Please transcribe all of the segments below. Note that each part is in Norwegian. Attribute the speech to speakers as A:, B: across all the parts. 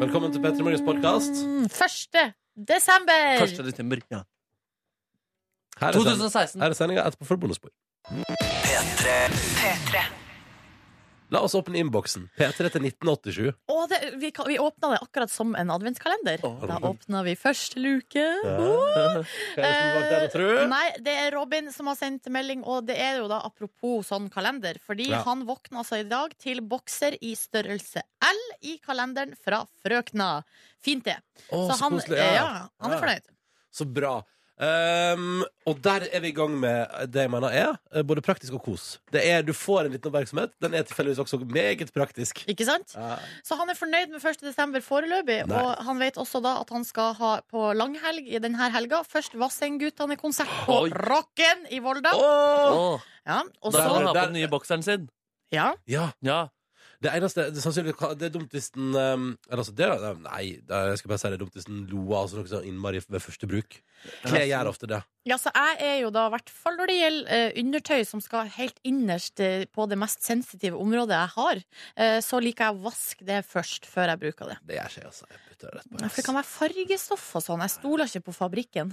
A: Velkommen til Petter Morgens podkast.
B: Mm, Første desember!
C: 1. desember. Ja.
A: Her er sending-
C: 2016.
A: her er sendinga etterpå for bonusspor. La oss åpne innboksen. P3 til 1987.
B: Og det, vi, kan- vi åpna det akkurat som en adventskalender.
C: Å.
B: Da åpna vi første luke. Eh,
A: Hva er det som bak den, tror du?
B: Nei, det er Robin som har sendt melding, og det er jo da apropos sånn kalender. Fordi
A: Ja.
B: han våkna altså i dag til bokser i størrelse L i kalenderen fra frøkna. Fint, det.
A: Å,
B: så, han, eh,
A: koselig,
B: ja, han
A: Ja.
B: er fornøyd.
A: Så bra. Ehm, og der er vi i gang med det jeg mener er eh, både praktisk og kos. Det er, Du får en liten oppmerksomhet. Den er tilfeldigvis også meget praktisk.
B: Ikke sant?
A: Ja.
B: Så han er fornøyd med 1. desember foreløpig.
A: Nei.
B: Og han vet også da at han skal ha på langhelg i denne helga. Først Vassendgutane-konsert på
C: Oi.
B: Rocken i Volda.
C: Åh,
B: Ja, og
C: der han
B: så
C: har på
A: der-
C: den nye bokseren sin.
B: ja.
A: Ja,
C: Ja.
A: Det eneste det, er sannsynlig, det er dumt hvis den ehm, eller, altså, det, er- Nei, det er- jeg skal bare si det er dumt hvis den lo av altså, noe sånn innmari ved første bruk. Kle gjør ofte det.
B: ja, så jeg er jo da, i hvert fall når det gjelder eh, undertøy som skal helt innerst eh, på det mest sensitive området jeg har, eh, så liker jeg å vaske det først før jeg bruker det.
A: Det gjør ikke jeg, altså. Jeg putter det rett på.
B: For det
A: ass.
B: kan være fargestoff og sånn. Jeg stoler ikke på fabrikken.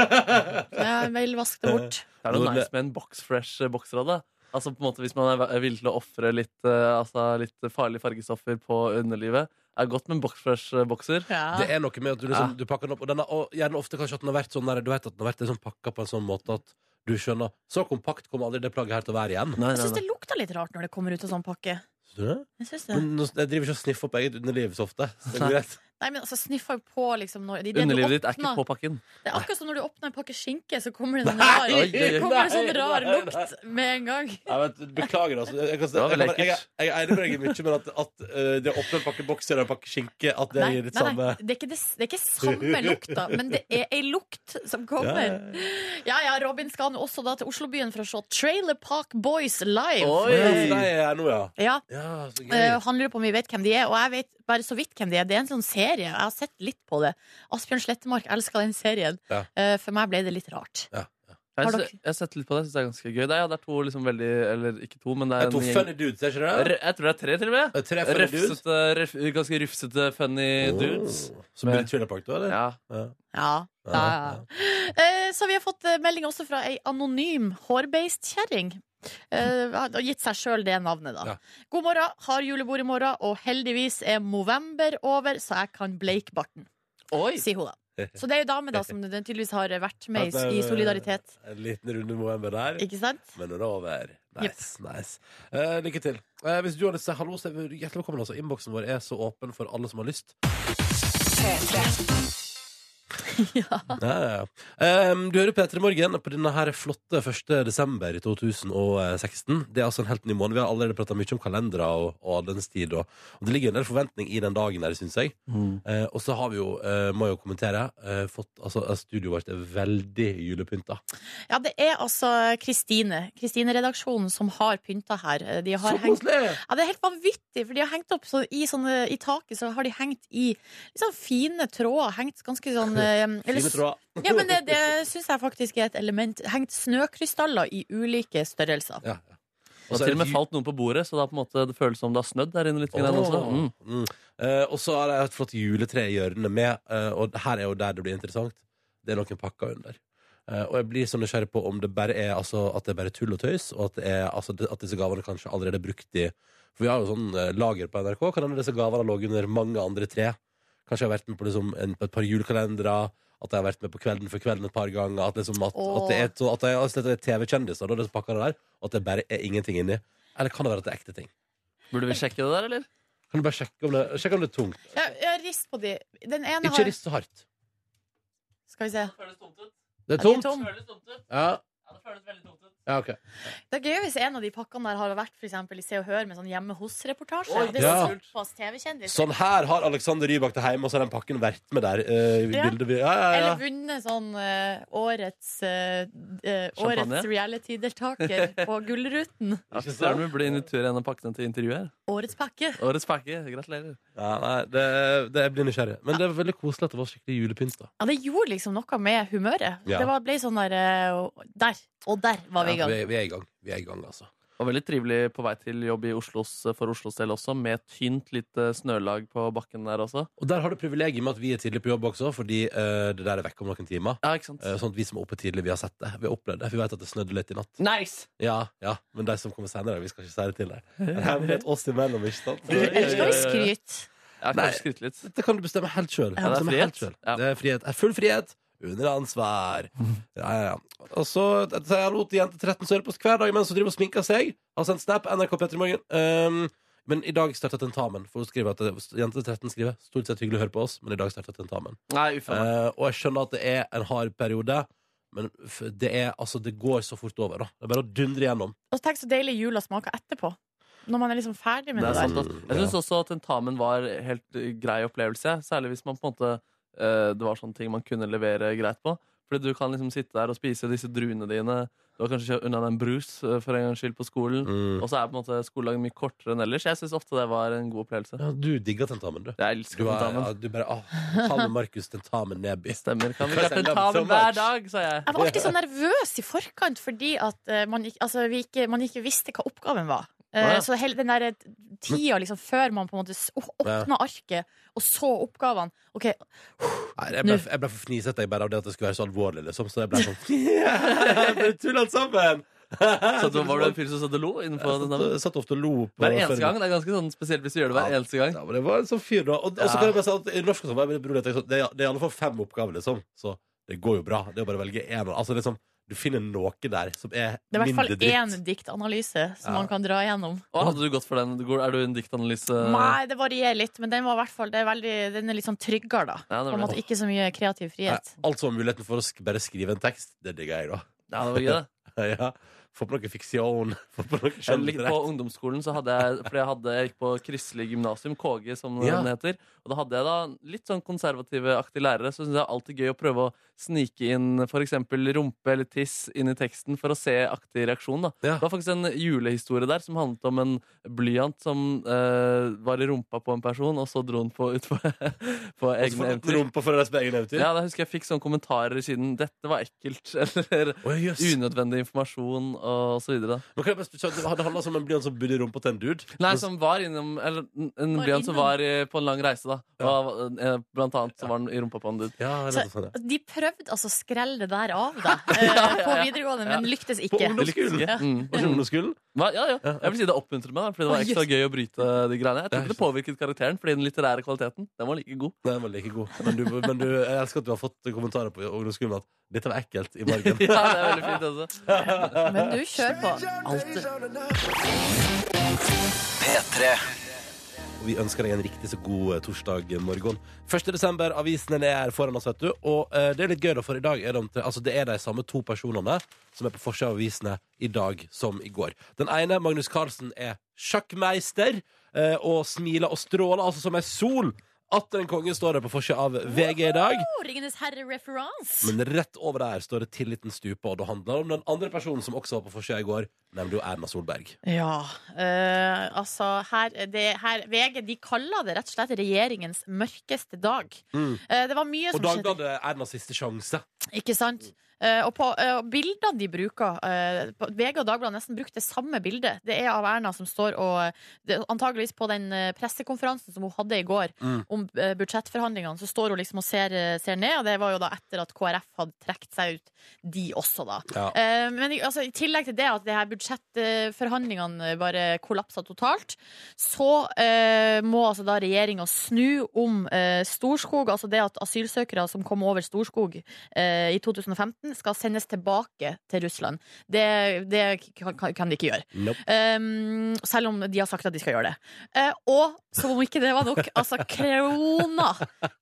B: Så jeg vil vaske det bort.
C: Det er noe
A: Nordle-
C: nice med en boxfresh-bokser av det. Altså på en måte Hvis man er v- villig til å ofre litt, eh, altså, litt farlige fargestoffer på underlivet, er det godt med en eh, boxfresh-bokser.
B: Ja.
A: Det er noe med at du, liksom, du pakker den opp, og, den har, og gjerne ofte kanskje at den har vært sånn der, Du vet at den har vært liksom pakka på en sånn måte at du skjønner Så kompakt kommer aldri det plagget her til å være igjen.
C: Nei,
B: Jeg
C: nei,
B: syns
C: nei.
B: det lukter litt rart når det kommer ut av sånn pakke.
A: Synes du det?
B: Jeg synes det.
A: Men nå- jeg driver ikke og sniffer opp eget underliv så ofte. Så det er greit.
B: Nei, men altså, sniffa jo på liksom når, i det du
C: Underlivet ditt er ikke
B: åpner-
C: på pakken.
B: Det er akkurat som når du åpner en pakke skinke, så kommer det en sånn rar,
C: Nei! Oi, oi, oi.
B: kommer det sånn
A: Nei,
B: rar
A: nei, nei.
B: lukt med en gang.
A: Nei, men, beklager, altså. Jeg, kan, jeg,
C: var vel
A: kan, jeg,
C: lekkert.
A: jeg, jeg er enig med deg i mye, men at, at eh, det å åpne en pakke bokser og en pakke skinke, at det
B: Nei,
A: gir litt
B: nei,
A: samme
B: nei, det, er ikke det, det er ikke samme lukta, men det er ei lukt som kommer. Ja ja, Robin skal nå også da til Oslobyen for å se Trailer Park Boys live.
C: Oi.
A: Ja, for deg er jeg nå, ja.
B: Ja,
A: ja så gøy.
B: eh, Han lurer på om vi vet hvem de er, og jeg vet bare så vidt hvem de er. Det er en sånn serie. Jeg har sett litt på det. Asbjørn Slettemark elska den serien.
A: Ja.
B: Eh, For meg ble det litt rart.
C: Jeg,
B: Har
C: har
B: dere-
C: jeg har sett litt på det. Jeg synes det er ganske gøy. Det er, ja, det er to liksom veldig Eller ikke to, men det
A: Det
C: er
A: er to
C: en gjeng
A: funny dudes, er ikke det?
C: R- Jeg tror det er tre, til og med.
A: Det er Tre funny dudes.
C: Røfsete, røf, ganske rufsete, funny dudes.
A: Oh, Som blir Trailer Park, da? Eller?
C: Ja.
A: Ja.
B: Ja. ja, ja. Eh, Så vi har fått eh, melding også fra ei anonym hårbeistkjerring. Eh, har gitt seg sjøl det navnet, da.
A: Ja.
B: God morgen, har julebord i morgen, og heldigvis er november over, så jeg kan bleike barten.
C: Oi!
B: Sier hun, da. Så det er jo dame da som den tydeligvis har vært med i, i solidaritet.
A: En liten runde med Mohammed der.
B: Ikke sant?
A: Men nå er det over. Nice. nice. Eh, lykke til. Eh, hvis du har lyst til å si hallo, så er du hjertelig velkommen. Altså. Innboksen vår er så åpen for alle som har lyst.
B: Ja.
A: Ja, ja, ja. Ehm, du hører P3 Morgen på denne her flotte 1. desember i 2016. Det er altså en helt ny måned. Vi har allerede prata mye om kalendere og, og adelstid. Og, og det ligger en del forventning i den dagen her, syns jeg. Eh, og så har vi jo, eh, må jeg jo kommentere, eh, fått altså, eh, Studioet vårt er veldig julepynta.
B: ja, det er altså Kristine, Kristine-redaksjonen, som har pynta her. De har
A: Så
B: hengt
A: koselig!
B: Ja, Det er helt vanvittig, for de har hengt opp så i, sånne, i taket så har de hengt i liksom fine tråder. Hengt ganske sånn eh, eller,
A: Fine tråder.
B: Ja, men det, det syns jeg faktisk er et element. Hengt snøkrystaller i ulike størrelser.
A: Ja, ja.
C: Det har til og med falt noen på bordet, så det, er på en måte, det føles som det har snødd der inne litt. grann også.
A: Åh.
C: Mm.
A: Mm. Eh, og så har jeg et flott juletre i hjørnet med, eh, og her er jo der det blir interessant. Det er noen pakker under. Eh, og jeg blir så nysgjerrig på om det bare er altså, at det er bare tull og tøys, og at, det er, altså, det- at disse gavene kanskje allerede er brukt i For vi har jo sånn eh, lager på NRK. Kan hende disse gavene har ligget under mange andre tre. Kanskje jeg har vært med på liksom, en, på et par julekalendere. At jeg har vært med på Kvelden for kvelden et par ganger. At, liksom, at,
B: Åh.
A: at det er, to- at det er, altså, dette er TV-kjendiser, da, disse pakkene der. Og at det bare er ingenting inni. Eller kan det være at det er ekte ting?
C: Burde vi sjekke det der, eller?
A: Kan du bare sjekke om det, sjekke om det er tungt?
B: Ja, ja, rist på de. Den ene
A: Ikke
B: har
A: rist så hardt.
B: Skal vi se.
C: Føles tomt ut.
B: Ja,
A: Det er
B: de er
A: tomt.
B: tom.
C: Føles tomt ut.
A: Ja,
C: Ja, det føles veldig tomt ut.
A: ja ok.
B: Det er gøy hvis en av de pakkene der har vært for eksempel, i Se og Hør med sånn hjemme hos-reportasje.
C: Oi,
B: det er
A: ja.
B: såpass TV-kjendis.
A: Sånn her har Alexander Rybak det hjemme, og så har den pakken vært med der. eh, i
B: Ja.
A: bildet vi- ja, ja, ja.
B: Eller vunnet sånn eh, årets, eh, eh,
C: Champagne?
B: årets reality-deltaker på Gullruten.
C: Ja,
A: Ikke sant?
C: Søren, vi blir invitert en av pakkene til intervjuet her.
B: Årets pakke.
C: Årets pakke. Gratulerer.
A: ja nei, det, det, jeg blir nysgjerrig. Men det er veldig koselig at det var skikkelig julepynt. da
B: Ja, det gjorde liksom noe med humøret.
A: Ja.
B: Det var, ble sånn der eh, og Der! Og der var vi i
A: ja,
B: gang.
A: vi, vi er i gang. Vi er i gang, altså.
C: var veldig trivelig på vei til jobb i Oslos, for Oslos del også, med et tynt lite snølag på bakken der også.
A: Og der har du privilegiet med at vi er tidlig på jobb også, fordi eh, det der er vekk om noen timer.
C: Ja, ikke sant?
A: Eh, Sånn at vi som er oppe tidlig, vi har sett det. Vi har opplevd det. Vi vet at det snødde litt i natt.
C: Nice!
A: Ja, ja, Men de som kommer senere, vi skal ikke si det til deg. Det er hemmelighet oss imellom, ikke sant?
C: Ja, ja,
B: Eller skal vi
C: ja, ja.
B: skryte?
C: Jeg
A: Nei.
C: kan skryte litt.
A: Dette kan du bestemme helt sjøl.
C: Ja, det er frihet. Ja.
A: Det er frihet. Er Full frihet under ansvar. Ja, ja, ja. Og så så jeg lot jente 13 sørpå hver dag mens hun driver og sminker seg. Har sendt snap NRK Petter i morgen. Um, men i dag starta tentamen. For hun skriver at jente 13 skriver stort sett hyggelig å høre på oss, men i dag starta tentamen.
C: Nei, uff a meg.
A: Eh, og jeg skjønner at det er en hard periode, men f- det er altså Det går så fort over, da. Det er bare å dundre gjennom.
B: Og tenk så deilig jula smaker etterpå. Når man er liksom ferdig med
C: Det
B: det,
C: er sånn- sant,
B: der.
C: ass. Jeg syns også at tentamen var helt eh, grei opplevelse. Særlig hvis man på en måte eh, det var sånne ting man kunne levere greit på. Fordi du kan liksom sitte der og spise disse druene dine. Du har kanskje kjøpt unna deg en brus eh, for en gangs skyld på skolen.
A: Mm.
C: Og så er på en måte skoledagen mye kortere enn ellers. Jeg syns ofte det var en god opplevelse.
A: Ja, du digger tentamen, du.
C: Jeg
A: Du,
C: elsker
A: er,
C: tentamen.
A: ja, du bare ah, Ta med Markus tentamen nedby.
C: Stemmer. Kan vi
A: Because I love
C: ta
A: it so
C: tentamen
A: much.
C: hver dag, sa jeg.
B: Jeg var alltid så nervøs i forkant fordi at eh, man, ikke, altså, vi ikke, man ikke visste hva oppgaven var. Eh,
C: Å, ja.
B: Så hele den der tida liksom, før man på en måte s- å- åpna arket og så oppgavene OK,
A: Nei, jeg ble, jeg ble for fnisete jeg bare av det at det skulle være så alvorlig, liksom. Så jeg ble sånn Jeg ble tullet sammen!
C: Så da var du en fyr som satt og lo innenfor den
A: Jeg satt ofte og lo på
C: Hver eneste gang. Det er ganske sånn spesielt hvis du gjør det hver
A: Ja.
C: eneste gang.
A: Ja, men det var en sånn fyr, da. Og, og så
C: Ja.
A: kan jeg bare si at i norsk og sånn, jeg bror, jeg tenker sånn, det, er, det er i alle fall fem oppgaver, liksom. Så det går jo bra. Det er å bare velge én. Altså, liksom, du finner noe der som er,
B: det er i hvert
A: mindre
B: fall
A: dritt.
B: én diktanalyse som
A: Ja.
B: man kan dra igjennom.
C: Å, hadde du gått for den? Går- Er du en diktanalyse?
B: Nei, det varierer litt, men den, var i hvert fall, det er veldig, den er litt sånn tryggere, da.
C: Ja,
B: På en
C: det var
B: måte
C: det.
B: ikke så mye kreativ
A: Nei,
B: frihet.
A: Alt som har muligheten for å sk bare skrive en tekst, det digger jeg, da.
C: Ja, det var gøy, det.
A: ja. Få på noe fiksjon. Få på noe
C: Jeg likte
A: skjønnlitterært.
C: På ungdomsskolen så hadde jeg Fordi jeg, hadde, jeg gikk på Kristelig gymnasium, KG som
A: Ja.
C: den heter. Og da hadde jeg da litt sånn konservative-aktige lærere. Så syns jeg alltid gøy å prøve å snike inn f.eks. rumpe eller tiss inn i teksten for å se aktig reaksjon. da
A: Ja.
C: Det var faktisk en julehistorie der som handlet om en blyant som eh, var i rumpa på en person, og så dro den på ut på, på
A: Og så
C: egne
A: få opp
C: eventyr.
A: rumpa for å reise på egne eventyr.
C: Ja, da husker jeg fikk sånne kommentarer i siden 'dette var ekkelt' eller
A: Å, jøss.
C: unødvendig informasjon og så videre.
A: Men kan jeg bare spørre, det hadde handla om en blyant som bodde i rumpa til en dude?
C: Nei, som var innom Eller en- en
B: Var
C: bjørn som
B: innom.
C: var eh, på en lang reise, da. Og, eh, blant annet så var han i rumpa på en dude.
A: Ja,
B: Så-
A: nettopp sånn, ja.
B: Altså, De prøvde altså å skrelle det der av deg eh, på videregående, men lyktes
A: På
B: ikke.
A: ungdomsskolen!
B: Ja.
C: Mm.
A: På ungdomsskolen?
C: Hva- Ja, ja. Jeg vil si det oppmuntret meg, da, fordi det var ekstra gøy å bryte de greiene. Jeg tror ikke det påvirket karakteren, fordi den litterære kvaliteten Den var like god.
A: Nei, den var like god. Men, du, men du, jeg elsker at du har fått kommentarer på ungdomsskolen at 'dette var ekkelt' i
C: Ja,
A: margen.
C: det er veldig fint også.
B: Men du, kjør på.
C: Alltid.
A: Og vi ønsker deg en riktig så god eh, torsdag morgen. 1. desember, avisen er her foran oss, vet du. Og eh, det er litt gøy, da, for i dag er det, omtrent- altså, det er de samme to personene som er på forsida av avisene i dag som i går. Den ene, Magnus Carlsen, er sjakkmeister eh, og smiler og stråler, altså som ei sol. Atter en konge står det på forsida av VG i dag.
B: Oh, Ringenes herre-referanse.
A: Men rett over der står det 'Tilliten stuper', og det handler om den andre personen som også var på forsida i går, nemlig jo Erna Solberg.
B: Ja. eh, altså, her, det, her VG de kaller det rett og slett regjeringens mørkeste dag.
A: Mm.
B: Eh, det var mye
A: Og
B: som skjedde.
A: Dagbladet er Ernas siste sjanse.
B: Ikke sant? Eh, og på eh, bildene de bruker eh, på- VG og Dagbladet har nesten brukt det samme bildet. Det er av Erna som står og det, Antageligvis på den eh, pressekonferansen som hun hadde i går
A: Mm.
B: om eh, budsjettforhandlingene, så står hun liksom og ser, eh, ser ned, og det var jo da etter at KrF hadde trukket seg ut, de også, da.
A: Ja.
B: Eh, Men i- altså, i tillegg til det at det her budsjettforhandlingene bare kollapsa totalt, så eh, må altså da regjeringa snu om eh, Storskog, altså det at asylsøkere som kom over Storskog eh, i 2015, skal sendes tilbake til Russland. Det, det kan, kan- kan de ikke gjøre.
A: Nope.
B: Um, selv om de har sagt at de skal gjøre det. Eh, og som om ikke det var nok, altså krona!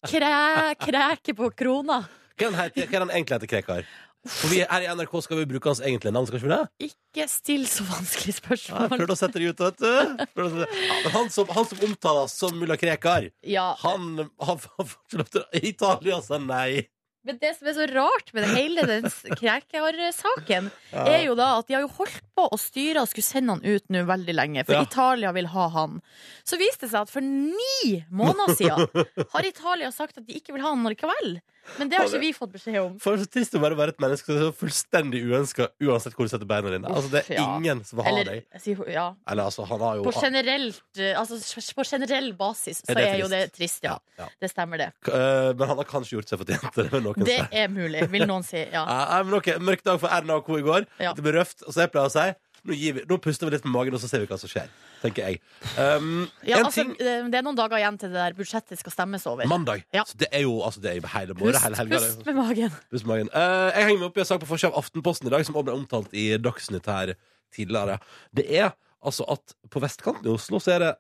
B: Kræ, kræke på krona!
A: Hva er den, heter, hva er den egentlig heter Krekar? For vi, her i NRK skal vi bruke hans egentlige navn, skal ikke vi det?
B: Ikke still så vanskelig
A: Ja, jeg
B: spørsmål.
A: prøvde å sette det ut, vet du. Prøvde å sette det- Ja, men han, som, han som omtales som mulla Krekar,
B: Ja,
A: han han får ikke lov til å Italia sa altså, nei.
B: Men det som er så rart med det hele den s- Krekar-saken, er jo da at de har jo holdt på å styre og skulle sende han ut nå veldig lenge, for
A: Ja.
B: Italia vil ha han. Så viste det seg at for ni måneder siden har Italia sagt at de ikke vil ha han likevel. Men det har ikke vi fått beskjed om.
A: For det er så trist å bare være et menneske som er så fullstendig uønska uansett hvor du setter beina dine. Altså, det
B: Uff,
A: er
B: ja.
A: ingen som vil ha
B: Eller,
A: deg.
B: jeg sier- ja.
A: Eller altså, han har jo
B: På generelt, eh, altså, s- på generell basis så
A: Er det
B: er jo det trist,
A: trist?
B: ja.
A: Ja, ja.
B: Det stemmer, det.
A: K- eh, Men han har kanskje gjort seg fortjent til det. vil Noen
B: Det
A: si.
B: er mulig, vil noen si. Ja.
A: Ja, nei, Eh, men ok, Mørk dag for Erna og co. i går.
B: Ja.
A: Det ble røft. Og så jeg pleier å si nå, gir vi, nå puster vi litt med magen, og så ser vi hva som skjer. Tenker jeg. Um,
B: Ja,
A: en
B: altså,
A: ting
B: eh, det er noen dager igjen til det der budsjettet skal stemmes over.
A: Mandag.
B: Ja.
A: Så det er jo altså, det er jo hele morgen, hele
B: Pust,
A: helga. det er jo-
B: pust med magen.
A: Pust med magen. Eh, jeg henger meg opp i en sak på forsida av Aftenposten i dag, som også ble omtalt i Dagsnytt her tidligere. Det er altså at på vestkanten i Oslo så er det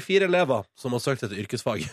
A: 84 elever som har søkt etter yrkesfag.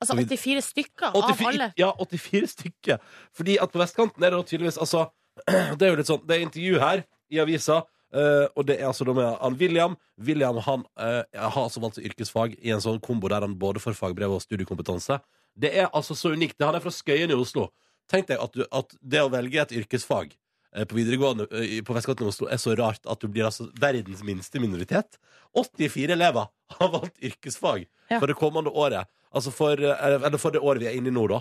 B: Altså 84 stykker av
A: 84,
B: alle.
A: ja, 84 stykker. Fordi at på vestkanten er det jo tydeligvis altså, Det er jo litt sånn, det er intervju her i avisa, eh, og det er altså da med han William. William han eh, har altså valgt yrkesfag i en sånn kombo der han både får fagbrev og studiekompetanse. Det er altså så unikt. Han er fra Skøyen i Oslo. Tenk deg at, du, at det å velge et yrkesfag eh, på videregående eh, i- på vestkanten i Oslo er så rart at du blir altså verdens minste minoritet. 84 elever har valgt yrkesfag
B: Ja.
A: for det kommende året. Altså for, eh, eller for det året vi er inne i nå, da.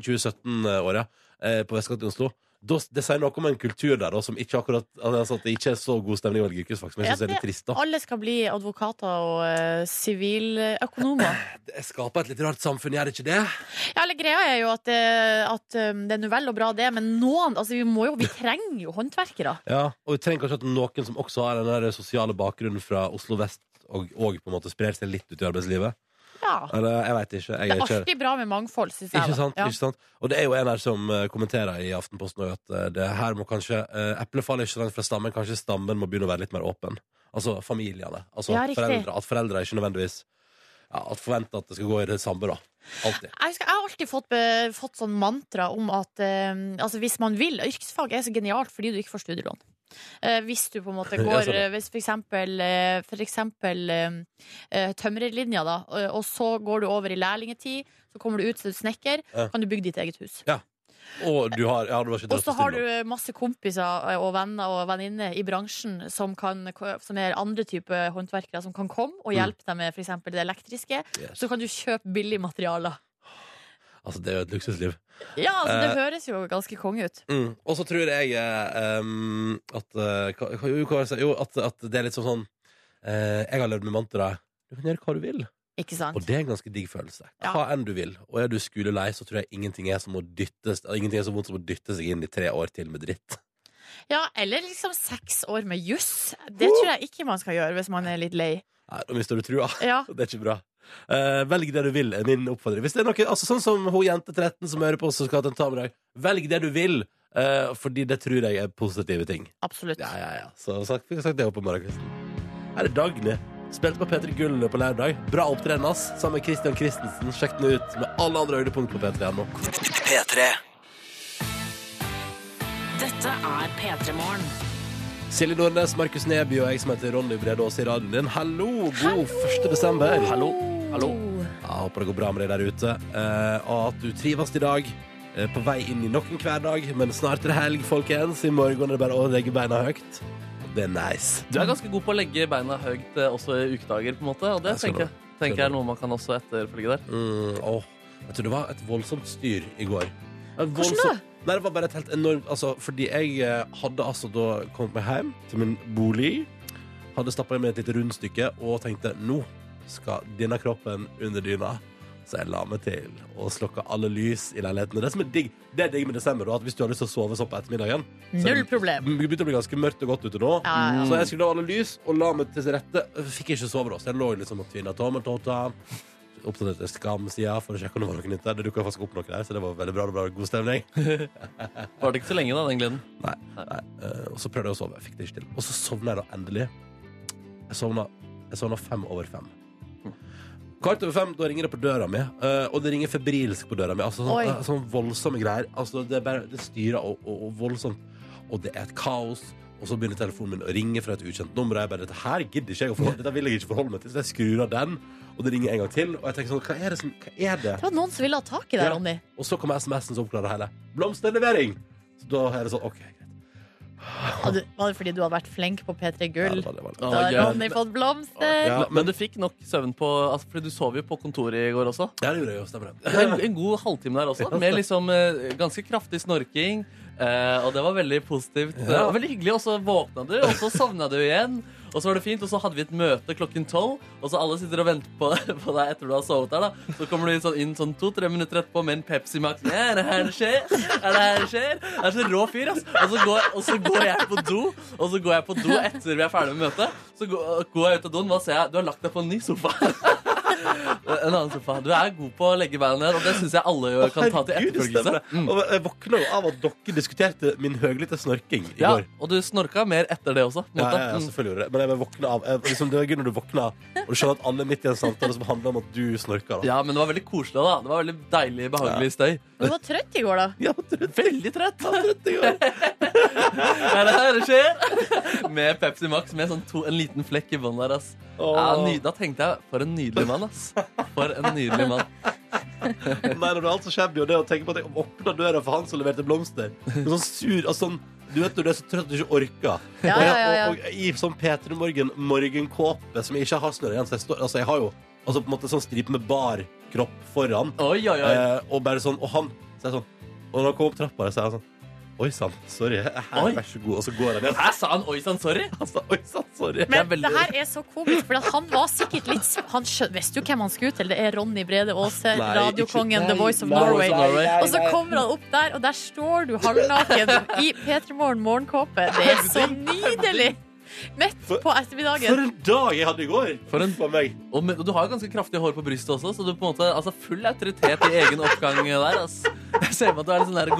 A: 2016-2017-året eh, på vestkanten i Oslo. Da, det sier noe om en kultur der da, som ikke akkurat altså, at det ikke er så god stemning å velge yrkesfag. Som jeg
B: Ja,
A: synes er litt trist, da.
B: Alle skal bli advokater og eh, siviløkonomer.
A: Det skaper et litt rart samfunn, gjør det ikke det?
B: ja, eller greia er jo at, eh, at eh, det er nå vel og bra, det, men noen Altså, vi må jo Vi trenger jo håndverkere.
A: Ja, og vi trenger kanskje at noen som også har den der sosiale bakgrunnen fra Oslo vest, og, og på en måte sprer seg litt ut i arbeidslivet.
B: Ja.
A: Eller, jeg veit ikke. Jeg
B: Det
A: er
B: er
A: ikke
B: alltid bra med mangfold, syns jeg.
A: Ikke
B: da.
A: sant,
B: Ja.
A: ikke sant? Og det er jo en her som eh, kommenterer i Aftenposten også at eh, det her må kanskje eh, Eplet faller ikke så langt fra stammen, kanskje stammen må begynne å være litt mer åpen. Altså familiene. Altså
B: Ja,
A: at
B: riktig.
A: foreldre, At foreldre ikke nødvendigvis ja, at forventer at det skal gå i det samme, da. Alltid.
B: Jeg, husker, jeg har alltid fått, be- fått sånn mantra om at eh, altså hvis man vil Yrkesfag er så genialt fordi du ikke får studielån. Eh, hvis du på en måte
A: Ja,
B: går
A: sånn, ja.
B: eh, Hvis for eksempel, eh, for eksempel eh, eh, tømrerlinja, da, eh, og så går du over i lærlingetid, så kommer du ut som snekker,
A: Ja.
B: kan du bygge ditt eget hus.
A: Og du har, ja, du har ikke
B: Og
A: dratt
B: så
A: på
B: har du
A: studien.
B: eh, masse kompiser eh, og venner og venninner i bransjen som, kan, som er andre typer håndverkere som kan komme og
A: Mm.
B: hjelpe deg med f.eks. det elektriske.
A: Yes.
B: Så kan du kjøpe billige materialer.
A: Altså, det er jo et luksusliv.
B: Ja, altså, det
A: Eh,
B: høres jo ganske konge ut.
A: Mm. Og så tror jeg eh, um, at eh, hva- hva- Jo, hva var det jeg sa? Jo, at, at det er litt sånn sånn eh, Jeg har levd med mantraet 'Du kan gjøre hva du vil'.
B: Ikke sant?
A: Og det er en ganske digg følelse.
B: Ja.
A: Hva enn du vil. Og er du skolelei, så tror jeg ingenting er, som å dyttes, ingenting er så vondt som å dytte seg inn i tre år til med dritt.
B: Ja, eller liksom seks år med juss. Det tror jeg ikke man skal gjøre hvis man er litt lei.
A: Nei, Nå mister du trua.
B: Ja,
A: Det er ikke bra. Eh, velg det du vil, er min oppfordring. Hvis det er noe, altså Sånn som hun jente 13 som hører på oss og skal ha tentamen i dag. Velg det du vil, eh, fordi det tror jeg er positive ting.
B: absolutt.
A: Ja, ja, ja. Så sagt, fikk jeg sagt det opp på morgenkvisten. Her er Dagny. Spilte på P3 Gull på lørdag. Bra opptreden, ass. Sammen med Christian Christensen. Sjekk den ut med alle andre høydepunkt på P3.no.
D: Dette er P3 Morgen.
A: Silje Nordnes, Markus Neby og jeg som heter Ronny Brede Aas i radioen din. Hallo! God 1. desember. Hallo. Hallo. Jeg håper det går bra med deg der ute, eh, og at du trives i dag. eh, På vei inn i nok en hverdag, men snart er det helg, folkens. I morgen er det bare å legge beina høyt. Og Det er nice.
C: Du er ganske god på å legge beina høyt eh, også i ukedager, på en måte. Og det
A: Jeg skal
C: tenker,
A: love.
C: jeg- tenker jeg er noe man kan også etterfølge der.
A: Mm, åh. Jeg tror det var et voldsomt styr i går. Et
B: Hvordan
A: voldsomt- Nei, det var bare et helt enormt altså, Fordi jeg eh, hadde altså da kommet meg hjem til min bolig, hadde stappa i meg et lite rundstykke og tenkte nå skal denne kroppen under dyna. Så jeg la meg til og slokka alle lys i leiligheten. Og Det som er digg Det er digg med desember, da, at hvis du har lyst til å sove sånn på ettermiddagen så er
B: Null
A: det-
B: problem.
A: Det begynte å bli ganske mørkt og godt ute
B: Ja,
A: nå.
B: ja, ja.
A: Så jeg skulle la alle lys og la meg til rette. Fikk ikke sove da, så jeg lå liksom og tvinna tommeltotta. Oppdaterte Skam-sida for å sjekke om det var noe nytt der. Det dukka faktisk opp noe der, så det var veldig bra. Det var god stemning.
C: Var det ikke så lenge, da, den gleden?
A: Nei, nei. Eh, og så prøvde jeg å sove. Jeg fikk det ikke til. Og så sovna jeg da endelig. Jeg sovna, jeg sovna fem over fem. Kvart over fem, da ringer det på døra mi. eh, og det ringer febrilsk på døra mi. Altså
B: Oi.
A: sånn, eh, sånn voldsomme greier. Altså, det, er bare, det styrer og, og, og voldsomt. Og det er et kaos. Og så begynner telefonen min å ringe fra et ukjent nummer. Og jeg bare, dette her gidder ikke jeg å forholde Dette vil jeg ikke forholde meg til. Så jeg skrur av den, og det ringer en gang til. Og jeg tenker sånn, hva er det som Hva er det?
B: Det var noen som ville ha tak i deg,
A: Ja.
B: Ronny.
A: Og så kommer SMS-en som oppklarer det hele. Blomsterlevering! Så da er det sånn, OK. greit.
B: Var det- var det fordi du hadde vært flink på P3
A: Ja,
B: Gull?
A: det var det, det var det.
C: Ja,
B: Da har
C: gøy.
B: Ronny fått blomster!
A: Ja,
C: Men, men du fikk nok søvn på altså, Fordi du sov jo på kontoret i går også.
A: Ja, det gjorde jeg jo, stemmer det.
C: En, en god halvtime der også, med liksom eh, ganske kraftig snorking. eh, og det var veldig positivt. Det var veldig hyggelig, Og så våkna du, og så sovna du igjen. Og så var det fint, og så hadde vi et møte klokken tolv, og så alle sitter og venter på, på deg etter du har sovet der. da Så kommer du inn sånn, inn sånn to-tre minutter etterpå med en Pepsi Max. Ja, er det her det skjer? Er det her det skjer? Jeg er så rå fyr, ass. Og så går, og så går jeg på do, og så går jeg på do etter vi er ferdig med møtet. Så går, går jeg ut av doen, hva ser jeg? Du har lagt deg på en ny sofa. En annen sofa. Du er god på å legge beina ned, og det syns jeg alle jo kan ta til
A: Herregud, det
C: etterfølgelse. Mm.
A: stemmer det. Og jeg våkna jo av at dere diskuterte min høylytte snorking i
C: Ja,
A: går.
C: og du snorka mer etter det også. På en
A: Ja,
C: måte. Mm.
A: ja, ja, selvfølgelig gjorde jeg det. Men jeg bare våkna av jeg, liksom, Det er gøy når du våkner og du skjønner at alle er midt i en samtale som handler om at du snorker.
C: Mm.
A: Da.
C: ja, men det var veldig koselig. da Det var veldig deilig, behagelig støy.
B: Du var trøtt i går, da.
A: Ja,
C: Veldig trøtt!
A: det gjør jeg.
C: Er det her det skjer? Med Pepsi Max med sånn to, en liten flekk i bånn der, ass. Ja, ny, da tenkte jeg For en nydelig mann, ass. For en nydelig mann.
A: Nei, når det er alt så skjer jo det å tenke på at jeg åpna døra for han som leverte blomster. Men sånn sur, altså, sånn, du vet når du er så trøtt at du ikke orker.
B: Ja,
A: Og jeg-
B: ja, ja, ja.
A: Og, og, i sånn P3 Morgen-morgenkåpe som jeg ikke har snørr igjen. Så jeg, står, altså, jeg har jo altså, på en måte sånn stripe med bar kropp foran.
C: Oi, oi, oi.
A: Eh, og bare sånn, og han så er jeg sånn, Og når han kom opp trappa, så er han sånn Oi sann, sorry. Her,
C: Oi.
A: vær så god. Og så går han igjen.
C: Hæ, sa han oi sann, sorry?
A: Han sa, Oi sann, sorry.
B: Men
C: Det
B: det,
C: er veldig-
B: her er så komisk, for at han var sikkert litt sp- Han skjøn- visste jo hvem han skulle til. Det er Ronny Brede Aase,
A: Nei,
B: radiokongen,
A: ikke-
B: The Voice of
A: Nei, altså,
B: Norway.
A: nei, nei, nei.
B: Og så kommer han opp der, og der står du halvnaken i P3 Morgen morgenkåpe. Det er så nydelig! Midt
A: For-
B: på
A: For
B: ettermiddagen.
A: en dag jeg hadde i går!
C: For en-
A: For meg.
C: Og, men- og du har jo ganske kraftig hår på brystet også, så du er på en måte altså, full autoritet i egen oppgang der. Ass. Jeg ser for meg at du er litt sånn der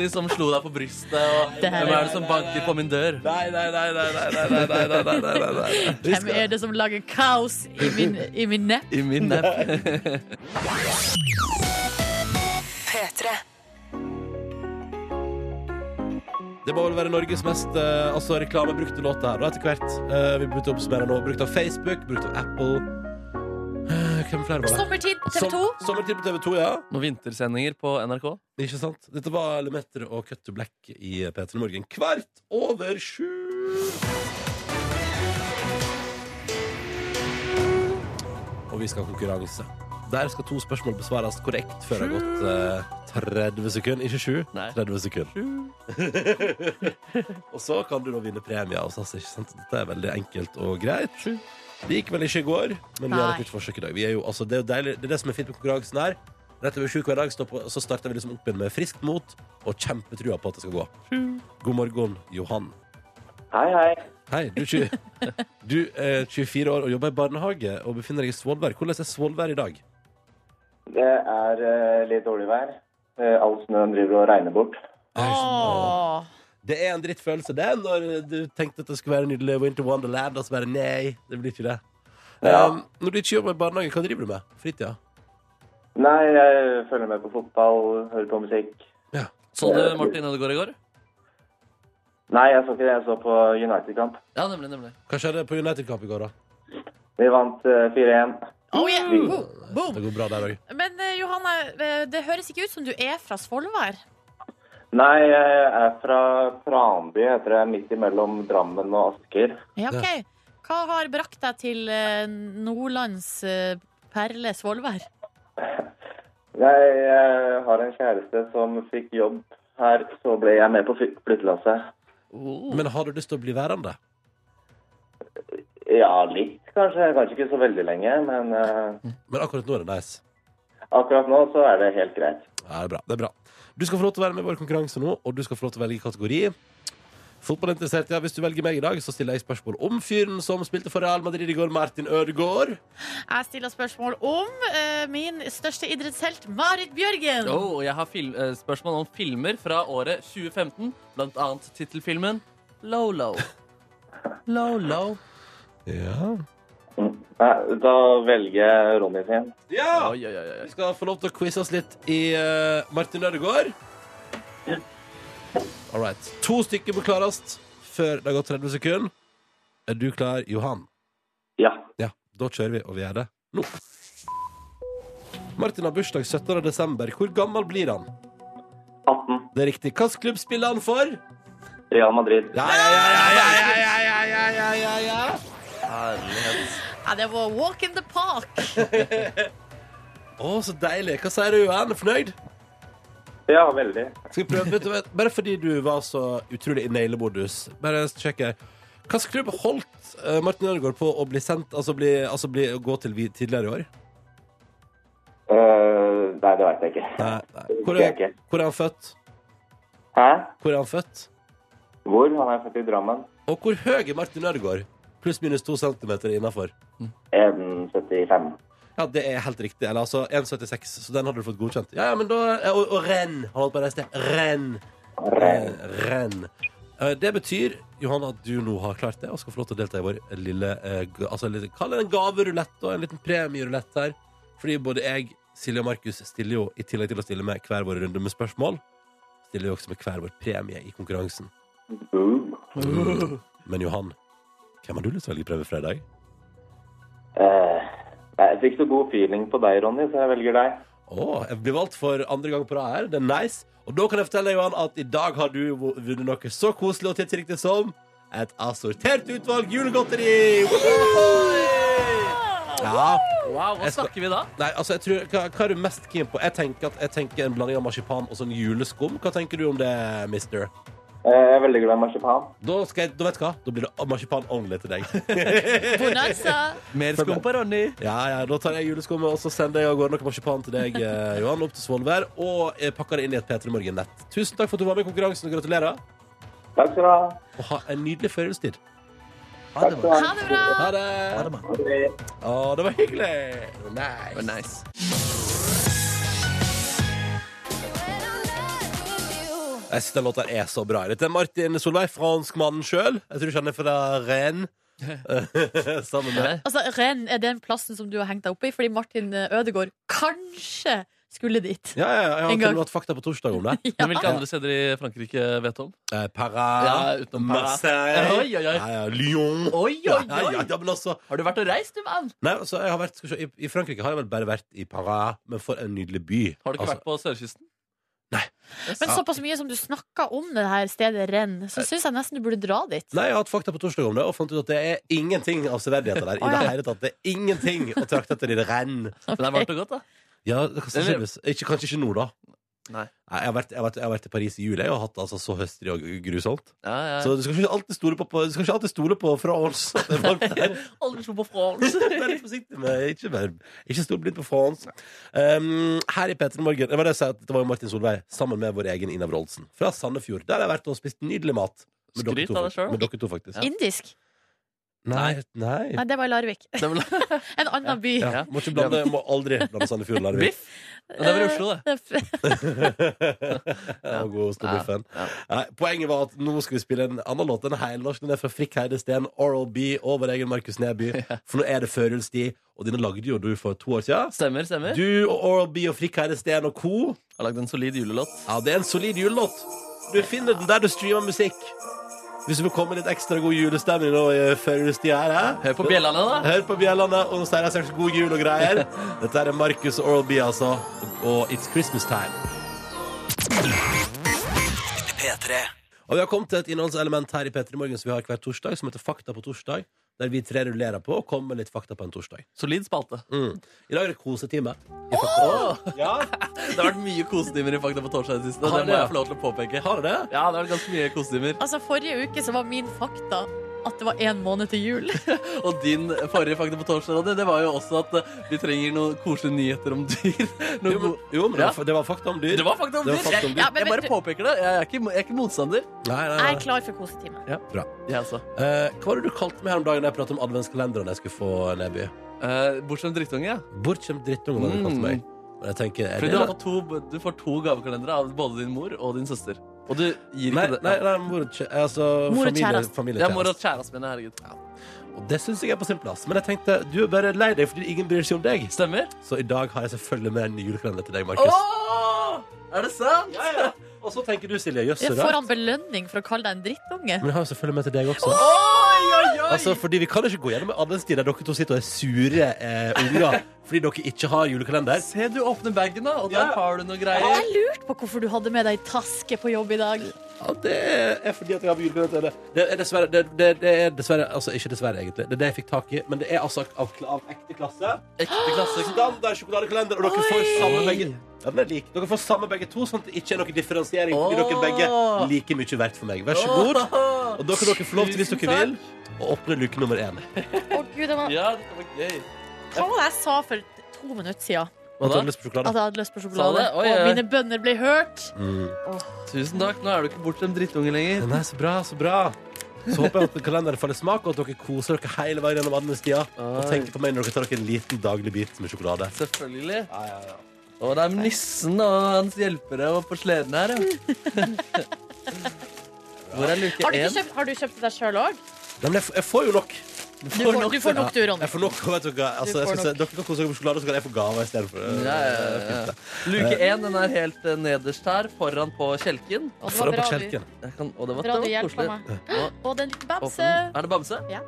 C: gorillaaktig som slo deg på brystet, og
B: Det her
C: hvem
B: er-
C: er det som banker på min dør?
A: Nei, nei, nei, nei, nei, nei, nei, nei, nei, nei, nei, nei, nei. Vi
B: Hvem
A: skal-
B: er det som lager kaos i min, i min nepp?
C: I min nepp.
A: Det må vel være Norges mest eh, altså reklamebrukte låt her, da, etter hvert. Eh, vi begynte å oppsummere nå. Brukt av Facebook, brukt av Apple. Eh, hvem flere var det?
B: Sommertid TV 2.
A: Som- Sommertid på TV 2, ja.
C: Noen vintersendinger på NRK.
A: Ikke sant? Dette var Lemeter og Cut to Black i P3 Morgen. Kvart over sju! Og vi skal ha konkurranse. Der skal to spørsmål besvares korrekt før det har gått eh, 30 sekunder. Ikke sju,
C: Nei.
A: 30 sekunder. og så kan du da vinne premie hos oss. ikke sant? Dette er veldig enkelt og greit. Det gikk vel ikke i går, men vi har
B: Nei.
A: et nytt forsøk i dag. Vi er jo, altså, det, er jo deilig, det er det som er fint med konkurransen her. Rett over sju hver dag står på, så starter vi liksom opp igjen med friskt mot og kjempetrua på at det skal gå. God morgen, Johan.
E: Hei, hei.
A: Hei, du, er tjue- du er 24 år og jobber i barnehage og befinner deg i Svolvær. Hvordan er Svolvær i dag?
E: Det er eh, litt dårlig vær. Eh, all snøen driver og regner bort.
B: Åh.
A: eh, Det er en drittfølelse, det, når du tenkte at det skulle være nydelig Winter Wonderland, og så bare nei, det blir ikke det.
E: Ja.
A: Um, når du ikke jobber i barnehage, hva driver du med? Fritida?
E: Nei, jeg følger med på fotball, hører på musikk.
A: Ja.
C: Så du Martin Ødegaard i går?
E: Nei, jeg så ikke det. Jeg så på United-kamp.
C: Ja, nemlig. nemlig
A: Hva skjedde på United-kamp i går, da?
E: Vi vant eh, 4-1.
B: Oh, yeah. Boom. Boom.
A: Det går bra der òg.
B: Men eh, Johanne, eh, det høres ikke ut som du er fra Svolvær.
E: Nei, jeg er fra Tranby, heter det. Midt imellom Drammen og Asker.
B: Ja, ok. Hva har brakt deg til eh, Nordlands eh, perle Svolvær?
E: Jeg eh, har en kjæreste som fikk jobb her, så ble jeg med på fly- flyttelasset.
C: Oh.
A: Men har du lyst til å bli værende?
E: Ja, litt kanskje. Kanskje ikke så veldig lenge, men eh,
A: Men akkurat nå er det nice.
E: akkurat nå så er det helt greit.
A: Ja, det er bra. det er bra Du skal få lov til å være med i vår konkurranse nå, og du skal få lov til å velge kategori. Fotballinteressert, ja. Hvis du velger meg i dag, så stiller jeg spørsmål om fyren som spilte for Real Madrid i går, Martin Ødegaard.
B: Jeg stiller spørsmål om eh, min største idrettshelt, Marit Bjørgen.
C: Oh, og jeg har fil eh, spørsmål om filmer fra året 2015, blant annet tittelfilmen Lolo. Lolo.
A: Ja.
E: Nei, da velger jeg Ronny sin.
C: Oi, oi, oi, oi.
A: Vi skal få lov til å quize oss litt i eh, Martin Ødegaard. All right. To stykker må klares før det har gått 30 sekunder. Er du klar, Johan?
E: Ja.
A: Ja, da kjører vi, og vi gjør det nå. Martin har bursdag 17. desember. Hvor gammel blir han?
E: 18.
A: Det er riktig. Hvilken klubb spiller han for?
E: Real Madrid.
A: Ja, ja, ja, ja, ja, ja, ja, ja, ja, ja, ja.
C: Herlighet.
B: Ja, det var walk in the park.
A: Å, så deilig. Hva sier du, Johan? Fornøyd?
E: Ja, veldig.
A: Skal vi prøve, vet du, vet, bare fordi du var så utrolig i neglebordus, bare sjekke. Hvilken klubb holdt eh, Martin Ødegaard på å bli sendt, altså, bli, altså bli, å gå til vi- tidligere i år?
E: Eh, nei, det veit jeg ikke.
A: Nei, nei. Hvor,
E: Det vet
A: er,
E: jeg ikke.
A: hvor er han født?
E: Hæ?
A: Hvor er han født?
E: Hvor? Han er født i Drammen.
A: Og hvor høy er Martin Ødegaard? Pluss minus to centimeter innafor.
E: 1,75.
A: Ja, det er helt riktig. Eller altså 1,76, så den hadde du fått godkjent. Ja, ja, men da eh, Og, og renn! Han holdt på å reise til renn.
E: Renn.
A: Eh, renn. Eh, Det betyr Johanna, at du nå har klart det og skal få lov til å delta i vår lille eh, ga- altså, lille- Kall det en gaverulett og en liten premierulett her. Fordi både jeg, Silje og Markus stiller jo, i tillegg til å stille med hver vår runde med spørsmål, stiller jo også med hver vår premie i konkurransen. Eh.
E: Boom.
A: Men Johan, hvem har du lyst til å velge prøve fra i dag?
E: Eh, jeg fikk så god feeling på deg, Ronny, så jeg velger deg.
A: Å, jeg blir valgt for andre gang på rad her. Det er nice. Og da kan jeg fortelle deg, Johan, at i dag har du vunnet noe så koselig og tidsriktig som et assortert utvalg julegodteri! Woohoo! Ja.
C: Wow, hva
A: Jeg skal-
C: snakker vi da?
A: Nei, altså, jeg tror, hva, hva er du mest keen på? Jeg tenker, at, jeg tenker en blanding av marsipan og sånn juleskum. Hva tenker du om det, mister?
E: Eh, jeg er veldig glad i marsipan.
A: Da, skal jeg, da vet du hva, da blir det marsipan only til deg.
B: Bonanza.
C: Mer skum på Ronny.
A: Ja, ja, Da tar jeg juleskummet og så sender jeg av gårde noe marsipan til deg, eh, Johan, opp til Svolvær. Og eh, pakker det inn i et P3 Morgen-nett. Tusen takk for at du var med i konkurransen, og gratulerer.
E: Takk skal du ha.
A: Og ha en nydelig førjulstid.
E: Takk skal du ha.
B: Ha det bra.
A: Ha det! Å, det var hyggelig! Det var Nice.
C: Nice.
A: Jeg synes den låta er så bra. Dette er Martin Solveig, franskmannen sjøl. Jeg tror ikke han er fra Rennes. Sammen med
B: Altså, Ren, er den plassen som du har hengt deg opp i? Fordi Martin Ødegaard kanskje skulle dit.
A: Ja, ja, ja, jeg har
B: En gang.
A: kunne hatt fakta på torsdag om det.
C: Men hvilke andre steder i Frankrike vet du om?
A: Eh, Para,
C: Ja, utenom Paris.
A: Marseille
C: Oi, oi, oi.
A: Ja, ja, Lyon.
C: Oi,
A: Ja, ja, ja, ja, men altså
C: Har du vært og reist, du, mann?
A: Nei, altså, jeg har vært, skal vi se, i, I Frankrike har jeg vel bare vært i Paris, men for en nydelig by.
C: Har du ikke
A: Altså,
C: vært på sørkysten?
B: Men såpass mye som du snakka om det her stedet Ren, så syns jeg nesten du burde dra dit.
A: Nei, Jeg har hatt fakta på torsdag om det og fant ut at det er ingenting av severdigheter der. I
B: Å, ja.
A: det hele tatt, Det er ingenting å trakte etter i det renn.
C: Men det er varmt og godt, da.
A: Ja, det kan sannsynligvis- ikke, Kanskje ikke nå, da.
C: Nei.
A: jeg, har vært, jeg, har vært, jeg har vært i Paris i juli og hatt altså, så høstrig og grusomt.
C: Ja, ja.
A: Så du skal ikke alltid stole på, på, du skal ikke alltid stole på France. at det er varmt der.
C: Aldri slo på France.
A: Vær litt forsiktig med Ikke, vær- ikke stol blitt på France. Um, her i Petter Morgen Det var det jeg sa, at det var jo Martin Solveig sammen med vår egen Ina Wroldsen fra Sandefjord. Der har jeg vært og spist nydelig mat. Med dere
C: Skryt
A: to,
C: av deg
A: fakt-
C: selv.
A: med dere to faktisk.
B: Indisk?
A: Nei, nei.
B: Nei, det var i Larvik.
C: Det er vel-
B: En annen by.
A: Ja, må, ikke blande, må aldri blande Sandefjord og Larvik.
C: Biff? Men det er vel i Oslo, det.
A: Og god stor
C: Ja,
A: biffen.
C: ja.
A: Nei, Poenget var at nå skal vi spille en annen låt enn heilnorsk. Den er fra Frikk Heidesteen, Oral B og vår egen Markus Neby. For nå er det førjulstid, og denne lagde jo du for to år siden.
C: Stemmer, stemmer.
A: Du og Oral B og Frikk Heidesteen og co.
C: Jeg har lagd en solid julelåt.
A: Ja, det er en solid julelåt. Du finner den der du streamer musikk. Hvis du vil komme med litt ekstra god julestemning nå i førjulstida her, hæ?
C: Hør på bjellene, da.
A: Hør på bjellene, og nå sier jeg straks god jul og greier. Dette er Markus og Oral B, altså. Og It's Christmas Time. Og vi har kommet til et innholdselement her i P3 Morgen som vi har hver torsdag, som heter Fakta på torsdag. Der vi tre rullerer på og kommer med litt fakta på en torsdag.
C: Solid spalte.
A: Mm. I dag er det kosetime.
C: Det har vært mye kosetimer i Fakta på torsdag i det siste.
A: Har
C: Det
A: det,
C: må
A: ja?
C: jeg få lov til å påpeke.
A: Har du det?
C: Ja, det har vært ganske mye kosetimer.
B: Altså, forrige uke så var min fakta at det var én måned til jul.
C: Og din forrige Fakta på torsdag Ronny, det var jo også at eh, vi trenger noen koselige nyheter om dyr. Noen
A: Jo, men,
C: go-
A: jo, men det,
C: Ja.
A: var, det var fakta om dyr.
C: det var fakta om
A: Det
C: dyr.
A: var fakta om
C: Jeg,
A: dyr.
B: Ja, men
C: jeg
B: vet
C: bare
B: du-
C: påpeker det. Jeg er ikke, jeg er ikke motstander.
A: Nei, nei,
B: Jeg er
A: nei.
B: klar for kosetime.
C: Jeg også.
A: Eh, hva var det du kalte meg her om dagen da jeg pratet om adventskalenderen jeg skulle få, Neby?
C: Eh, bortsett fra drittunge, ja.
A: Bortskjemt drittunge, var det du kalte
C: Mm.
A: meg. Men jeg tenker, er
C: Fordi
A: det
C: du, har fått to, du får to gavekalendere av både din mor og din søster. Og du gir
A: Nei,
C: ikke det.
A: nei, nei, mor og kjæ- altså,
B: Mor og
A: familie,
B: kjæreste.
C: Det er mor
A: familiekjæreste.
C: og kjæresten min, herregud.
A: Og det syns jeg er på sin plass. Men jeg tenkte, du er bare lei deg fordi ingen bryr seg om deg.
C: Stemmer?
A: Så i dag har jeg selvfølgelig med en ny julekalender til deg, Markus.
C: Åh! Er det sant?
A: Og så tenker du, Silje, jøss,
B: Jeg
A: så
B: får
A: rart.
B: han belønning for å kalle deg en drittunge?
A: Men jeg har jo selvfølgelig med til deg også. Altså, fordi Vi kan ikke gå gjennom en annen sti der dere to sitter og er sure eh, unger fordi dere ikke har julekalender.
C: Se, du åpner bagen, da, og der har du noe greier.
B: Jeg lurte på hvorfor du hadde med deg taske på jobb i dag.
A: Ja, det er fordi at jeg har med julekalender. til dere. Det er dessverre, det, det, det er dessverre Altså, ikke dessverre, egentlig. Det er det jeg fikk tak i. Men det er altså av, av ekte klasse.
C: Ekte klasse.
A: Standard sjokoladekalender, og dere får samme begge. Ja, den er lik. Dere får samme begge to, sånn at det ikke er noen differensiering. Fordi dere begge
C: Åh.
A: like mye verdt for meg. Vær så god.
C: Åh.
A: Og da kan dere få lov til, hvis dere vil,
C: Tusen
A: å åpne luke nummer én.
B: Å Gud, det var,
C: Ja, det var gøy.
B: Hva var det jeg sa for to minutter siden?
A: At du
C: da?
A: har lyst på
B: At
A: sjokolade.
B: jeg hadde lyst på sjokolade?
C: Sa du det? Oi,
B: og
C: oi.
B: mine bønner ble hørt.
A: Mm.
C: Tusen takk. Nå er du ikke bortskjemt drittunge lenger.
A: Nei, så bra, så bra. Så håper jeg at kalenderen faller i smak, og at dere koser dere hele veien gjennom adventstida. Og
C: Oi.
A: tenker på meg når dere tar dere en liten daglig bit med sjokolade.
C: Selvfølgelig.
A: Ja, ja, ja.
C: Og det er nissen og hans hjelpere og på sleden her, ja. Hvor
B: Har
C: er luke
B: du, ikke
C: én?
B: kjøpt, har du kjøpt det deg sjøl òg?
A: Nei, men jeg, f jeg får jo nok.
B: Du, får- du får nok, du, Ronny.
A: Jeg får nok, og vet dere, hva? altså,
B: Du
A: jeg
B: får
A: skal si, dere kan kose dere med sjokolade, så kan jeg få gaver istedenfor.
C: Ja, ja, ja. Luke én den er helt eh, nederst her, foran på kjelken.
B: Og det
A: For
B: var
A: å på
B: bra du-
A: kjelken.
C: Jeg kan, og det
B: bra
C: var,
B: du
C: det var
B: hjalp
C: koselig.
B: meg.
C: Nå-
B: Og den lille bamse.
C: Åpne. Er det bamse?
B: Ja.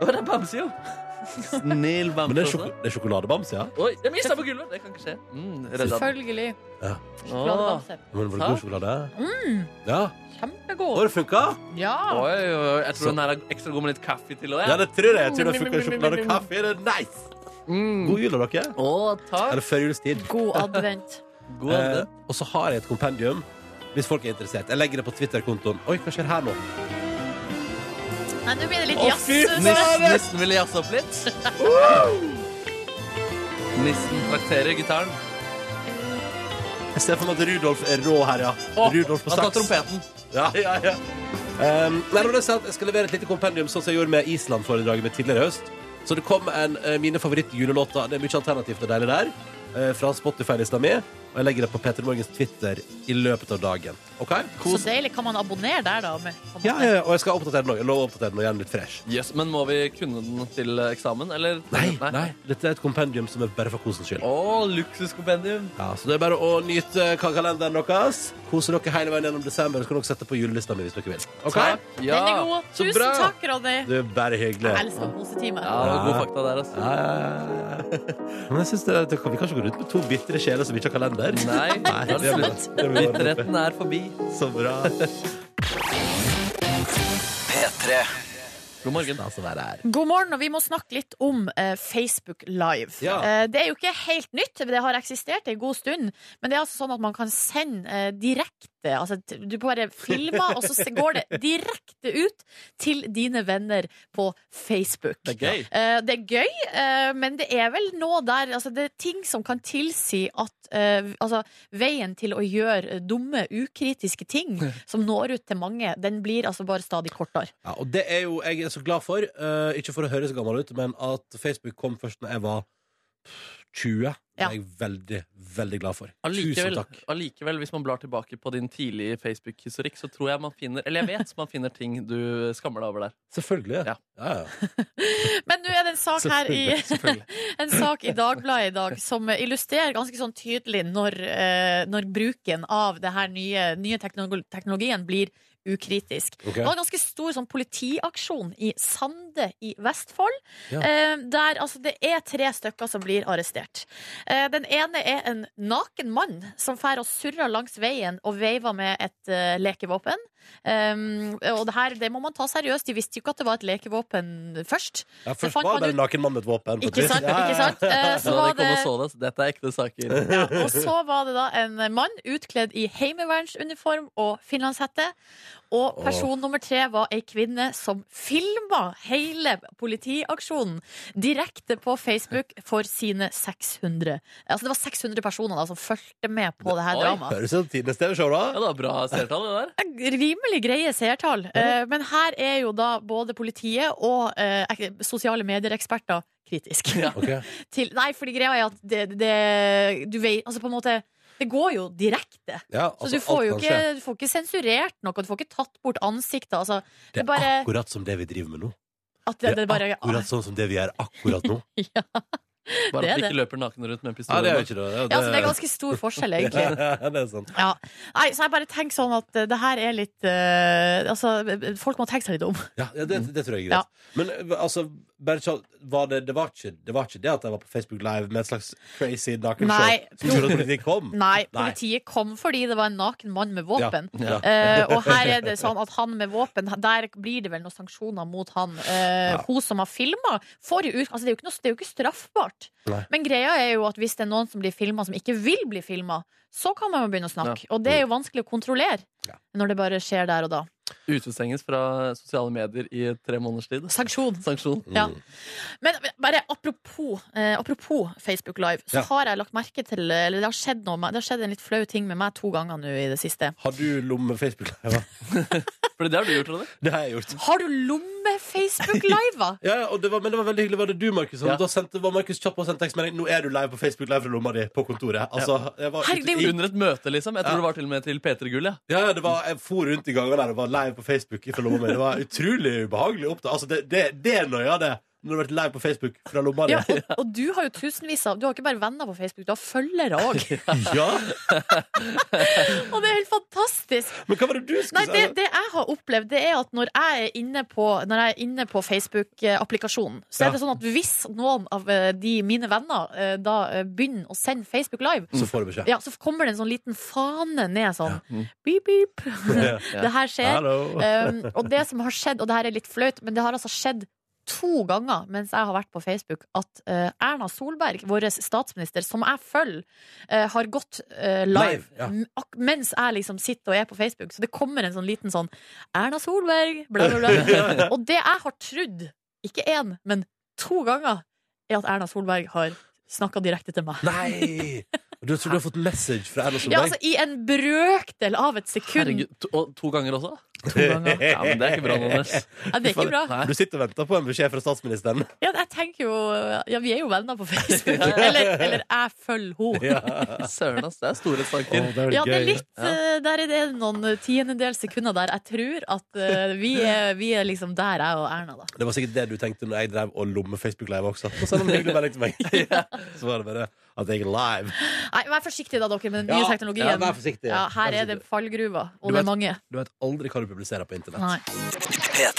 C: Å, det er bamse, jo! Snill
A: Men
C: bamse.
A: det er, sjoko
C: også.
A: det er sjokoladebams, ja?
C: Oi, jeg mista på gulvet! Det kan ikke skje. Mm, redda den.
B: Selvfølgelig.
A: Ja.
C: Åh.
B: Sjokoladebamse.
A: Men var det god sjokolade? Mm. Ja.
B: Kjempegod.
A: Har det funka?
B: Ja.
C: Oi, oi, oi. Jeg tror den her er ekstra god med litt kaffe til òg.
A: Ja, det tror jeg. Jeg tror det funka sjokolade og kaffe. Det er nice!
C: Mm.
A: God jul av dere.
C: Å, takk.
A: Er det førjulstid?
B: God advent.
C: God
A: Eh,
C: eh.
A: og så har jeg et kompendium, hvis folk er interessert. Jeg legger det på Twitter-kontoen. Oi, hva skjer her nå?
B: Nei, nå blir det litt
A: Å,
B: jazz.
A: fy
B: så-
A: faen!
C: Nissen, nissen ville jazze opp litt. Nissen trakterer gitaren.
A: Jeg ser for meg at Rudolf er rå her, ja.
C: Å,
A: Rudolf på
C: han tar
A: saks.
C: trompeten.
A: Ja, ja, ja. Um, nei, men det er sant. Jeg skal levere et lite kompendium, sånn som jeg gjorde med Island-foredraget mitt tidligere i høst. Så det kom en, eh, mine favorittjulelåter. Det er mye alternativt og deilig der. eh, fra Spotify-lista mi. Og jeg legger det på Peter Morgens Twitter i løpet av dagen. OK?
B: Så
A: Kos.
B: deilig. Kan man abonnere der, da? Med, på en
A: Ja,
B: måte?
A: ja, ja, og jeg skal oppdatere den òg. Jeg lover å oppdatere den og gjøre den litt fresh.
C: Yes, men må vi kunne den til eksamen, eller?
A: Nei, nei. Dette er et kompendium som er bare for kosens skyld.
C: Å, luksuskompendium.
A: Ja, så det er bare å nyte ka- kalenderen deres. Kose dere hele veien gjennom desember. Så kan dere sette på julelista mi hvis dere vil. OK?
C: Takk.
B: Den er god.
C: så
B: Tusen
C: bra.
B: takk, Ronny.
A: Det er bare hyggelig.
B: Jeg elsker posetime.
C: Ja, det var gode fakta der, altså.
A: Ja, ja, ja, ja. Men jeg synes det, det, vi kan ikke gå rundt med to bitre sjeler som ikke har kalender.
C: Nei,
A: det blir- det blir
C: Bitterheten er forbi.
A: Så bra.
C: God morgen.
A: Altså, være her.
B: God morgen, og vi må snakke litt om eh, Facebook Live.
A: Ja.
B: Eh, det er jo ikke helt nytt, det har eksistert en god stund. Men det er altså sånn at man kan sende eh, direkte altså, t- Du bare filmer, og så se- går det direkte ut til dine venner på Facebook.
C: Det er gøy.
B: Eh, det er gøy, eh, men det er vel nå der altså, Det er ting som kan tilsi at eh, altså, veien til å gjøre eh, dumme, ukritiske ting som når ut til mange, den blir altså bare stadig kortere.
A: Ja, og det er jo jeg er så glad for, eh, ikke for å høres gammel ut, men at Facebook kom først når jeg var 20. Det
B: Ja.
A: er jeg veldig, veldig glad for. Tusen
C: Allikevel,
A: takk.
C: allikevel, hvis man blar tilbake på din tidlige Facebook-historikk, så tror jeg man finner Eller jeg vet man finner ting du skammer deg over der.
A: Selvfølgelig.
C: Ja.
A: Ja, ja.
B: Men nå er det en sak her i
C: Selvfølgelig.
B: en sak i Dagbladet i dag som illustrerer ganske sånn tydelig når, eh, når bruken av det her nye, nye teknologi- teknologien blir ukritisk.
A: Ok.
B: Det var en ganske stor sånn, politiaksjon i Sande i Vestfold,
A: Ja.
B: eh, der altså, det er tre stykker som blir arrestert. Eh, den ene er en naken mann som fær og surrer langs veien og veiver med et eh, lekevåpen. Um, og det her, det må man ta seriøst. De visste jo ikke at det var et lekevåpen først.
A: Ja,
B: Det
A: først
B: fant
A: var
B: man
A: det bare
B: ut-
A: en naken mann med et våpen. på et
B: Ikke
A: vis.
B: sant?
A: Ja, ja,
B: Ikke
A: ja.
B: sant? Eh,
C: Så
B: så
C: de
B: var
C: kom
B: det
C: og så det, så dette er ekte saker.
B: ja, og så var det da en mann utkledd i heimevernsuniform og finlandshette. Og person nummer tre var ei kvinne som filma hele politiaksjonen direkte på Facebook for sine 600 Altså det var 600 personer da som fulgte med på det her
C: Oi.
B: dramaet.
A: Høres ut som tidenes TV-show,
C: Ja,
A: da.
C: det var bra seertall, det der.
B: Rimelig greie seertall. Eh, Men her er jo da både politiet og eh, ek- sosiale medier-eksperter kritisk.
A: Ok.
B: Til, nei, fordi greia er at det, det Du vet Altså på en måte Det går jo direkte.
A: Ja,
B: Så
A: altså,
B: du får
A: alt
B: jo
A: kan
B: ikke,
A: skje.
B: du får ikke sensurert noe, du får ikke tatt bort ansiktet. Altså,
A: Det
B: det
A: er
B: bare-
A: akkurat som det vi driver med nå.
B: at det, det bare
A: akkurat sånn som det vi gjør akkurat nå.
C: Bare
B: Det er
C: at de
B: det.
C: ikke løper nakne rundt med en pistol.
A: Ja, det er jo ikke det.
B: Ja, så det er ganske stor forskjell, egentlig.
A: Ja, det er sant.
B: Ja. Nei, så jeg bare tenker sånn at eh, det her er litt eh, Altså, folk må tenke seg litt om.
A: Ja, ja det, det tror jeg er greit. Men eh, altså, bare så, var det, det, var ikke, det var ikke det at jeg var på Facebook Live med et slags crazy
B: Nei.
A: nakenshow som gjorde at politiet kom?
B: Nei,
A: Nei.
B: politiet kom fordi det var en naken mann med våpen.
A: Ja.
B: Eh, og her er det sånn at han med våpen Der blir det vel noen sanksjoner mot han. Eh,
A: Ja.
B: Hun som har filma, får jo ut altså, det, er jo ikke noe, det er jo ikke straffbart.
A: Nei.
B: Men greia er jo at hvis det er noen som blir filma som ikke vil bli filma, så kan man jo begynne å snakke. Og det er jo vanskelig å kontrollere
A: Mm. Ja.
B: når det bare skjer der og da.
C: Utestenges fra sosiale medier i tre måneders tid.
B: Sanksjon.
C: Sanksjon.
A: Mm.
B: Ja. Men bare apropos, eh, apropos Facebook Live, så
A: Ja.
B: har jeg lagt merke til Eller det har skjedd noe med- Det har skjedd en litt flau ting med meg to ganger nå i det siste.
A: Har du lomme Facebook Live?
C: For det har du gjort, Ronny.
A: Det har jeg gjort.
B: Har du lomme-Facebook Live?
A: Ja, ja, og det var, men det var veldig hyggelig. Var det du, Markus? som-
C: Ja.
A: Da sendte, var Markus kjapp og sendte tekstmelding. Nå er du live på Facebook Live fra lomma di på kontoret. Altså, jeg, var,
B: Herregud, det er jo-
C: Under et møte, liksom. Jeg tror
A: Ja.
C: det var til og med til P3 Gull. Ja.
A: ja, ja, det var, jeg for rundt i gangene der og var live på Facebook fra lomma mi. Det var utrolig ubehagelig opptak. Altså, det, det, det er noia, det. Når du har vært live på Facebook fra lomma di.
B: Ja, og, og du har jo tusenvis av Du har ikke bare venner på Facebook, du har følgere òg.
A: Ja.
B: Og det er helt fantastisk.
A: Men hva var det du skulle
B: Nei, det, det jeg har opplevd, det er at når jeg er inne på, når jeg er inne på Facebook-applikasjonen, så
A: Ja.
B: er det sånn at hvis noen av eh, de mine venner eh, da eh, begynner å sende Facebook Live,
A: Altså, Så får du beskjed.
B: ja, så kommer det en sånn liten fane ned sånn.
C: Mm.
B: Beep, beep.
A: Ja.
B: Det her skjer.
A: Hallo.
B: Um, og det som har skjedd, og det her er litt flaut, men det har altså skjedd to ganger mens jeg har vært på Facebook, at eh, Erna Solberg, vår statsminister, som jeg følger, eh, har gått eh, live,
A: Live, ja.
B: m- ak- mens jeg liksom sitter og er på Facebook. Så det kommer en sånn liten sånn Erna Solberg, bla, bla, bla. og det jeg har trodd, ikke én, men to ganger, er at Erna Solberg har snakka direkte til meg.
A: Nei! Du tror du har fått message fra Erna
B: Ja,
A: Solberg?
B: altså I en brøkdel av et sekund.
C: Herregud. To, og to ganger også?
B: To ganger.
C: Ja, men Det er ikke bra, Anders.
B: Ja, det er ikke bra.
A: Du sitter og venter på en beskjed fra statsministeren.
B: Ja, jeg tenker jo Ja, vi er jo venner på Facebook. Eller, eller jeg følger henne.
A: Ja.
C: Søren, ass. Det er storhetstanker.
B: Ja, det er litt
C: Ja.
B: eh, Der er det noen tiendedels sekunder der jeg tror at eh, vi er, vi er liksom der, jeg og Erna, da.
A: Det var sikkert det du tenkte når jeg drev og lomme Facebook Live også. Og send en hyggelig melding til meg. Så var det bare at jeg er live.
B: Nei, vær forsiktig da, dere, med den nye
A: Ja,
B: teknologien.
A: ja, vær forsiktig.
B: Ja, her
A: Vær
B: er det
A: forsiktig.
B: fallgruver,
A: Du
B: og det
A: vet-
B: er mange.
A: Du vet aldri hva du publiserer på internett.
B: Nei.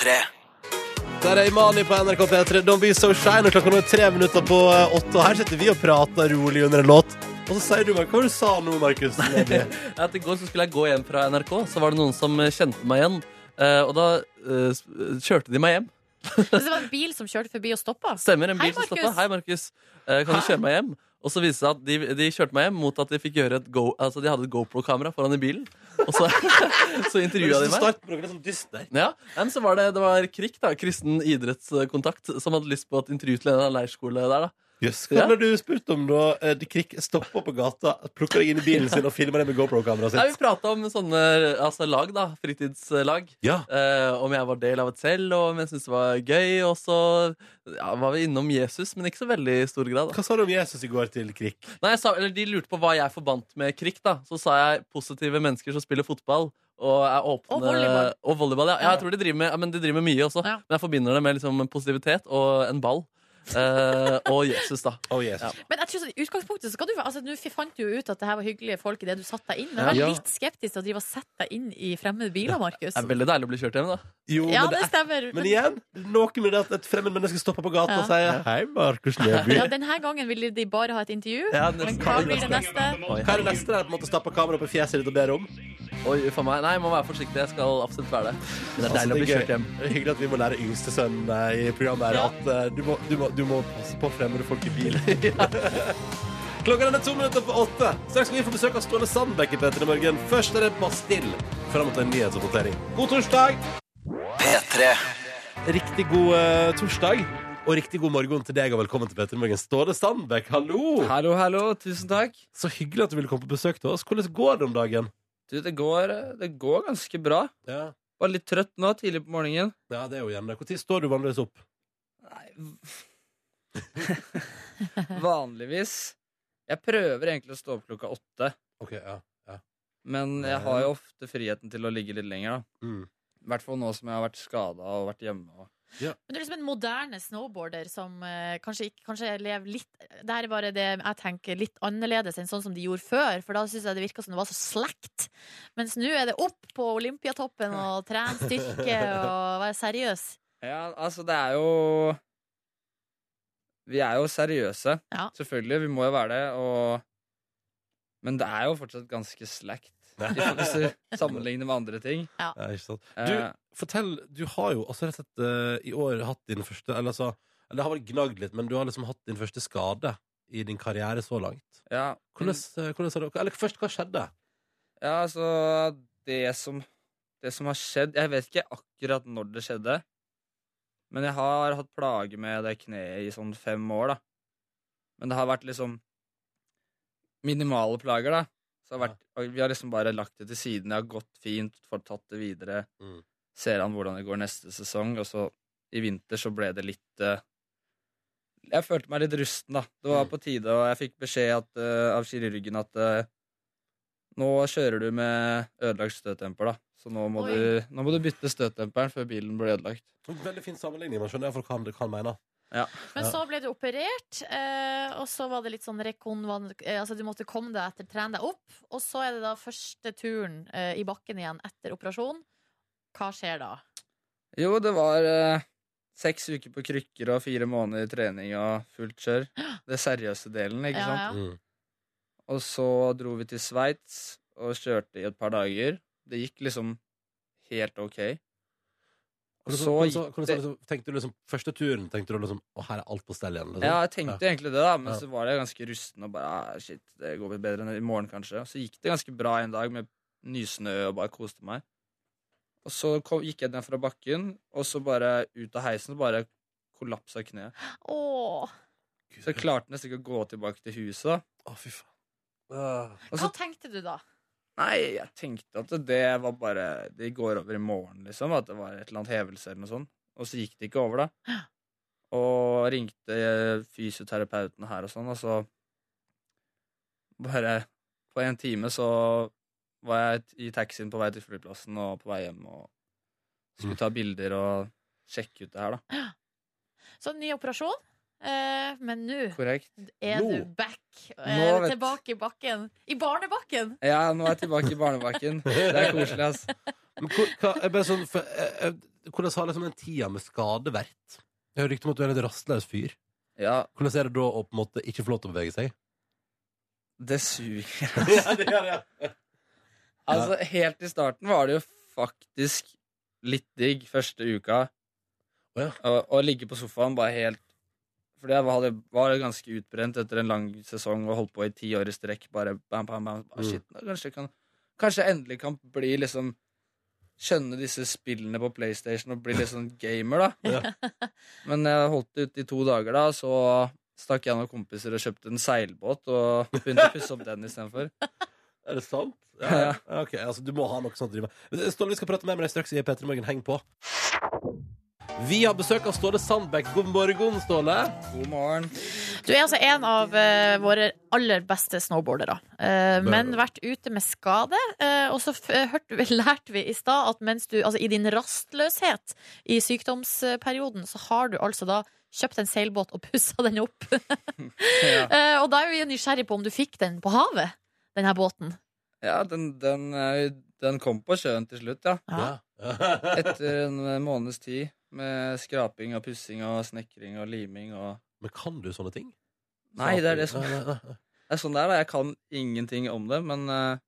A: Der er Imani på NRK P3. Don't be so shy. Når klokka nå er tre minutter på eh, åtte, og her sitter vi og prater rolig under en låt. Og så sier du meg hva du sa nå, Markus. Nei,
C: At I går så skulle jeg gå hjem fra NRK, så var det noen som eh, kjente meg igjen. Eh, og da eh, s- kjørte de meg hjem.
B: Så det var en bil som kjørte forbi og stoppa.
C: Stemmer, en
B: Hei,
C: bil som
B: Markus.
C: stoppet. Hei, Markus. Eh, kan du kjøre meg hjem? Og så viste det seg at de, de kjørte meg hjem mot at de fikk gjøre et go, altså de hadde et GoPro-kamera foran i bilen. Og så, så intervjua de meg.
A: Start med noe litt sånn dyster.
C: Ja, nei, men så var det, det var KRIK, da, kristen idrettskontakt, som hadde lyst på et intervju til en av leirskole der. da.
A: Jøss, Hva hadde du spurt om da eh, de Krik stopper på gata, plukker deg inn i bilen sin og filmer deg med GoPro-kameraet
C: Nei, Vi
A: sitt?
C: prata om sånne altså, lag, da. Fritidslag.
A: Ja.
C: Eh, om jeg var del av et selv, og om jeg syntes det var gøy. Og så ja, var vi innom Jesus, men ikke så veldig i stor grad. Da.
A: Hva sa du om Jesus i går til Krik?
C: Nei, jeg sa, eller De lurte på hva jeg forbandt med krikk. da Så sa jeg positive mennesker som spiller fotball. Og, er åpne,
B: Og volleyball.
C: og volleyball, ja. ja jeg tror de driver med, ja, men de driver med mye også.
B: Ja.
C: Men jeg forbinder det med liksom, positivitet og en ball. Eh, og Jesus, da.
A: Å, Jesus.
C: Ja.
B: Men jeg tror sånn, i utgangspunktet så skal du altså, Nå fant du jo ut at det her var hyggelige folk idet du satte deg inn, men vær
A: Ja.
B: litt skeptisk til å drive og sette deg inn i fremmede biler, Markus.
C: Det er veldig deilig å bli kjørt hjem, da.
A: Jo,
B: Ja,
A: men,
B: det
A: det er,
B: stemmer.
A: men igjen, noe med det at et fremmed menneske stopper på gata og sier Hei, Markus Neby.
B: Ja, denne gangen ville de bare ha et intervju.
C: Ja,
B: Men
C: nesten.
B: hva blir det neste?
A: Hva er det neste der på en måte stapper kameraet opp i fjeset ditt og ber om?
C: Oi, for meg. Nei, jeg må være forsiktig. Jeg skal absolutt være det. Men det er
A: Altså,
C: deilig å bli
A: gøy.
C: kjørt hjem.
A: Det er hyggelig at vi må lære yngste sønnen eh, i programmet her
B: Ja.
A: at eh, du må, du, må, du må passe på fremmede folk i bil. Klokka den er to minutter på åtte. Straks skal vi få besøk av Ståle Sandbekk i Petter i morgen. Først er det Bastille fram mot en nyhetsoppdatering. God torsdag! Riktig god eh, torsdag. Og riktig god morgen til deg, og velkommen til Petter i morgen. Ståle Sandbekk, hallo!
F: Hallo, hallo. Tusen takk.
A: Så hyggelig at du ville komme på besøk til oss. Hvordan går det om dagen?
F: Du, det går, det går ganske bra.
A: Ja,
F: Var litt trøtt nå, tidlig på morgenen.
A: ja det er jo gjerne det. Når står du vanligvis opp?
F: Vanligvis Jeg prøver egentlig å stå opp klokka åtte,
A: Ok, ja.
F: men jeg har jo ofte friheten til å ligge litt lenger, da.
A: Mm.
F: I hvert fall nå som jeg har vært skada og vært hjemme. Og...
A: Ja.
B: Men du er liksom en moderne snowboarder som eh, kanskje, ikke, kanskje lever litt Det her er bare det jeg tenker litt annerledes enn sånn som de gjorde før, for da syns jeg det virka som det var så slakt. Mens nå er det opp på Olympiatoppen og trene styrke og være seriøs.
F: Ja, altså, det er jo Vi er jo seriøse,
B: Ja.
F: selvfølgelig. Vi må jo være det, og Men det er jo fortsatt ganske slakt i forhold- hvis du sammenligner med andre ting.
A: Ja, ikke sant? Du,
F: Eh,
A: fortell, du har jo altså rett og slett eh, i år hatt din første Eller altså, eller det har vel gnagd litt, men du har liksom hatt din første skade i din karriere så langt.
F: ja.
A: Hvordan, eh, hvordan har dere Eller først, hva skjedde?
F: Ja, altså det som, det som har skjedd Jeg vet ikke akkurat når det skjedde. Men jeg har hatt plager med det kneet i sånn fem år, da. Men det har vært liksom minimale plager, da. Så det har vært, og Vi har liksom bare lagt det til siden. Det har gått fint, fått tatt det videre.
A: Mm.
F: Ser an hvordan det går neste sesong. Og så i vinter så ble det litt eh, Jeg følte meg litt rusten, da. Det var på tide, og jeg fikk beskjed at, eh, av kirurgen at eh, nå kjører du med ødelagt støtdemper, da. Så nå må,
B: Oi.
F: du, nå må du bytte støtdemperen før bilen blir ødelagt.
A: Veldig fin sammenligning, man skjønner iallfall hva han- hva han mener.
B: Men
A: Ja.
B: så ble du operert, eh, og så var det litt sånn rekonvan... eh, Altså du måtte komme deg etter, trene deg opp, og så er det da første turen eh, i bakken igjen etter operasjon. Hva skjer da?
F: Jo, det var eh, seks uker på krykker og fire måneder trening og fullt kjør. Det seriøse delen, ikke sant?
B: Ja, ja.
A: Mm.
F: Og så dro vi til Sveits og kjørte i et par dager. Det gikk liksom helt ok. Og
A: Hvordan,
F: så
A: hvordan,
F: gikk
A: hvordan,
F: det
A: liksom, tenkte du liksom Første turen tenkte du liksom Å, her er alt på stell igjen. Liksom.
F: Ja, jeg tenkte egentlig det, da, men
A: Ja.
F: så var jeg ganske rusten og bare ah, shit, det går vel bedre enn i morgen, kanskje. Så gikk det ganske bra en dag med nysnø og bare koste meg. Og så kom, gikk jeg ned fra bakken, og så bare ut av heisen bare kollapsa kneet.
B: Åh,
F: Så jeg klarte nesten ikke å gå tilbake til huset. da.
A: Å, fy faen. Ah.
F: Og
B: hva
F: så,
B: tenkte du da?
F: nei, jeg tenkte at det var bare Det går over i morgen, liksom. At det var et eller annet hevelse eller noe sånt. Og så gikk det ikke over, da. Og ringte eh, fysioterapeuten her og sånn, og så Bare på en time så var jeg t- i taxien på vei til flyplassen og på vei hjem og skulle ta bilder og sjekke ut det her, da.
B: Så en ny operasjon, eh, men nå
F: Korrekt.
B: er
A: Nå.
B: du back. Eh,
F: Nå vet-
B: tilbake i bakken. I barnebakken!
F: Ja, nå er jeg tilbake i barnebakken. Det er koselig, ass.
A: Men hvor- hva, jeg bare sånn, for, jeg, jeg, hvordan har liksom den tida med skade vært? Jeg hører rykte om at du er en litt rastløs fyr.
F: Ja,
A: Hvordan er det da å på en måte ikke få lov til å bevege seg?
F: det suger.
A: ja, det gjør det.
F: Altså, helt i starten var det jo faktisk litt digg første uka.
A: Å ja.
F: Å, å ligge på sofaen bare helt Fordi jeg var, var ganske utbrent etter en lang sesong og holdt på i ti år i strekk. Bare bam, bam, bam. Ah,
A: Mm.
F: shit, nå kanskje, jeg kan, kanskje jeg endelig kan bli liksom Skjønne disse spillene på PlayStation og bli litt sånn gamer, da. Men jeg holdt ut i to dager, da, så stakk jeg og noen kompiser og kjøpte en seilbåt og begynte å pusse opp den istedenfor.
A: Er det sant? Ja, ja. Ok, altså Du må ha noe sånt å drive med. Ståle, vi skal prate mer med deg straks i P3 Morgen. Heng på. Vi har besøk av Ståle Sandbekk. God morgen, Ståle.
F: God morgen.
B: Du er altså en av eh, våre aller beste snowboardere, eh, men vært ute med skade. eh, og så f hørte vi, lærte vi i stad at mens du, altså, i din rastløshet i sykdomsperioden, så har du altså da kjøpt en seilbåt og pussa den opp.
F: Ja.
B: Eh, og da er vi nysgjerrig på om du fikk den på havet, den her båten.
F: Ja, den, den, eh, den kom på sjøen til slutt, ja.
B: Ja.
A: Ja.
F: Etter en eh, måneds tid med skraping og pussing og snekring og liming og
A: Men kan du sånne ting?
F: Nei, det er det som
A: Nei, nei, nei.
F: det er sånn det er, da. Jeg kan ingenting om det, men eh,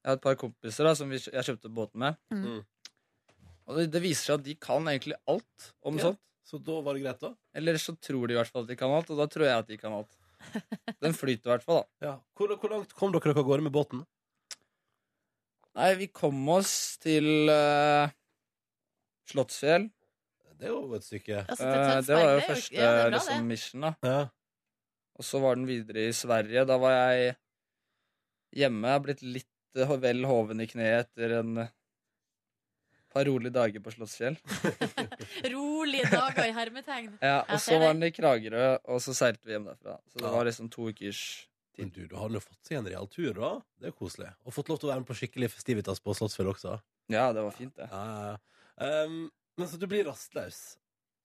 F: jeg har et par kompiser da, som vi, kjø- jeg kjøpte båten med.
A: Mm.
F: Og det, det viser seg at de kan egentlig alt om
A: Ja.
F: sånt.
A: Så da var det greit, da?
F: Eller så tror de i hvert fall at de kan alt, og da tror jeg at de kan alt. Den flyter i hvert fall, da.
A: Ja. Hvor, hvor langt kom dere dere av gårde med båten?
F: Nei, vi kom oss til eh, Slottsfjell.
A: Det er jo et stykke.
B: Altså, til
F: Eh,
B: Tønsberg,
F: det var jo
B: er
F: første
B: ja, det er bra,
F: liksom, mission, da.
A: Ja.
F: Og så var den videre i Sverige. Da var jeg hjemme. Jeg har blitt litt eh, vel hoven i kneet etter en eh, par rolige dager på Slottsfjell.
B: det. Rolige dager i hermetegn.
F: Ja,
B: Ja,
F: og
B: ser
F: så var den i Kragerø, og så seilte vi hjem derfra. Så det
A: Ja.
F: var liksom to ukers
A: Men du, da har han jo fått seg en real tur, da. Det er jo koselig. Og fått lov til å være med på skikkelig festivitas på Slottsfjell også.
F: Ja, det var fint, det.
A: Ehm, Ja, ja, ja. Um, men så du blir rastløs.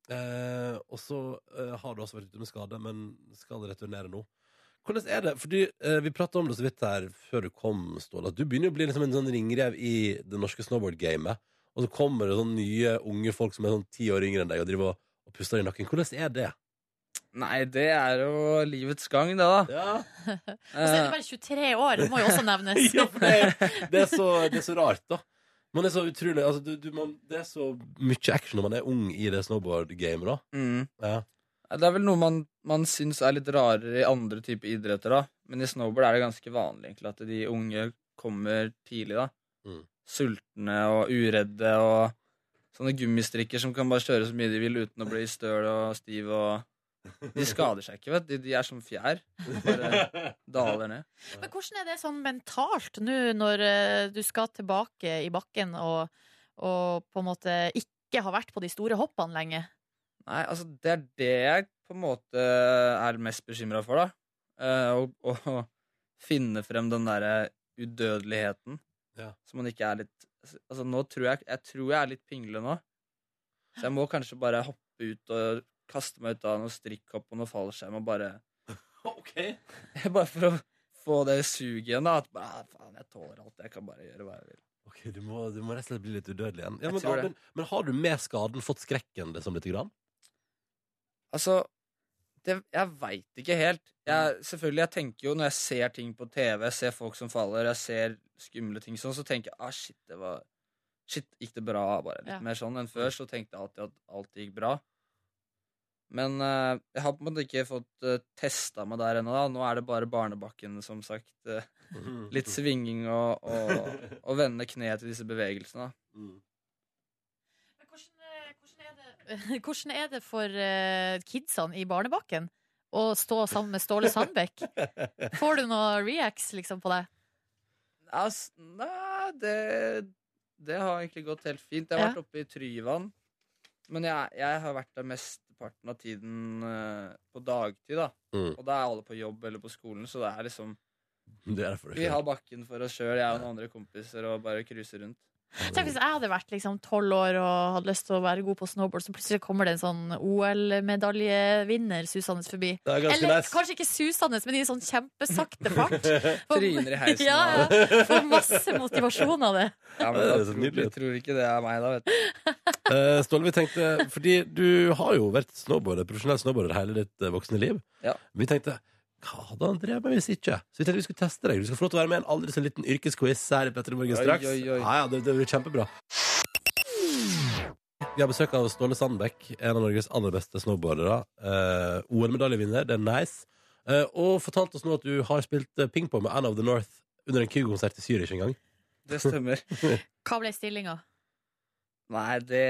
A: Eh, og så eh, har du også vært ute med skade, men skal returnere nå. Hvordan er det? Fordi eh, Vi prata om det så vidt her før du kom, Ståle. At du begynner jo å bli liksom en sånn ringrev i det norske snowboardgamet. Og så kommer det sånn nye unge folk som er sånn ti år yngre enn deg, og driver og, og puster i nakken. Hvordan er det?
F: Nei, det er jo livets gang, det, da.
A: Ja,
B: Og så er
F: Eh.
B: du bare 23 år, det må jo også nevnes.
A: ja for det, er- det, er så, det er så rart, da. Man er så utrolig altså, du, du, man, Det er så mye action når man er ung i det snowboardgamet, da.
F: Mm.
A: Ja.
F: Ja, Det er vel noe man, man syns er litt rarere i andre typer idretter, da. Men i snowboard er det ganske vanlig egentlig at de unge kommer tidlig, da.
A: Mm.
F: Sultne og uredde og sånne gummistrikker som kan bare kjøre så mye de vil uten å bli støl og stiv og De skader seg ikke, vet du. De, de er som fjær. Bare daler ned.
B: Men hvordan er det sånn mentalt nå når eh, du skal tilbake i bakken og, og på en måte ikke har vært på de store hoppene lenge?
F: Nei, altså, det er det jeg på en måte eh, er mest bekymra for, da. Eh, Å å finne frem den derre udødeligheten.
A: Ja.
F: Så man ikke er litt Altså, nå tror jeg Jeg tror jeg er litt pingle nå. Så jeg må kanskje bare hoppe ut og kaste meg ut av noe strikkhopp og noe fallskjerm og bare
A: Okay.
F: Bare for å få det suget igjen, da. At bare, "Ah, faen, jeg tåler alt. Jeg kan bare gjøre hva jeg vil.
A: Ok, du må, du må rett og slett bli litt udødelig igjen. Ja,
F: Jeg
A: men,
F: tror det.
A: men, men har du med skaden fått skrekken liksom litt? Grann?
F: Altså det, Jeg veit ikke helt. Jeg, selvfølgelig, jeg tenker jo når jeg ser ting på TV, jeg ser folk som faller, jeg ser skumle ting sånn, så tenker jeg ah, shit, det var Shit, gikk det bra? Bare litt
B: Ja.
F: mer sånn enn før, så tenkte jeg alltid at alt gikk bra. Men eh, jeg har på en måte ikke fått uh, testa meg der ennå. da. Nå er det bare barnebakken, som sagt. eh, litt svinging og, og, og vende kneet til disse bevegelsene. da.
A: Mm.
B: Men hvordan, eh, hvordan, er det, hvordan er det for eh, kidsene i barnebakken å stå sammen med Ståle Sandbekk? Får du noe reacts liksom på deg?
F: Altså, nei, det, det har egentlig gått helt fint. Jeg har
B: Ja.
F: vært oppe i Tryvann. Men jeg, jeg har vært der mesteparten av tiden eh, på dagtid, da.
A: Mm.
F: Og da er alle på jobb eller på skolen, så det er liksom
A: Det er derfor det
F: Vi
A: skjer.
F: har bakken for oss sjøl, jeg og noen andre kompiser, og bare cruiser rundt.
B: Tenk hvis jeg hadde vært liksom tolv år og hadde lyst til å være god på snowboard, så plutselig kommer det en sånn OL-medaljevinner susende forbi.
A: Det er ganske
B: Eller
A: nice.
B: kanskje ikke susende, men i sånn kjempesakte fart. Får-
F: Tryner i heisen.
B: Ja,
F: og-
B: ja. Får masse motivasjon av det.
F: Ja, men
A: Det
F: da
A: er så
F: tror,
A: nydelig.
F: jeg tror ikke det er meg, da. vet du
A: Eh, Ståle, vi tenkte Fordi du har jo vært snowboarder, profesjonell snowboarder hele ditt eh, voksne liv.
F: Ja.
A: Vi tenkte hva hadde han drevet med hvis ikke? Så vi tenkte vi skulle teste deg. Du skal få lov til å være med i en aldri så liten yrkesquiz her i Petter i morgen
F: Oi,
A: straks.
F: oi, oi.
A: Ja, ja, det, det blir kjempebra. Vi har besøk av Ståle Sandbekk, en av Norges aller beste snowboardere. Eh, OL-medaljevinner, det er nice. Eh, og fortalte oss nå at du har spilt eh, pingpong med Anne of the North under en Kygo-konsert i Zürich en gang.
F: Det stemmer.
B: Hva ble stillinga?
F: Nei, det,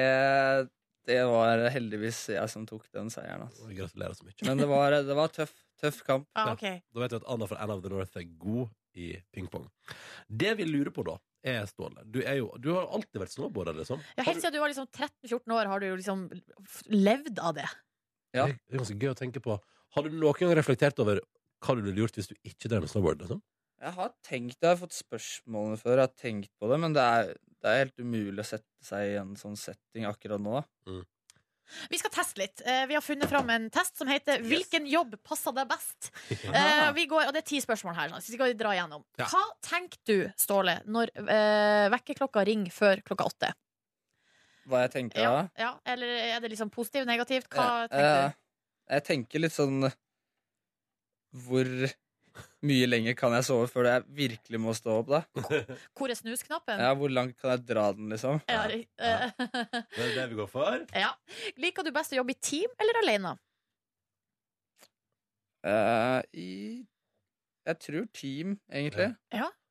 F: det var heldigvis jeg som tok den seieren. Altså.
A: Og Gratulerer så mye.
F: Men det var, det var tøff, tøff kamp.
B: Ah, ok.
A: Da vet vi at Anna fra Anna of the North er god i pingpong. Det vi lurer på da, er Ståle. Du, er jo, du har jo alltid vært snowboarder, liksom.
B: Ja,
A: Har
B: helt
A: du,
B: siden du var liksom 13-14 år, har du jo liksom f- levd av det.
F: Ja.
A: Det er ganske gøy å tenke på. Har du noen gang reflektert over hva du ville gjort hvis du ikke drev med snowboard? Liksom?
F: Jeg har tenkt, jeg har fått spørsmålene før, jeg har tenkt på det, men det er, det er helt umulig å sette seg i en sånn setting akkurat nå. da.
B: Vi skal teste litt. Eh, Vi har funnet fram en test som heter 'Hvilken jobb passer deg best?' Eh, Vi går, og det er ti spørsmål her, så vi skal dra igjennom.
A: Ja.
B: Hva tenker du, Ståle, når eh, vekkerklokka ringer før klokka åtte?
F: Hva jeg tenker da?
B: Ja, ja, eller er det liksom positivt, negativt? Hva
F: Eh,
B: tenker du?
F: eh, Jeg tenker litt sånn Hvor mye lenger kan jeg sove før jeg virkelig må stå opp, da?
B: Hvor er snusknappen?
F: Ja, Hvor langt kan jeg dra den, liksom?
B: Ja, ri- eh,
A: Det er det vi går for.
B: ja. Liker du best å jobbe i team eller alene?
F: Eh, I Jeg tror team, egentlig.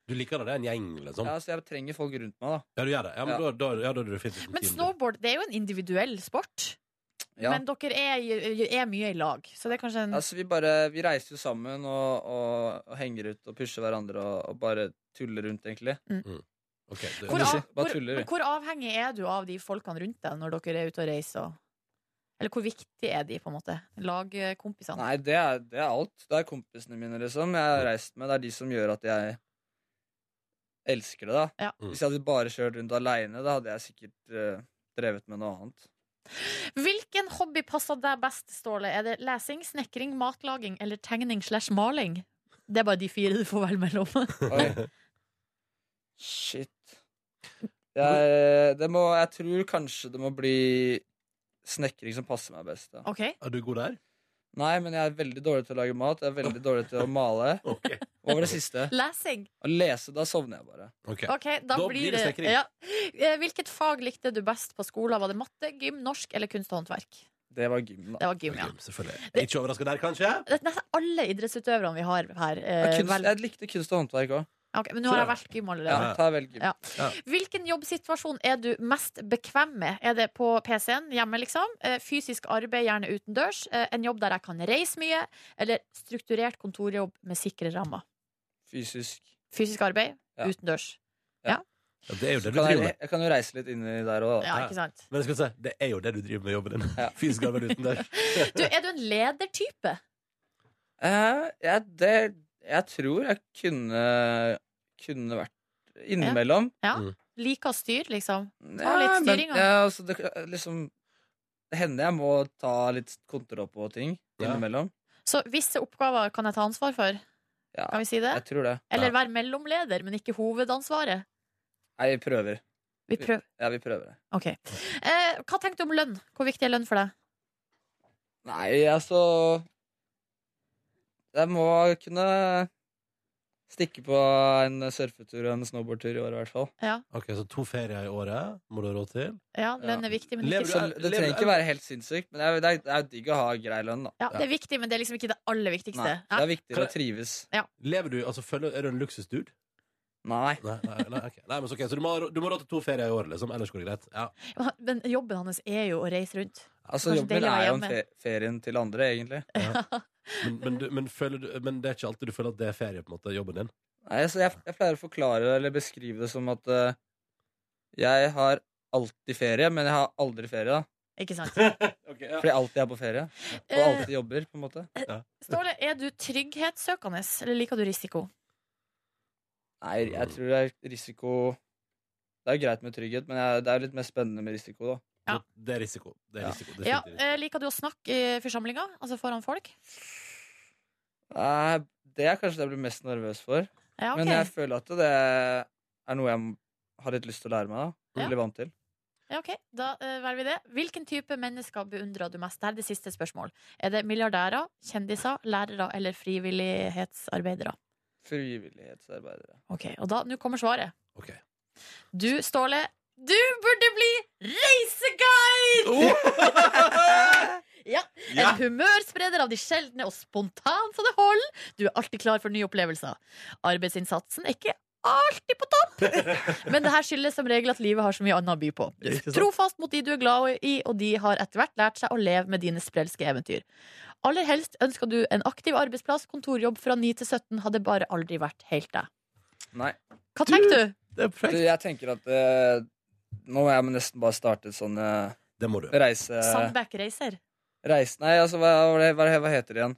A: Du liker det, det er en gjeng, liksom.
F: Ja,
A: Ja,
F: så jeg trenger folk rundt meg, da.
A: du gjør det. Ja, men
F: Ja.
A: Da, da, ja, da er du definitivt en
B: Men
A: team, du.
B: snowboard det er jo en individuell sport.
F: Ja.
B: Men dere er, er mye i lag, så det er kanskje en
F: Altså, vi bare Vi reiser jo sammen og, og, og henger ut og pusher hverandre og, og bare tuller rundt, egentlig.
A: Ok, det-
B: hvor, av,
F: du si? Bare
B: hvor,
F: tuller vi.
B: men hvor avhengig er du av de folkene rundt deg når dere er ute og reiser? Og, eller hvor viktig er de, på en måte? Lagkompisene?
F: Nei, det er, det er alt. Det er kompisene mine, liksom. Jeg har reist med. Det er de som gjør at jeg elsker det, da.
B: Ja.
A: Mm.
F: Hvis jeg hadde bare kjørt rundt aleine, da hadde jeg sikkert eh, drevet med noe annet.
B: Hvilken hobby passer deg best, Ståle? Er det lesing, snekring, matlaging eller tegning slash maling? Det er bare de fire du får velge mellom.
F: Oi. Shit. Jeg, det må, jeg tror kanskje det må bli snekring som passer meg best. Ja.
B: OK?
A: Er du god der?
F: Nei, men jeg er veldig dårlig til å lage mat. Jeg er veldig dårlig til å male.
A: Ok.
F: Over det siste.
B: Lesing.
F: Å lese, da sovner jeg bare.
A: Ok.
B: Ok, Da,
A: Da blir
B: blir
A: det
B: det
A: snekring.
B: ja. Eh, Hvilket fag likte du best på skolen? Var det matte, gym, norsk eller kunst og håndverk?
F: Det var gym, da.
B: Det var gym, ja.
A: Ok, Selvfølgelig. Ikke overraska der, kanskje?
B: Det er nesten alle idrettsutøverne vi har her.
F: Ja,
B: eh,
F: kunst,
B: vel-
F: jeg likte kunst og håndverk òg.
B: Ok, men nå har jeg valgt gym allerede.
F: Ja, ta vel gym.
B: Ja. Hvilken jobbsituasjon er du mest bekvem med? Er det på PC-en hjemme, liksom? Eh, Fysisk arbeid, gjerne utendørs? Eh, En jobb der jeg kan reise mye? Eller strukturert kontorjobb med sikre rammer?
F: Fysisk.
B: Fysisk arbeid,
F: Ja.
B: utendørs.
A: Ja, det er jo det du
F: Kan
A: driver
F: jeg,
A: med.
F: jeg kan jo reise litt inni der òg, da.
B: Ja,
A: Ja.
B: ikke sant?
A: Men jeg skal si, det er jo det du driver med i jobben din.
F: Ja.
A: Fysisk arbeid utendørs.
B: Du, er du en ledertype?
F: Eh, jeg, det, jeg tror jeg kunne Kunne vært innimellom.
B: Liker å styre, liksom?
F: Ja,
B: litt
F: men-
B: styring, da.
F: Ja, altså, det, liksom, det hender jeg må ta litt kontroll på ting
A: Ja.
F: innimellom.
B: Så visse oppgaver kan jeg ta ansvar for?
F: Ja,
B: Kan vi si det?
F: jeg tror det.
B: Eller være mellomleder, men ikke hovedansvaret?
F: Nei, vi prøver.
B: Vi prøver.
F: Ja, vi prøver det.
B: Ok. Eh, hva tenkte du om lønn? Hvor viktig er lønn for deg?
F: Nei, altså Jeg må kunne stikke på en surfetur og en snowboardtur i år, i hvert fall.
A: Ok, Så to ferier i året må du ha råd til.
B: Ja,
F: Ja.
B: lønn er viktig, men
A: Lever
B: ikke
A: du
F: Så
A: er-
F: det
A: lever du
F: trenger ikke
A: er-
F: være helt sinnssykt, men det er- det er, det er digg å ha grei lønn, da.
B: Ja, det er viktig, men det er liksom ikke det aller viktigste.
F: Nei,
B: Ja.
F: det er
A: Kan
F: viktigere å trives.
A: Lever du, altså følger, Er du en luksusdude?
F: Nei.
A: Nei, nei, nei, ok. nei men så, ok, så du må, ha rå- du må ha råd til to ferier i året, liksom. Ellers går det greit. Ja.
B: Men jobben hans er jo å reise rundt.
F: Altså,
B: Kanskje
F: jobben
B: deilig
F: min
B: å være
F: er jo en
B: hjemme.
F: fe ferien til andre, egentlig.
A: Men, men, du, men, føler du, men det er ikke alltid du føler at det er ferie, på en måte, jobben din?
F: Nei, altså, jeg, jeg pleier å forklare eller beskrive det som at eh, jeg har alltid ferie, men jeg har aldri ferie. da
B: Ikke sant?
F: Fordi jeg alltid er på ferie. Og
B: Eh,
F: alltid jobber, på en måte.
B: Ståle, er du trygghetssøkende, eller liker du risiko?
F: Nei, jeg tror det er risiko Det er jo greit med trygghet, men jeg, det er jo litt mer spennende med risiko, da.
B: Ja.
A: Det er risiko. Det er
F: Ja.
A: risiko.
B: Ja,
A: definitivt.
B: eh, liker du å snakke i forsamlinga, altså foran folk?
F: Nei, det er kanskje det jeg blir mest nervøs for.
B: Ja, ok.
F: Men jeg føler at det er noe jeg m- har litt lyst til å lære meg. da
B: Ja.
F: Bli vant til.
B: Ja, ok, Da eh, velger vi det. Hvilken type mennesker beundrer du mest? Det er det siste spørsmål. Er det milliardærer, kjendiser, lærere eller frivillighetsarbeidere?
F: Frivillighetsarbeidere.
B: Ok, Og da, nå kommer svaret.
A: Ok.
B: Du, Ståle, du burde bli reiseguide!
A: Oh!
B: ja. En humørspreder av de sjeldne og spontan så det holder. Du er alltid klar for nye opplevelser. Arbeidsinnsatsen er ikke alltid på topp, men det her skyldes som regel at livet har så mye annet å by på. Du
A: Ikke sant?
B: er trofast mot de du er glad i, og de har etter hvert lært seg å leve med dine sprelske eventyr. Aller helst ønsker du en aktiv arbeidsplass, kontorjobb fra 9 til 17, hadde bare aldri vært helt deg.
F: Nei.
B: Hva tenker du?
A: Det er
F: Du,
A: perfekt.
F: jeg tenker at eh, nå må jeg nesten bare starte et sånn eh,
A: Det må du.
F: reise...
B: Sandbæk reiser?
F: Reise, nei, altså, hva, hva, det- hva, hva heter det igjen?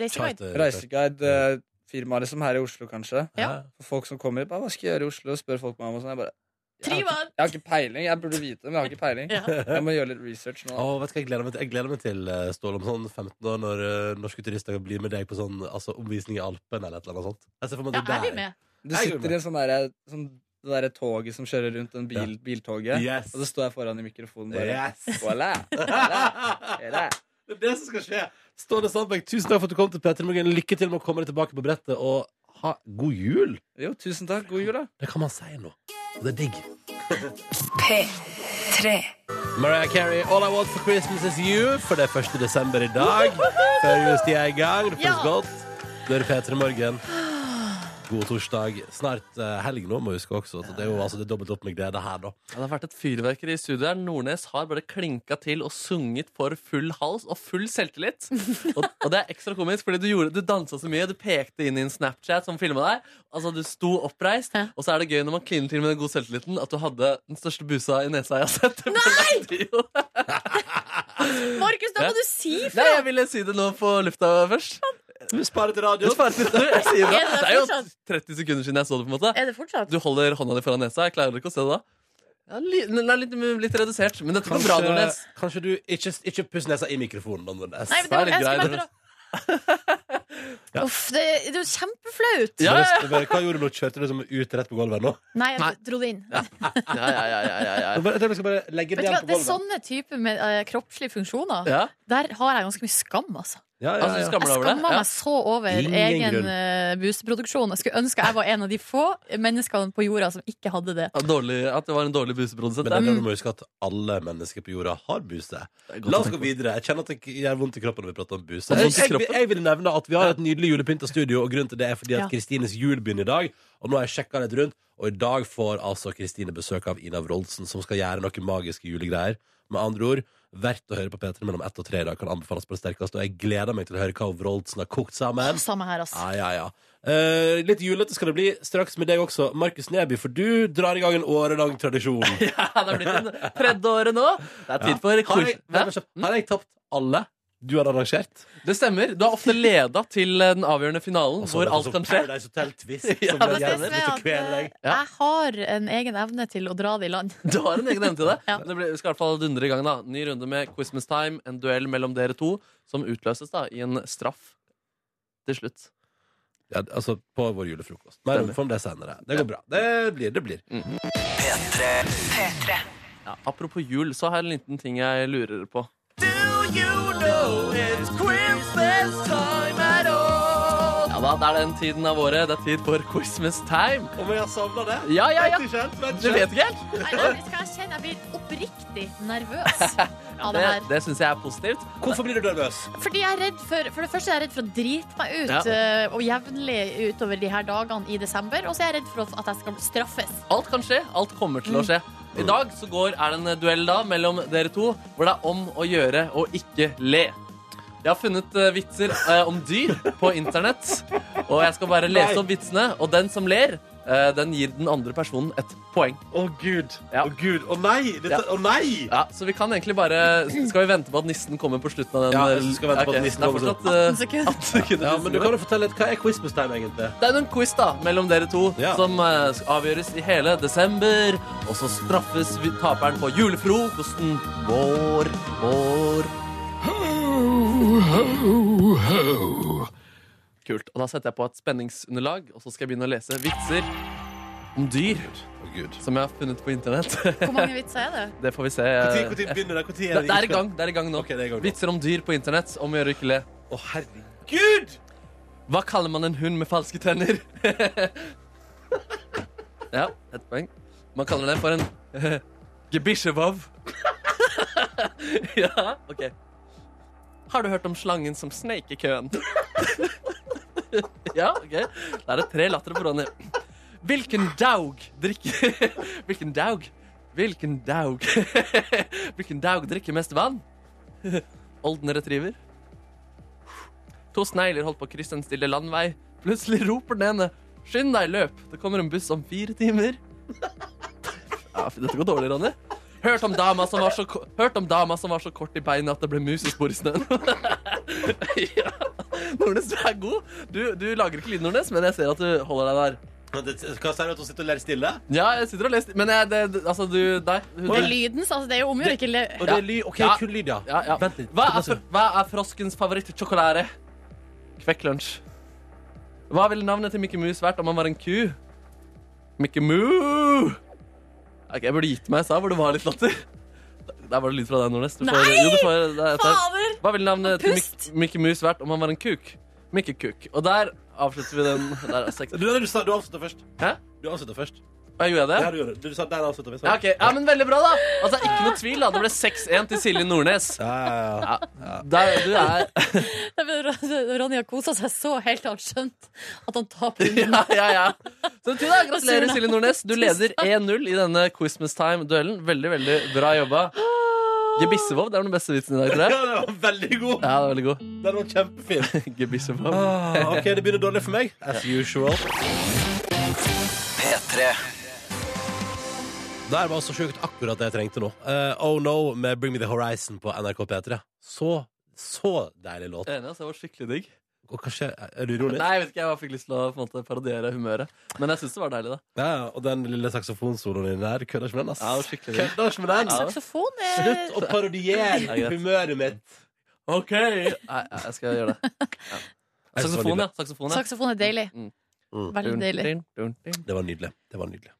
B: Reiseguide?
A: Charter-
F: Reiseguide eh, firma liksom her i Oslo, kanskje.
B: Ja.
F: For folk som kommer bare, 'Hva skal jeg gjøre i Oslo?' spør folk meg om. Og sånn. Jeg bare jeg har, ikke,
B: Trivan!
F: jeg har ikke peiling. Jeg burde vite det, men jeg har ikke peiling.
B: Ja.
F: Jeg må gjøre litt research nå.
A: Å, vet du hva jeg gleder meg til? Jeg gleder meg til eh, Ståle om sånn 15 år, når eh, norske turister blir med deg på sånn altså, omvisning i Alpen eller et eller annet sånt. Jeg ser for meg
B: Ja,
A: det
B: er vi
A: der.
B: med?
F: Du
A: Jeg går
F: sitter i en sånn derre sånn, det derre toget som kjører rundt, den bil, biltoget,
A: Yes.
F: og så står jeg foran i mikrofonen bare
A: Yes.
F: Voilà!
A: det
F: Voilà!
A: er det som skal skje. Ståle Sandberg, tusen takk for at du kom til Petter Morgen. Lykke til med å komme deg tilbake på brettet, og ha god jul.
F: Jo, tusen takk. God jul, da.
A: Det kan man si nå. Og det er digg. Mariah Carey, All I Want for Christmas Is You, for det er 1. desember i dag. Før julestida er i gang. Det
B: Ja.
A: føles godt. Da er det P3 Morgen. God torsdag. Snart eh, helg nå, må vi huske også. Så det er jo altså, det er dobbelt opp med glede her, da.
C: Ja, det har vært et fyrverkeri i studio her. Nordnes har bare klinka til og sunget for full hals og full selvtillit. Og, og det er ekstra komisk, fordi du, gjorde, du dansa så mye, du pekte inn i en Snapchat som filma deg. Altså, du sto oppreist,
B: Ja.
C: og så er det gøy når man kliner til med den gode selvtilliten at du hadde den største busa i nesa jeg har sett. Nei!
B: Markus, da
C: Ja.
B: må du si
C: Nei, jeg ville si det nå på lufta først.
A: Vi sparer til
C: Jeg
A: radio.
C: sparer litt, jeg sier det.
B: Er det
C: det er jo
B: fortsatt?
C: 30 sekunder siden jeg så det, på en måte.
B: Er det fortsatt?
C: Du holder hånda di foran nesa. Jeg klarer ikke å se det da. Ja, li, den er litt, litt redusert, men dette går bra,
A: Kanskje,
C: Nordnes.
A: kanskje du ikke, ikke puss nesa i mikrofonen, Nordnes.
B: Nei, men det
C: Da er
B: var,
C: det
B: jeg
C: greit,
B: skulle bare dra
A: Ja.
B: Uff, det, det er jo kjempeflaut.
C: Ja, ja,
A: Bare- bare- Hva gjorde du nå? Kjørte du liksom ut rett på gulvet nå?
B: Nei,
C: Nei.
B: jeg dro det inn.
C: ja, ja, ja, ja, ja, ja.
A: Jeg bare- jeg tror vi skal bare legge det
B: Vet du hva,
A: igjen på
B: Det er sånn-
A: gulvet.
B: sånne typer med eh, kroppslige funksjoner.
C: ja.
B: Der har jeg ganske mye skam, altså.
A: Ja, ja,
C: Altså, du
A: ja.
C: skammer
B: Jeg
C: deg over
B: skammer
C: det?
B: meg
C: Ja.
B: så over
A: Ingen
B: egen
A: grunn.
B: eh, buseproduksjon. Jeg skulle ønske jeg var en av de få menneskene på jorda som ikke hadde det.
C: Ja, Dårlig, at det var en dårlig buseprodusent.
A: Men det er det du må huske at alle mennesker på jorda har buse. La oss gå videre. Jeg kjenner at det gjør vondt i kroppen når vi prater om buse.
C: Det er
A: Jeg,
C: Altså, vondt i
A: jeg,
C: kroppen.
A: jeg vil nevne at vi har et nydelig julepynta studio, og grunnen til det er fordi
B: Ja.
A: at Kristines jul begynner i dag. Og nå har jeg sjekka litt rundt, og i dag får altså Kristine besøk av Ina Wroldsen, som skal gjøre noen magiske julegreier. Med andre ord, verdt å høre på P3 mellom ett og tre i dag kan anbefales på det sterkeste, og jeg gleder meg til å høre hva Wroldsen har kokt sammen.
B: Samme her, altså.
A: Ja, ja, ja. Eh, litt julete skal det bli straks med deg også, Markus Neby, for du drar i gang en årelang tradisjon.
C: Ja, det er blitt en tredje året nå. Det er tid for
A: Har jeg,
C: kurs. Hæ?
A: har jeg tapt alle du hadde arrangert?
C: Det stemmer. Du har ofte leda til eh, den avgjørende finalen,
A: Altså,
C: hvor
A: det er
C: alt
A: sånn
C: kan skje.
A: Paradise Hotel-twist
C: Ja,
A: som ble
B: Men det som
A: gjennom
B: er
A: til å
B: at,
A: kvele
B: eh,
A: deg.
C: Ja.
B: jeg har en egen evne til å dra det i land.
C: Du har en egen evne til det.
B: Ja.
C: Men det blir, vi skal i hvert fall dundre i gang. da Ny runde med Christmas Time, en duell mellom dere to, som utløses da i en straff til slutt.
A: Ja, altså, på vår julefrokost. Mm. Mer
C: Stemmer.
A: om om det senere. Det går bra. Det blir, det blir.
C: Ja, apropos jul, så har jeg en liten ting jeg lurer på. Ja da, det er den tiden av året. Det er tid for Christmas time.
A: Om jeg har savna det?
C: Ja, ja, ja.
A: Ikke helt, men
C: Du vet ikke helt?
B: Nei, nå skal jeg kjenne jeg blir oppriktig nervøs av det
C: Det,
B: her.
C: det syns jeg er positivt.
A: Hvorfor blir du nervøs?
B: Fordi jeg er redd for, for det første er jeg redd for å drite meg ut,
C: Ja.
B: eh, og jevnlig utover de her dagene i desember. Og så er jeg redd for at jeg skal straffes.
C: Alt kan skje. Alt kommer til å skje. I dag så går, er det en eh, duell da mellom dere to hvor det er om å gjøre å ikke le. Jeg har funnet eh, vitser eh, om dyr på internett, og jeg skal bare lese opp vitsene. Og den som ler, eh, den gir den andre personen et poeng.
A: Å, gud. Å,
C: Ja.
A: gud. Å, nei. Dette,
C: Ja.
A: Å, nei.
C: Ja, Så vi kan egentlig bare Skal vi vente på at nissen kommer på slutten av den? eh,
A: Ja, jeg skal vente på
C: Ok,
A: at nissen
C: det er
A: kommer på
C: fortsatt, eh,
B: sekunder.
C: 18
A: Ja,
C: sekunder til
A: men du
C: nissen
A: kan jo fortelle litt, Hva er Christmas time, egentlig?
C: Det er jo en quiz da, mellom dere to
A: Ja.
C: som eh, skal avgjøres i hele desember. Og så straffes vi taperen på julefrokosten vår, vår. Kult. Og da setter jeg på et spenningsunderlag, og så skal jeg begynne å lese vitser om dyr
A: Å, gud.
C: som jeg har funnet på internett.
B: Hvor mange vitser er det?
C: Det får vi se.
A: Når
C: Det,
A: begynner det? Hvor tid
C: det er i gang. Det er i gang nå.
A: Ok, det er i gang nå.
C: Vitser om dyr på internett om å gjøre ikke le.
A: Å, herregud!
C: Hva kaller man en hund med falske tenner? ja, ett poeng. Man kaller den for en uh, gebisjevav. ja, OK. Har du hørt om slangen som sneik i køen? ja, OK. Da er det tre latter på Ronny. Hvilken daug drikker Hvilken daug? Hvilken daug? Hvilken daug drikker mest vann? Olden retriever? To snegler holdt på å krysse en stille landvei. Plutselig roper den ene 'Skynd deg, løp! Det kommer en buss om fire timer'. Ja, dette går dårlig, Ronny. Hørt om, dama som var så, ko- hørt om dama som var så kort i beina at det ble musespor i snøen. ja. Nordnes, du er god. Du, du lager ikke lyd, Nordnes, men jeg ser at du holder deg der.
A: Men det- Hva sier du at hun sitter og ler stille?
C: Ja, jeg sitter og leser, men jeg, det, det- altså, du Nei. Hun,
B: Det er lydens, altså. Det er jo om å gjøre ikke le.
A: Og det er ly, ok,
C: Ja.
A: kun lyd, ja.
C: Ja, ja.
A: Vent litt.
C: Hva er, fr- hva er froskens favorittsjokolade? Kvekk lunsj. Hva ville navnet til Mickey Mouse vært om han var en ku? Mickey Moo! Ok, jeg burde gitt meg, sa jeg, hvor det var litt latter. Der var det lyd fra deg, Nordnes. Du får-
B: Nei!
C: jo, du får- det er-
B: Fader!
C: Hva ville navnet til
B: Pust!
C: Mick- Mickey Mouse vært om han var en kuk? Mickey Kuk. Og der avslutter vi den. Der er seks.
A: Du, du, du, sa- du avslutta først.
C: Hæ?
A: Du avslutta først.
C: Ja, gjorde jeg det?
A: Ja, du gjorde det. Du sa der avslutta vi.
C: Ja, ok. ja, men veldig bra, da. Altså, ikke noe tvil, da. Det ble 6-1 til Silje Nordnes.
A: Ja, ja, ja.
C: Ja. Der, du er
B: Ronny har kosa seg så helt til han skjønt at han taper. runden.
C: Ja, ja, ja. Så betyr det gratulerer,
B: Surna.
C: Silje Nordnes. Du leder 1-0 i denne Christmas Time-duellen. Veldig, veldig bra jobba.
B: Ah.
C: Gebissevov, det er den beste vitsen i dag, tror jeg.
A: den var veldig god!
C: Ja, det er veldig god.
A: Den var kjempefin.
C: Gebissevov.
A: Ah, ok, det begynner dårlig for meg. As usual. Der var så sjukt akkurat det jeg trengte nå. Eh, oh No med Bring Me The Horizon på NRK P3. Så, så deilig låt.
C: Enig, altså. Det var skikkelig digg.
A: og kanskje Er du ironisk?
C: Nei, jeg vet ikke, jeg bare fikk lyst til å på en måte, parodiere humøret. Men jeg syns det var deilig, da.
A: Ja, ja, og den lille saksofonsoloen din der, kødder ikke med den, ass.
C: Ja, det var skikkelig.
A: kødder ikke med den!
C: Ja.
B: Saksofon er
A: Slutt å
C: Ja,
A: parodiere
C: greit.
A: humøret mitt!
C: OK! Nei, nei, jeg skal gjøre det.
A: Nei, det var
C: Saksofon,
A: nydelig.
C: ja. Saksofon, ja.
B: Saksofon er deilig.
C: Mm.
A: Mm.
B: Veldig deilig.
C: Dun, dun, dun, dun.
A: Det var nydelig. Det var nydelig.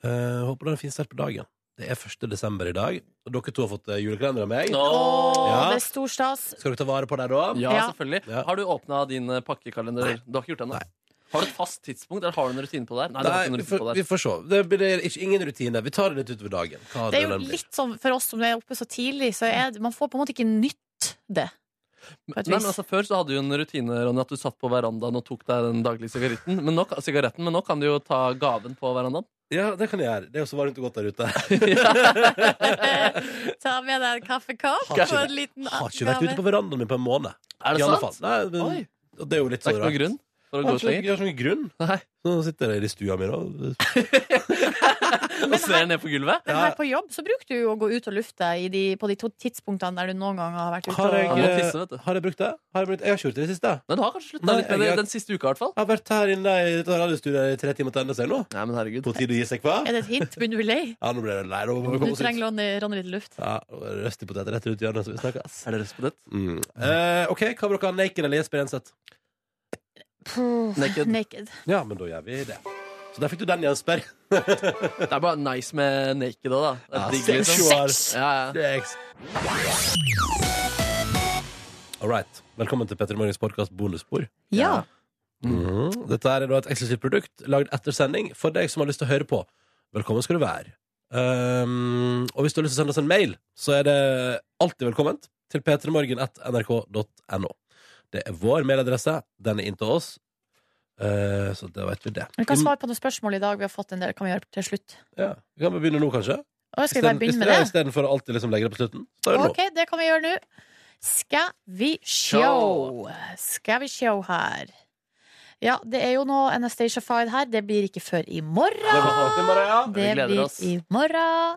A: Eh, håper du har en fin start på dagen. Det er 1. desember i dag, og dere to har fått eh, julekalender av meg.
C: Nå.
B: Åh,
A: Ja.
B: det er stor stas.
A: Skal dere ta vare på det da?
C: Ja,
B: Ja.
C: selvfølgelig.
A: Ja.
C: Har du åpna din eh, pakkekalender? Du har ikke gjort det ennå? Har du et fast tidspunkt, eller har du en rutine på det? her? Nei, du har ikke
A: Nei,
C: noen
A: vi
C: rutine
A: får,
C: på det. her.
A: vi får se. Det blir ikke, ingen rutine. Vi tar det litt utover dagen. Hva
B: Det er jo
A: den blir.
B: litt sånn for oss som er oppe så tidlig, så er det, man får på en måte ikke nytt det. på et
C: Nei,
B: vis.
C: men altså, før så hadde du jo en rutine Ronny, at du satt på verandaen og tok deg den daglige sigaretten. Men nå, kan- sigaretten, men nå kan du jo ta gaven på verandaen.
A: Ja, det kan jeg gjøre. Det er jo så varmt og godt der ute.
B: Ta med deg en kaffekopp
A: Har ikke
B: og en liten
A: Jeg har ikke vært ute på verandaen min på en måned.
C: Er det
A: I alle
C: sant?
A: fall. Nei, men,
C: Oi.
A: og det er jo litt
C: Det er
A: så
C: ikke noen
A: rart.
C: grunn for å
A: Jeg
C: gå
A: har
C: ut
A: ikke,
C: lenger?
A: jeg har ikke noen grunn.
C: Nei.
A: Så nå sitter jeg der i stua mi, da.
C: Og ser ned på gulvet?
B: Men her på jobb så bruker du jo å gå ut og lufte i de, på de to tidspunktene der du noen gang har vært ute.
A: Har
B: og-
A: jeg,
C: må tisse, vet du.
A: har jeg brukt det? Har jeg, brukt, jeg har ikke gjort det i det siste.
C: Nei, du har kanskje slutta
A: Nei,
C: litt med det
A: jeg-
C: den siste uka, i hvert fall.
A: Jeg har vært her inne i dette radiostudioet i tre timer til ende seg nå.
C: Nei, men herregud.
A: På tide å gi seg, hva?
B: Er det et hint? Begynner du å bli lei?
A: Ja, nå ble jeg lei. Nå må vi komme
B: Du
A: oss ut.
B: trenger Ronny, Ronny litt luft.
A: Ja, Røstig potet rett rundt hjørnet, så vi snakkes.
C: Er det røst på ditt?
A: Mm. Eh, OK, hva vil dere ha? Naked eller Jesper Enseth?
C: Naked.
B: Naked.
A: Ja, men da gjør vi det. Så der fikk du den, Jesper.
C: Det er bare nice med naked òg, da. Det er
A: Ja,
C: digg, liksom.
A: sexual.
C: Ja, ja.
A: Sex. All right. Velkommen til Petter Morgens podkast Bonusspor.
B: Ja.
A: Mhm. Dette er da et eksklusivt produkt lagd etter sending for deg som har lyst til å høre på. Velkommen skal du være. Um, og hvis du har lyst til å sende oss en mail, så er det alltid velkomment til p3morgen.nrk.no. Det er vår mailadresse. Den er inn til oss. Eh, så da vet vi det.
B: Vi kan svare på noen spørsmål i dag. Vi har fått en del. Kan vi gjøre til slutt?
A: Ja. Vi kan bare begynne nå, kanskje?
B: Å, skal vi bare begynne med det?
A: Istedenfor å alltid liksom legge det på slutten. Så gjør vi det nå.
B: Ok, det kan vi gjøre nå. Skal vi sjå. Skal vi sjå her. Ja, det er jo nå en Anastacia-fide her. Det blir ikke før i
A: Det var
B: morgen.
A: sånn, Maria.
B: Det
C: gleder
B: blir
C: oss.
B: i morgen.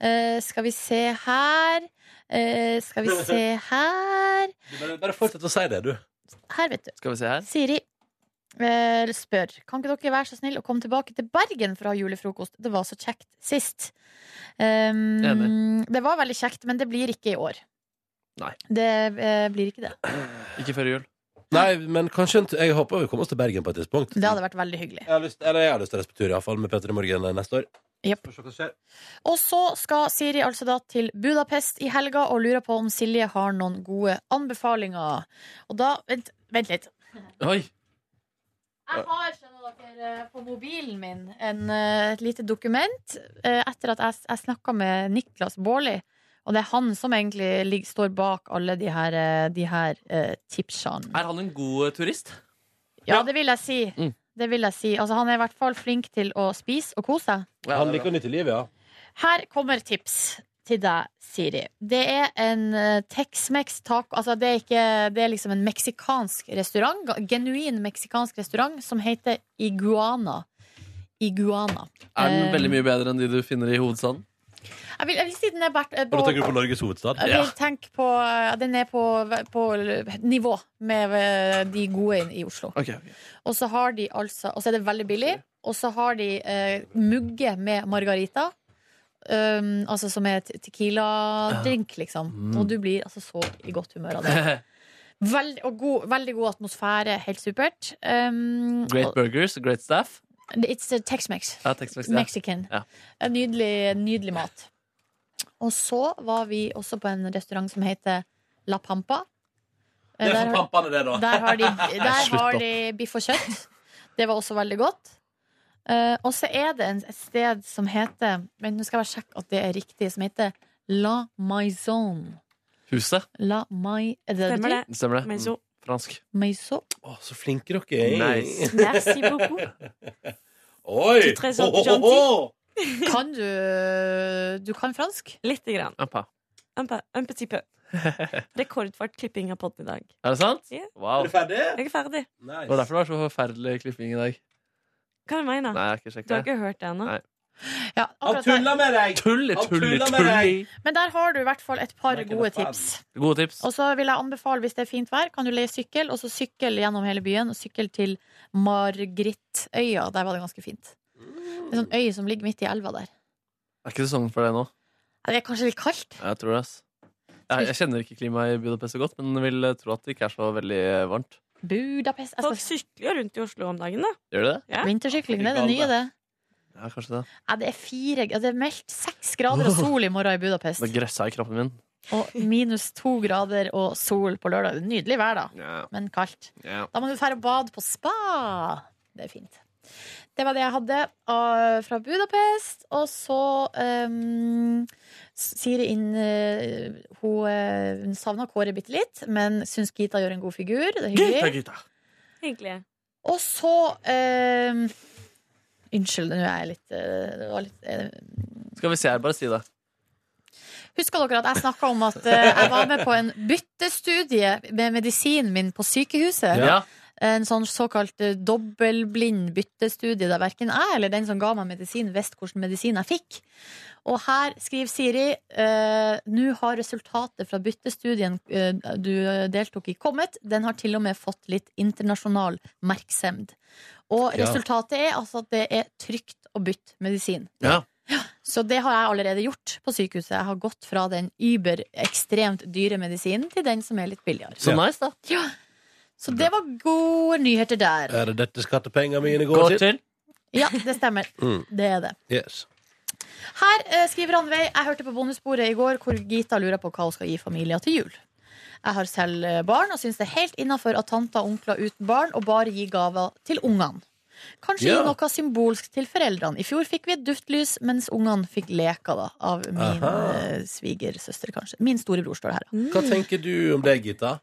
B: Eh, skal vi se her. Eh, skal vi se her.
A: Du Bare, bare fortsett å si det, du.
B: Her, vet du.
C: Skal vi se her.
B: Siri eh, spør Kan ikke dere være så snill å komme tilbake til Bergen for å ha julefrokost? Det var så kjekt sist. Um,
C: Enig.
B: det var veldig kjekt, men det blir ikke i år.
C: Nei.
B: Det eh, blir ikke det.
C: Ikke før jul.
A: Nei, men kanskje en t- Jeg håper vi kommer oss til Bergen på et tidspunkt.
B: Det hadde vært veldig hyggelig.
A: Jeg har lyst, eller jeg har lyst til å reise på tur, iallfall, med Petter i morgen eh, neste år.
B: Jepp.
A: Får se hva som skjer.
B: Og så skal Siri altså da til Budapest i helga og lurer på om Silje har noen gode anbefalinger. Og da Vent, vent litt.
C: Oi!
B: Jeg har skjønner dere, eh, på mobilen min en, eh, et lite dokument eh, etter at jeg, s- jeg snakka med Niklas Baarli. Og det er han som egentlig ligger, står bak alle de her, eh, de her eh, tipsene.
C: Er han en god eh, turist?
B: Ja, det vil jeg si.
C: Mm.
B: Det vil jeg si. Altså, han er i hvert fall flink til å spise og kose seg.
C: Ja,
A: Han
C: det er
A: liker å nyte livet, ja.
B: Her kommer tips til deg, Siri. Det er en eh, Tex-Mex taco altså det, er ikke, det er liksom en meksikansk restaurant, ga- genuin meksikansk restaurant, som heter Iguana. Iguana.
C: bra. er den veldig mye bedre enn de du finner i hovedstaden?
B: Jeg vil, jeg vil si den er bært eh,
A: Og
B: på,
A: da tenker du på Norges hovedstad?
B: jeg vil tenke på eh, Den er på, på nivå med eh, de gode i Oslo.
C: Ok, ok.
B: Og så har de altså Og så er det veldig billig. Og så har de eh, mugge med margarita. Um, altså som er te- tequila-drink, liksom.
A: Mm.
B: Og du blir altså så i godt humør av det. Veld, og god, veldig god atmosfære. Helt supert. Um,
C: Great burgers, great staff.
B: og- It's a Tex-Mex.
C: Ja, tekstmessig, ja.
B: Mexican.
C: Ja.
B: En Nydelig, nydelig mat. Og så var vi også på en restaurant som heter La Pampa. Eh,
A: Det er
B: der har-
A: for pampene, det, da.
B: der har de, der
C: Slutt
B: har
C: opp.
B: de biff og kjøtt. Det var også veldig godt. Eh, og så er det en, et sted som heter Men nå skal jeg bare sjekke at det er riktig. Som heter La Maison.
C: Huset.
B: La Mai... Er det det
G: Stemmer
B: betyr?
G: det.
C: Stemmer det?
G: Mais
C: Mm,
G: on-
C: Fransk.
B: Maison.
A: Å, så flinke dere er.
C: Nice.
G: Merci beaucoup.
A: Oi!
G: Du tre
A: Ho,
G: sånn
A: ho, ho, ho!
B: Kan du Du kan fransk?
G: Lite grann.
C: Appa.
G: Un, pe- un petit peu. Rekordfart klipping av podden i dag.
C: Er det sant?
G: Ja.
A: Er
C: Wow.
A: du ferdig?
G: Jeg er ferdig.
C: Det var derfor det var så forferdelig klipping i dag.
G: Hva mener du?
C: Nei, jeg har ikke
G: Du har
C: sjekket det.
G: ikke hørt det ennå?
C: Nei.
B: Ja,
H: Han
B: akkurat der.
H: tuller med deg!
C: Tulli,
H: Han
C: tulli,
H: tuller med
C: tulli!
B: Men der har du i hvert fall et par
H: Make it a
B: gode
H: fab.
B: tips.
C: Gode tips.
B: Og så vil jeg anbefale, hvis det er fint vær, kan du leie sykkel, og så sykkel gjennom hele byen, og sykkel til Margritøya. Der var det ganske fint. Det er sånn øy som ligger midt i elva der.
C: Er ikke sesongen for det nå?
B: Ja, Det er kanskje litt kaldt?
C: Jeg tror det, ass. Jeg, jeg kjenner ikke klimaet i Budapest så godt, men vil eh, tro at det ikke er så veldig eh, varmt.
B: Budapest jeg
G: Folk
B: skal...
G: sykler jo rundt i Oslo om dagen, da.
C: Gjør det det?
G: Ja.
B: Vintersykling, det er det nye, det.
C: Ja, kanskje det.
B: Ja, det er fire ja, Det er meldt seks grader og sol i morgen i Budapest.
C: Det gressa i kroppen min.
B: Og minus to grader og sol på lørdag. Nydelig vær, da,
C: Ja.
B: men kaldt.
C: Ja.
B: Da må du dra og bade på spa. Det er fint. Det var det jeg hadde av- fra Budapest. Og så um, Siri inn eh, Hun, eh, hun savna Kåre bitte litt, men syns Gita gjør en god figur. Det er hyggelig.
G: Hyggelig.
B: Og så eh, Unnskyld, nå er jeg litt, eh, det var litt eh,
C: Skal vi se her, bare si det.
B: Husker dere at jeg snakka om at eh, jeg var med på en byttestudie med medisinen min på sykehuset?
C: Ja.
B: En sånn såkalt eh, dobbeltblind byttestudie der verken jeg eller den som ga meg medisin, visste hvilken medisin jeg fikk. Og her skriver Siri eh, nå har resultatet fra byttestudien eh, du deltok i, kommet. Den har til og med fått litt internasjonal merksemd. Og
A: Ja.
B: resultatet er altså at det er trygt å bytte medisin.
C: Ja.
B: Så det har jeg allerede gjort på sykehuset. Jeg har gått fra den über ekstremt dyre medisinen til den som er litt billigere.
C: Så nice, da.
B: Så det var gode nyheter der.
A: Er det dette skattepengene mine går,
C: Gå
A: til?
C: til.
B: Ja, det stemmer.
A: Mm.
B: Det er det.
A: Yes.
B: Her eh, skriver Randveig Jeg hørte på Bondesporet i går hvor Gita lurer på hva hun skal gi familien til jul. Jeg har selv eh, barn og syns det er helt innafor at tanter og onkler uten barn og bare gir gaver til ungene. Kanskje
A: Ja.
B: gi noe symbolsk til foreldrene. I fjor fikk vi et duftlys, mens ungene fikk leker da, av min
A: Aha.
B: eh, svigersøster, kanskje. Min storebror står det her. da.
A: Hva tenker du om det, Gita?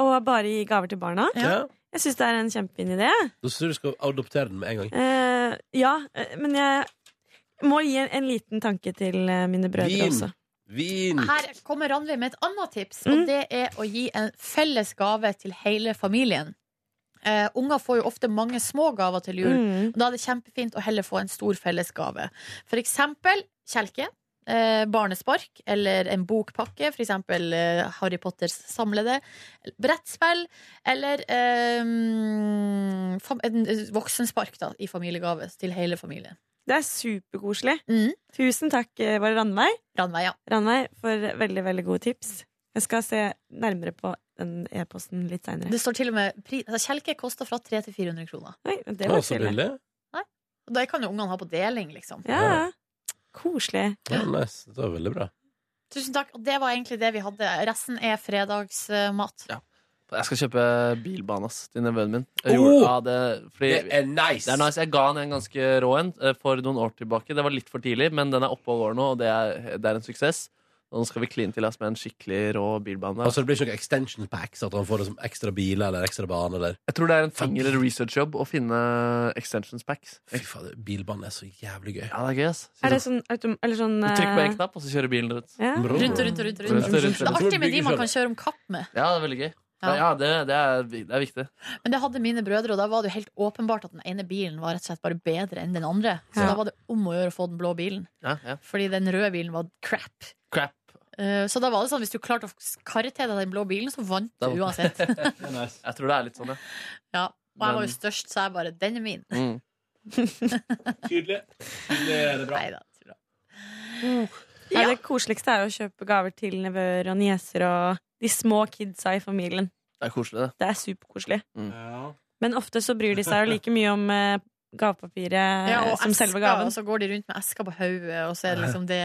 G: Og bare gi gaver til barna.
B: Ja.
G: Jeg syns det er en kjempefin idé.
A: Da synes jeg du skal adoptere den med en gang.
G: Eh, ja, eh, men jeg må gi en, en liten tanke til eh, mine brødre
A: Vin.
G: også.
A: Vin!
B: Her kommer Ranveig med et annet tips, og
G: Mm.
B: det er å gi en felles gave til hele familien. Eh, unger får jo ofte mange små gaver til jul,
G: Mm.
B: og da er det kjempefint å heller få en stor fellesgave. For eksempel kjelke, eh, barnespark eller en bokpakke. For eksempel eh, Harry Potters samlede. Brettspill. Eller eh, fam en voksenspark da, i familiegave til hele familien.
G: Det er superkoselig.
B: Mm.
G: Tusen takk, eh, var det Ranveig,
B: Ranveig, ja.
G: Ranveig, for veldig veldig gode tips. Jeg skal se nærmere på den e-posten litt seinere.
B: Det står til og med pri altså, Kjelke koster fra 300 til 400 kroner.
G: Det
A: Å,
G: var
A: så
G: trivelig.
A: billig.
B: Og det kan jo ungene ha på deling, liksom.
G: Ja, ja. Koselig.
A: Ja, nice. Det var veldig bra.
B: Tusen takk. Og det var egentlig det vi hadde. Resten er fredagsmat.
C: Jeg skal kjøpe bilbane ass, til nevøen min. Jeg
A: Oh!
C: gjorde- ja, det, fordi,
H: Det er nice!
C: det er nice. Jeg ga han en ganske rå en eh, for noen år tilbake. Det var litt for tidlig, men den er oppe og går nå, og det er, det er en suksess. Nå skal vi kline til oss med en skikkelig rå bilbane.
A: Altså, det blir ikke noen extension packs? At han får det som ekstra biler eller ekstra bane? Eller.
C: jeg tror det er en finger- eller researchjobb å finne extensions packs.
A: Fy fader, bilbane er så jævlig gøy.
C: Ja, det er gøy, ass.
G: Er det sånn autom... Eller sånn
C: Liksom- Du trykker på en
G: eh,
C: knapp, og så kjører bilen rundt.
G: ja.
B: Rundt
A: Bra.
B: og rundt og rundt. og
C: Rundt
B: rundt.
C: og rundt.
B: Det er artig med de man kan kjøre om kapp med.
C: Ja, det er veldig gøy.
B: Ja.
C: Ja, det, det, er, det er viktig.
B: Men det hadde mine brødre, og da var det jo helt åpenbart at den ene bilen var rett og slett bare bedre enn den andre. Så
G: Ja.
B: da var det om å gjøre å få den blå bilen,
C: Ja, ja.
B: fordi den røde bilen var crap.
C: Crap.
B: Eh, Så da var det sånn hvis du klarte å karre til deg den blå bilen, så vant
C: Da vant
B: du
C: du.
B: uansett.
C: Jeg tror det er litt sånn, ja.
B: Ja. Og jeg var jo
C: Men-
B: størst, så jeg bare Den er min.
C: Mm.
H: Tydelig. Tydelig er det bra.
B: Neida, det er bra.
G: Nei, Mm. Det koseligste er jo å kjøpe gaver til nevøer og nieser og de små kidsa i familien.
C: Det er koselig, det.
G: Det er superkoselig.
C: Mm.
H: Ja.
G: Men ofte så bryr de seg jo like mye om eh, gavepapiret
B: Ja,
G: eh,
B: og
G: som selve
B: esker,
G: gaven.
B: Og så går de rundt med esker på hodet, og så er det liksom det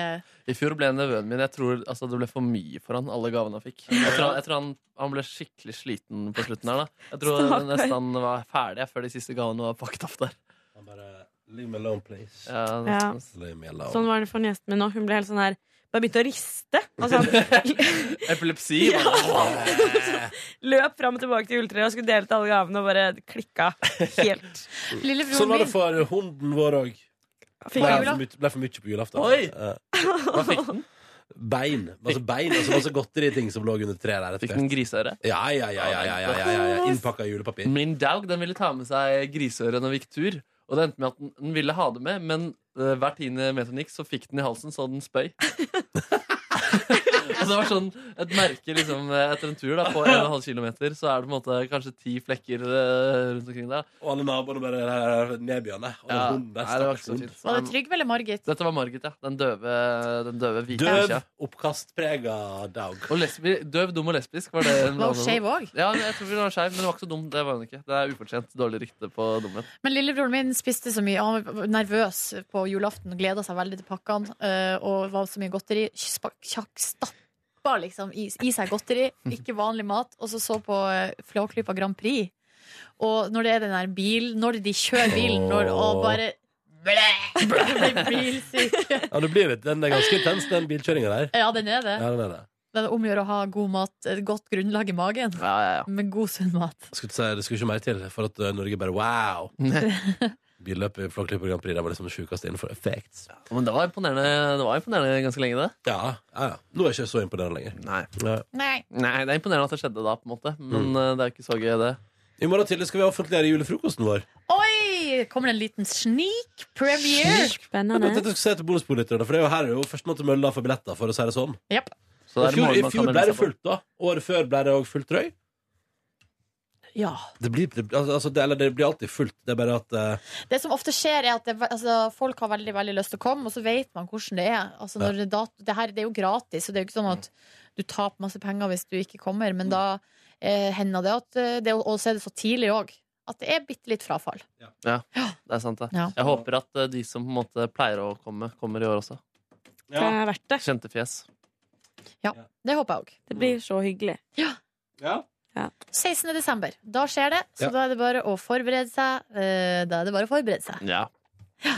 C: I fjor ble nevøen min Jeg tror altså, det ble for mye for han, alle gavene han fikk. Jeg tror, han, jeg tror han, han ble skikkelig sliten på slutten her, da. Jeg tror
G: Stakkar.
C: nesten han var ferdig jeg, før de siste gavene var pakket opp der.
A: Han bare Leave me alone, please.
C: Ja,
G: Ja.
C: nesten.
A: Leave me alone.
G: Sånn var det for niesen min nå. Hun ble helt sånn her bare begynte å riste. Altså, han
C: Epilepsi.
G: Ja. løp fram og tilbake til juletreet og skulle dele ut alle gavene og bare klikka helt.
A: Sånn
B: Lillebroren
A: var det
B: min
A: for hunden vår òg.
B: På
A: Ble,
G: Fikk
A: for
B: jula?
A: mye- ble for mye på julaften.
C: Oi!
A: Eh,
C: Hva fikk den?
A: Bein. Masse bein og så masse godteriting som lå under treet der. rett og
C: Fikk
A: slett.
C: den griseøre?
A: Ja, ja, ja, ja, ja, ja, ja, ja. Innpakka i julepapir.
C: Min daug den ville ta med seg griseøre når vi gikk tur. Og det endte med at den, den ville ha det med, men eh, hver tiende meter den gikk, så fikk den i halsen, så den spøy. og det var sånn et merke liksom, eh, etter en tur da, på 1,5 km, så er det på en måte kanskje ti flekker eh, rundt omkring der.
A: Og alle naboene bare nedbjørne. Og
C: Ja,
A: hunden der,
C: nei, det var
A: stakkars
C: ikke så
A: hund.
C: fint.
B: Var det Trygve eller Margit?
C: Dette var Margit, ja. Den døve, den døve hvite
A: Døv,
C: bikkja.
A: oppkastprega dog.
C: Og lesbi, døv, dum og lesbisk var det. hun
B: Var hun
C: hadde.
B: skeiv òg?
C: Ja, men jeg tror hun var skeiv, men hun var ikke så dum. Det var hun ikke. Det er ufortjent dårlig rykte på dumhet.
B: Men lillebroren min spiste så mye. Han var nervøs på julaften, gleda seg veldig til pakkene eh, og var så mye godteri. Spa- Kjakk stappa liksom i, i seg godteri, ikke vanlig mat, og så så på eh, Flåklypa Grand Prix. Og når det er den der bil Når de kjører bilen når, og bare Blæh! Blir bilsyk.
A: Ja, det blir litt, den er ganske intens, den bilkjøringa der.
B: Ja, den er det.
A: Ja, den er det.
B: Det er omgjør å ha god mat, et godt grunnlag i magen.
C: Ja, ja, ja.
B: Med god, sunn mat.
A: Skulle ikke si, det skulle ikke mer til for at eh, Norge bare wow! Billøpet i Flåklypa Grand Prix det var liksom det sjukeste innenfor effects.
C: Men det var imponerende, det var imponerende ganske lenge, det.
A: Ja, ja, ja. Nå er jeg ikke så imponerende lenger.
C: Nei.
A: Ja.
B: Nei.
C: det er imponerende at det skjedde da, på en måte. Men
A: Mm.
C: eh, det er ikke så gøy, det.
A: I morgen tidlig skal vi offentliggjøre julefrokosten vår.
B: Oi! Kommer det en liten sneak premiere?
A: Jeg tenkte
G: Spennende.
A: jeg skulle se til bonusbordlytterne, for det er jo her er jo førstemann til mølla for billetter, for å si det sånn.
B: Yep.
C: Så
A: Og I
C: det er
A: fjor,
C: morgen
A: i
C: man kan liksom-
A: fjor
C: melde
A: ble det
C: seg på.
A: fullt, da. Året før ble det òg fullt røy.
B: Ja.
A: Det blir, det, altså, det, eller det blir alltid fullt. Det er bare at eh,
B: Det som ofte skjer, er at det, altså, folk har veldig veldig lyst til å komme, og så vet man hvordan det er. Altså, når det, dat- det her det er jo gratis, så det er jo ikke sånn at du taper masse penger hvis du ikke kommer. Men da eh, hender det at eh, det, Og så er det så tidlig òg. At det er bitte litt frafall.
C: Det er sant, det.
B: Ja.
C: Jeg håper at eh, de som på en måte pleier å komme, kommer i år også.
G: Det er verdt det.
C: Kjente fjes.
B: Det håper jeg òg.
G: Det blir så hyggelig.
B: 16. desember. Da skjer det, så
A: Ja.
B: da er det bare å forberede seg. Eh, Da er det bare å forberede seg.
C: Ja.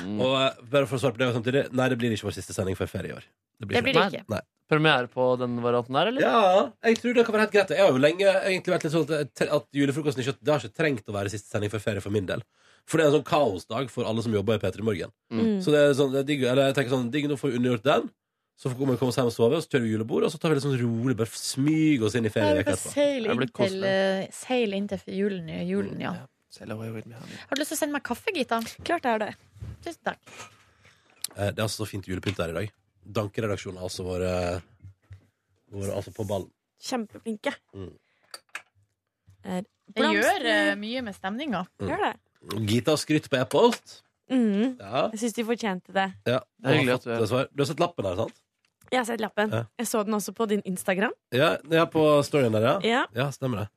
C: Mm.
A: Og eh, bare for å svare på det samtidig, nei, det blir ikke vår siste sending før ferie i år.
B: Det blir det ikke.
A: Nei.
C: Premiere på den varianten der, eller?
A: Ja, jeg tror det kan være helt greit. Jeg har jo lenge egentlig vært litt sånn at, at julefrokosten ikke, det har ikke trengt å være siste sending før ferie for min del. For det er en sånn kaosdag for alle som jobber i P3 Morgen.
G: Mm.
A: Så det er sånn, det er digg, eller jeg tenker sånn, digg, nå får vi undergjort den. Så kommer vi komme oss hjem og sove, og så kjører vi julebord, og så tar vi litt sånn rolig, bare smyger oss inn i
B: Ja,
A: ferie
B: vi
A: veka
B: kan
A: etterpå.
B: seile
C: Det blir
B: inn til, eh, seile inn til julen, julen, ja.
C: Sail away with me, honey.
B: Har du lyst til å sende meg kaffe, Gita?
G: Klart det er det.
B: Tusen takk.
A: Eh, Det er altså så fint julepynt her i dag. Dankeredaksjonen har altså vært vært altså på ballen.
G: Kjempeflinke.
A: Mm.
G: Er
B: Det gjør eh,
G: blomster-
B: mye med stemninga.
A: Mm.
G: Gjør det.
A: Gita har skrytt på e-post.
G: Mm.
A: Ja.
G: Jeg syns de fortjente det.
A: ja.
C: Det er hyggelig
A: Og har
C: at du
A: fått
C: er-
A: svar. Du har sett lappen her, sant?
G: Jeg har sett lappen.
A: Ja.
G: Jeg så den også på din Instagram.
A: Ja, ja på storyen der, ja.
G: Ja.
A: Ja, stemmer det.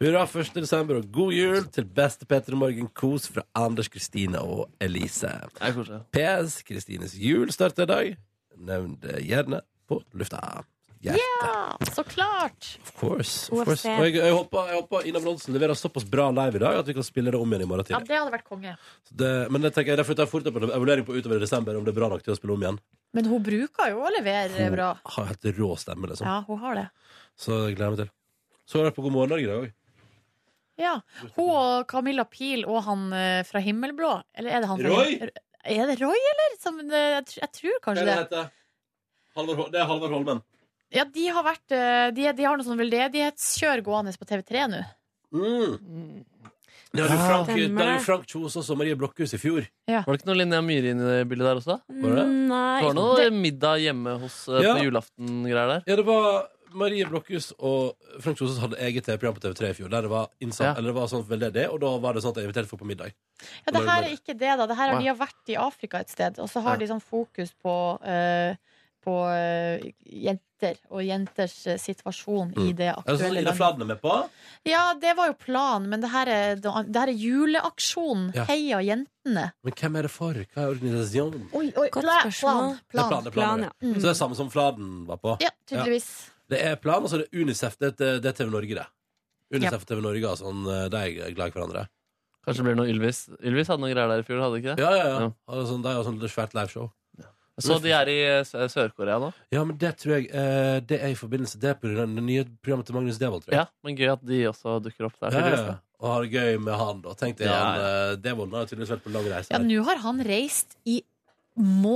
A: Hurra 1. desember og god jul til beste Peter Morgen Kos fra Anders, Kristine og Elise.
C: Det er koselig.
A: PS, Kristines jul starter i dag. Nevn det gjerne på lufta. Hjerte,
B: Ja, så klart!
A: of course. Of
G: OFC.
A: course. Og jeg, jeg, håper, jeg håper Ina Bronsen leverer såpass bra live i dag at vi kan spille det om igjen i morgen
B: Ja,
A: tidlig.
B: det hadde vært konge.
A: Så Det, men jeg tenker, derfor tar jeg fort opp en evaluering på utover i desember om det er bra nok til å spille om igjen.
B: Men hun bruker jo å levere bra.
A: Har helt rå stemme, liksom.
B: Ja, hun har det.
A: Så jeg gleder meg til. Så har jeg vært på God morgen Norge i dag òg.
B: Ja. Hun og Camilla Pil og han eh, fra Himmelblå. Eller er det han fra
H: Roy?
B: Him- Er det Roy, eller? Som, eh, jeg, tr- jeg tror
A: Hva
B: kanskje
A: er det
B: det.
A: han heter? Halvor Hol- Det er Halvard Holmen.
B: Ja, de har vært eh, De, de har noe sånn veldedighetskjør gående på TV3 nå.
A: Mm. Det hadde jo Frank,
G: Stemmer
A: det hadde jo
G: det.
A: Frank Kjos også, Marie Blokhus, i fjor.
C: Var det ikke noe Linnea Myhre inne i det bildet der også?
A: Var det?
G: Mm,
C: Det
G: Nei.
C: var noe middag hjemme hos eh,
A: Ja.
C: på julaften-greier der.
A: Ja, det var Marie Blokhus og Frank Kjosås hadde eget TV-program på TV3 i fjor. Der det var, innsatt,
C: Ja.
A: eller det var sånn veldedig, og da var det sånn at jeg inviterte folk på middag.
B: Ja, det her er ikke det, da. Det her har
C: Nei.
B: de har vært i Afrika et sted, og så har
A: Ja.
B: de sånn fokus på eh, på eh, jenter og jenters eh, situasjon i
A: Mm.
B: det
A: Er det sånn
B: aktuelle
A: Ida
B: landet.
A: Fladen er med på?
B: Ja, det var jo planen, men det her er, det her er juleaksjon.
A: Ja.
B: Heia jentene.
A: Men hvem er det for? Hva er organisasjonen? Det
B: Oi, oi,
G: Godt
B: pla-
G: spørsmål.
B: Plan. plan.
A: er plan, det er
G: Plan,
A: plan,
G: ja.
A: ja. Så det er samme som Fladen var på?
B: Ja, tydeligvis.
A: Det er plan, altså det er Unicef, det er, det er TV Norge, det. Unicef og TV Norge, altså, han, de er glad i hverandre.
C: Kanskje det blir noe Ylvis. Ylvis hadde noen greier der i fjor, hadde de ikke det?
A: Ja, ja, ja.
C: Ja.
A: Og sånn, de har sånn svært liveshow.
C: Så de er i eh, Sø- Sør-Korea nå?
A: Ja, men det tror jeg eh, det er i forbindelse Det er på grunn av det nye programmet til Magnus Devold, tror jeg.
C: Ja, men gøy at de også dukker opp der.
A: Ja,
C: tydeligvis,
A: ja.
C: da.
A: Og har det gøy med han, da. Tenkte jeg
C: Ja,
A: han, eh, Devold har jo tydeligvis vært på lang reise.
B: Ja,
A: her.
B: nå har han reist i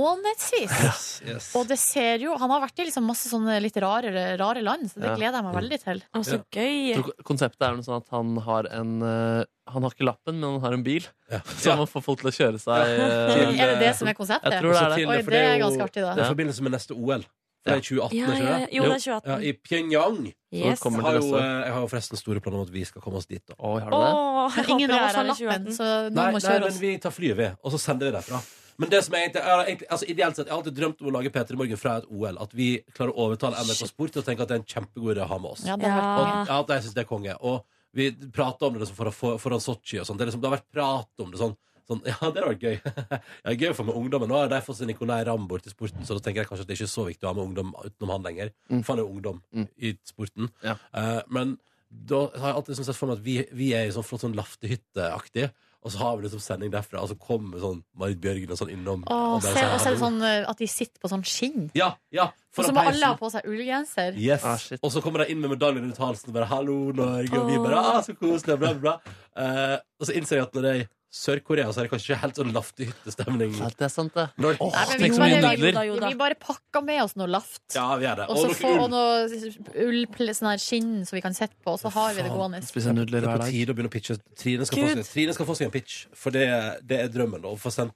B: månedsvis.
A: Yes, yes.
B: Og det ser jo Han har vært i liksom masse sånne litt rare, rare land, så det
C: Ja.
B: gleder jeg meg veldig til.
G: Å, så gøy.
C: Jeg tror Konseptet er noe sånn at han har en eh, Han har ikke lappen, men han har en bil.
A: Ja.
C: Så han må få folk til å kjøre seg eh,
A: Til,
B: Er det det
A: eh,
B: som er konseptet?
C: Jeg tror det er det.
A: til-
B: Oi,
A: for
B: det er
A: jo-
B: ganske artig, da.
A: Det er i forbindelse med neste OL. For det er i 2018,
G: Ja,
A: ikke
G: ja, ja.
A: det?
G: Jo, det er
A: Ja,
G: 2018.
A: I Pyongyang.
C: Så
G: Yes.
C: kommer
A: Har
C: til
A: jo,
C: neste år.
A: eh, jeg har jo forresten store planer om at vi skal komme oss dit. Da.
C: Oi, har du det?
G: Åh, jeg
B: Men ingen
G: håper
B: av
G: jeg
B: oss
G: er
B: har
G: her i
B: lappen,
G: 2018.
B: så
A: Nei,
B: noen må
A: nei
B: kjøre
A: men
B: oss.
A: vi tar flyet, vi. Og så sender vi derfra. Men det som jeg egentlig, jeg har egentlig altså ideelt sett, jeg har alltid drømt om å lage P3 Morgen fra et OL. At vi klarer å overtale NRK Sport til å tenke at det er en kjempegod idé å ha med oss.
B: Ja, det
G: Ja.
B: har
A: Og ja, at jeg synes det er konge. Og vi prater om det liksom, foran for, foran Sotsji og sånn. Det, er liksom, det har vært prat om det sånn. sånn ja, det hadde vært gøy. ja, gøy for med ungdommen. Nå har de fått sin Nicolay Ramm bort i sporten, så da tenker jeg kanskje at det er ikke så viktig å ha med ungdom utenom han lenger.
C: Mm.
A: For han er jo ungdom
C: Mm.
A: i sporten.
C: Ja.
A: Eh, men da har jeg alltid liksom, sett for meg at vi, vi er i sånn flott sånn laftehytteaktig. Og så har vi liksom sending derfra, og så kommer sånn Marit Bjørgen og sånn innom.
B: Åh,
A: bare
B: se, og så er det
A: sånn,
B: sånn eh, at de sitter på sånn skinn.
A: ja, ja,
B: Og så
A: foran
B: må
A: peisen.
B: alle ha på seg ullgenser.
A: Yes.
C: Ah, shit.
A: og så kommer de inn med medaljen rundt halsen og bare 'Hallo, Norge', og vi bare
G: Åh.
A: ah, 'Så koselig', bla, bla, bla. Eh, og så innser jeg at når det er i Sør-Korea, så er det kanskje ikke helt sånn laftehyttestemning.
C: Ja, det er sant, det.
A: Når-
B: Nei, men vi
C: Tenk så
B: bare-
C: mye
G: Jo
C: nudler.
G: da, jo da.
B: Vi bare pakker med oss noe laft.
A: Ja, vi er det.
B: Og så
A: noe
B: få
A: ull.
B: og noe ull, sånn her skinn som vi kan sitte på, og så har vi det
C: Faen,
B: gående.
C: Spise
A: Det
C: nudler
A: er
C: hver
A: på
C: dag.
A: tide å begynne å pitche. Trine skal, få
G: Gud.
A: seg, Trine skal få seg en pitch, for det, det er drømmen. da, Å få sendt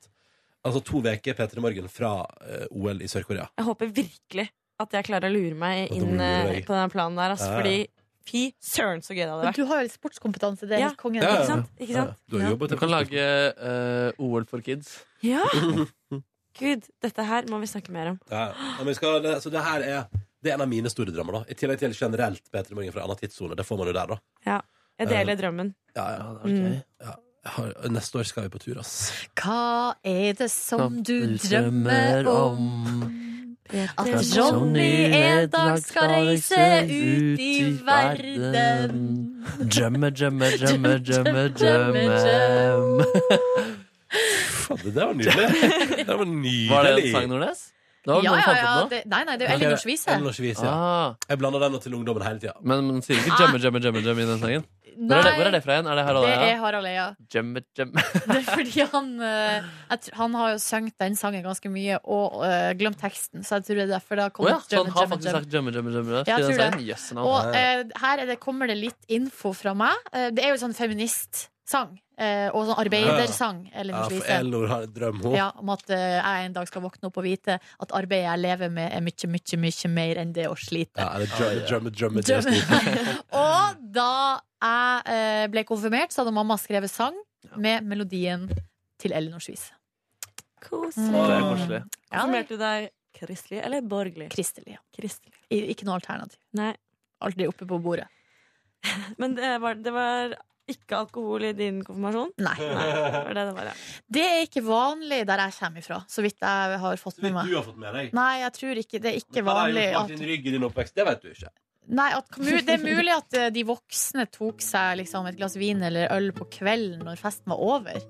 A: altså, to uker P3 Morgen fra eh, OL i Sør-Korea.
G: Jeg håper virkelig at jeg klarer å lure meg
A: Ja, du
G: inn
A: må lure
G: eh,
A: deg.
G: på den planen der. Altså,
A: Ja, ja.
G: fordi fy søren, så gøy det hadde
B: Men
G: vært.
B: du har jo litt sportskompetanse, det er
G: Ja.
B: litt liksom. kongen.
A: Ja, ja,
G: Ikke sant? Ikke
A: Ja,
G: sant?
A: du har jobbet
C: Du kan lage eh, OL for kids.
G: Ja! Gud, dette her må vi snakke mer om.
A: Ja, ja, men vi skal, det, så det her er, det er en av mine store drømmer. da I tillegg til generelt P3 Morgen fra en annen tidssone. Det får man jo der, da.
G: Jeg deler drømmen.
A: Ja, ja.
C: Ja, det er
B: Mm.
C: gøy.
A: Jeg har, neste år skal vi på tur, ass.
B: Hva er det som du drømmer om? At sånn
G: Drømmer.
B: Ronny en dag skal reise ut i verden.
C: Drømme, drømme, drømme, drømme,
B: Drømme,
C: drømme.
A: Fader, det var nydelig. Det var nydelig.
C: Var det en sang, Nordnes? Det var vel
B: Ja,
C: noen
B: ja,
C: fant
B: ja.
C: opp nå?
B: Det, nei, nei, det er jo Elinors vise.
A: Elinors vise, ja.
C: Ah,
A: Jeg blander den og til ungdommen hele tida.
C: men men den sier ikke drømme, drømme, drømme, drømme i den sangen. Hvor er det, hvor er det fra igjen? Er det her
B: Ah. Det
C: og
B: er
C: der?
B: Harald Eia.
C: Drømme, drømme.
B: Det er fordi han eh, jeg tr Han har jo sunget den sangen ganske mye og eh, glemt teksten, så jeg tror det er derfor det har
C: Å
B: kommet
C: ja, så han
B: drømme,
C: har
B: drømme,
C: faktisk
B: drømme.
C: sagt drømme, drømme,
B: Ja,
C: drømme. i den
B: tror det.
C: sangen. Jøss, navn.
B: Og eh, her er det, kommer det litt info fra meg. Eh, det er jo sånn feministsang. eh, og sånn arbeidersang.
A: Ja,
B: Elinors
A: for
B: vise.
A: Elinor har en drøm, hun.
B: Ja, om at eh, jeg en dag skal våkne opp og vite at arbeidet jeg lever med, er mye, mye, mye mer enn det å slite.
A: Ja, eller drømme, drømme, drømme, til
B: Drømme.
A: oss.
B: og da jeg eh, ble konfirmert, så hadde mamma skrevet sang med melodien til Elinors vise.
C: Det
G: Koselig.
C: er koselig.
B: Ja,
G: Konfirmerte du deg kristelig eller borgerlig?
B: Kristelig. ja.
G: Kristelig.
B: I, ikke noe alternativ.
G: Nei.
B: Aldri oppe på bordet.
G: Men det var, det var ikke alkohol i din konfirmasjon?
B: Nei.
G: Nei, det var det det var, ja.
B: Det er ikke vanlig der jeg kommer ifra, så vidt jeg har fått med meg.
A: har fått med deg.
B: Nei, jeg tror ikke det er ikke
A: Hva har
B: vanlig
A: gjort bak
B: at
A: din rygg i din oppvekst? Det vet du ikke.
B: Nei, at kommu- Det er mulig at eh, de voksne tok seg liksom, et glass vin eller øl på kvelden når festen var over.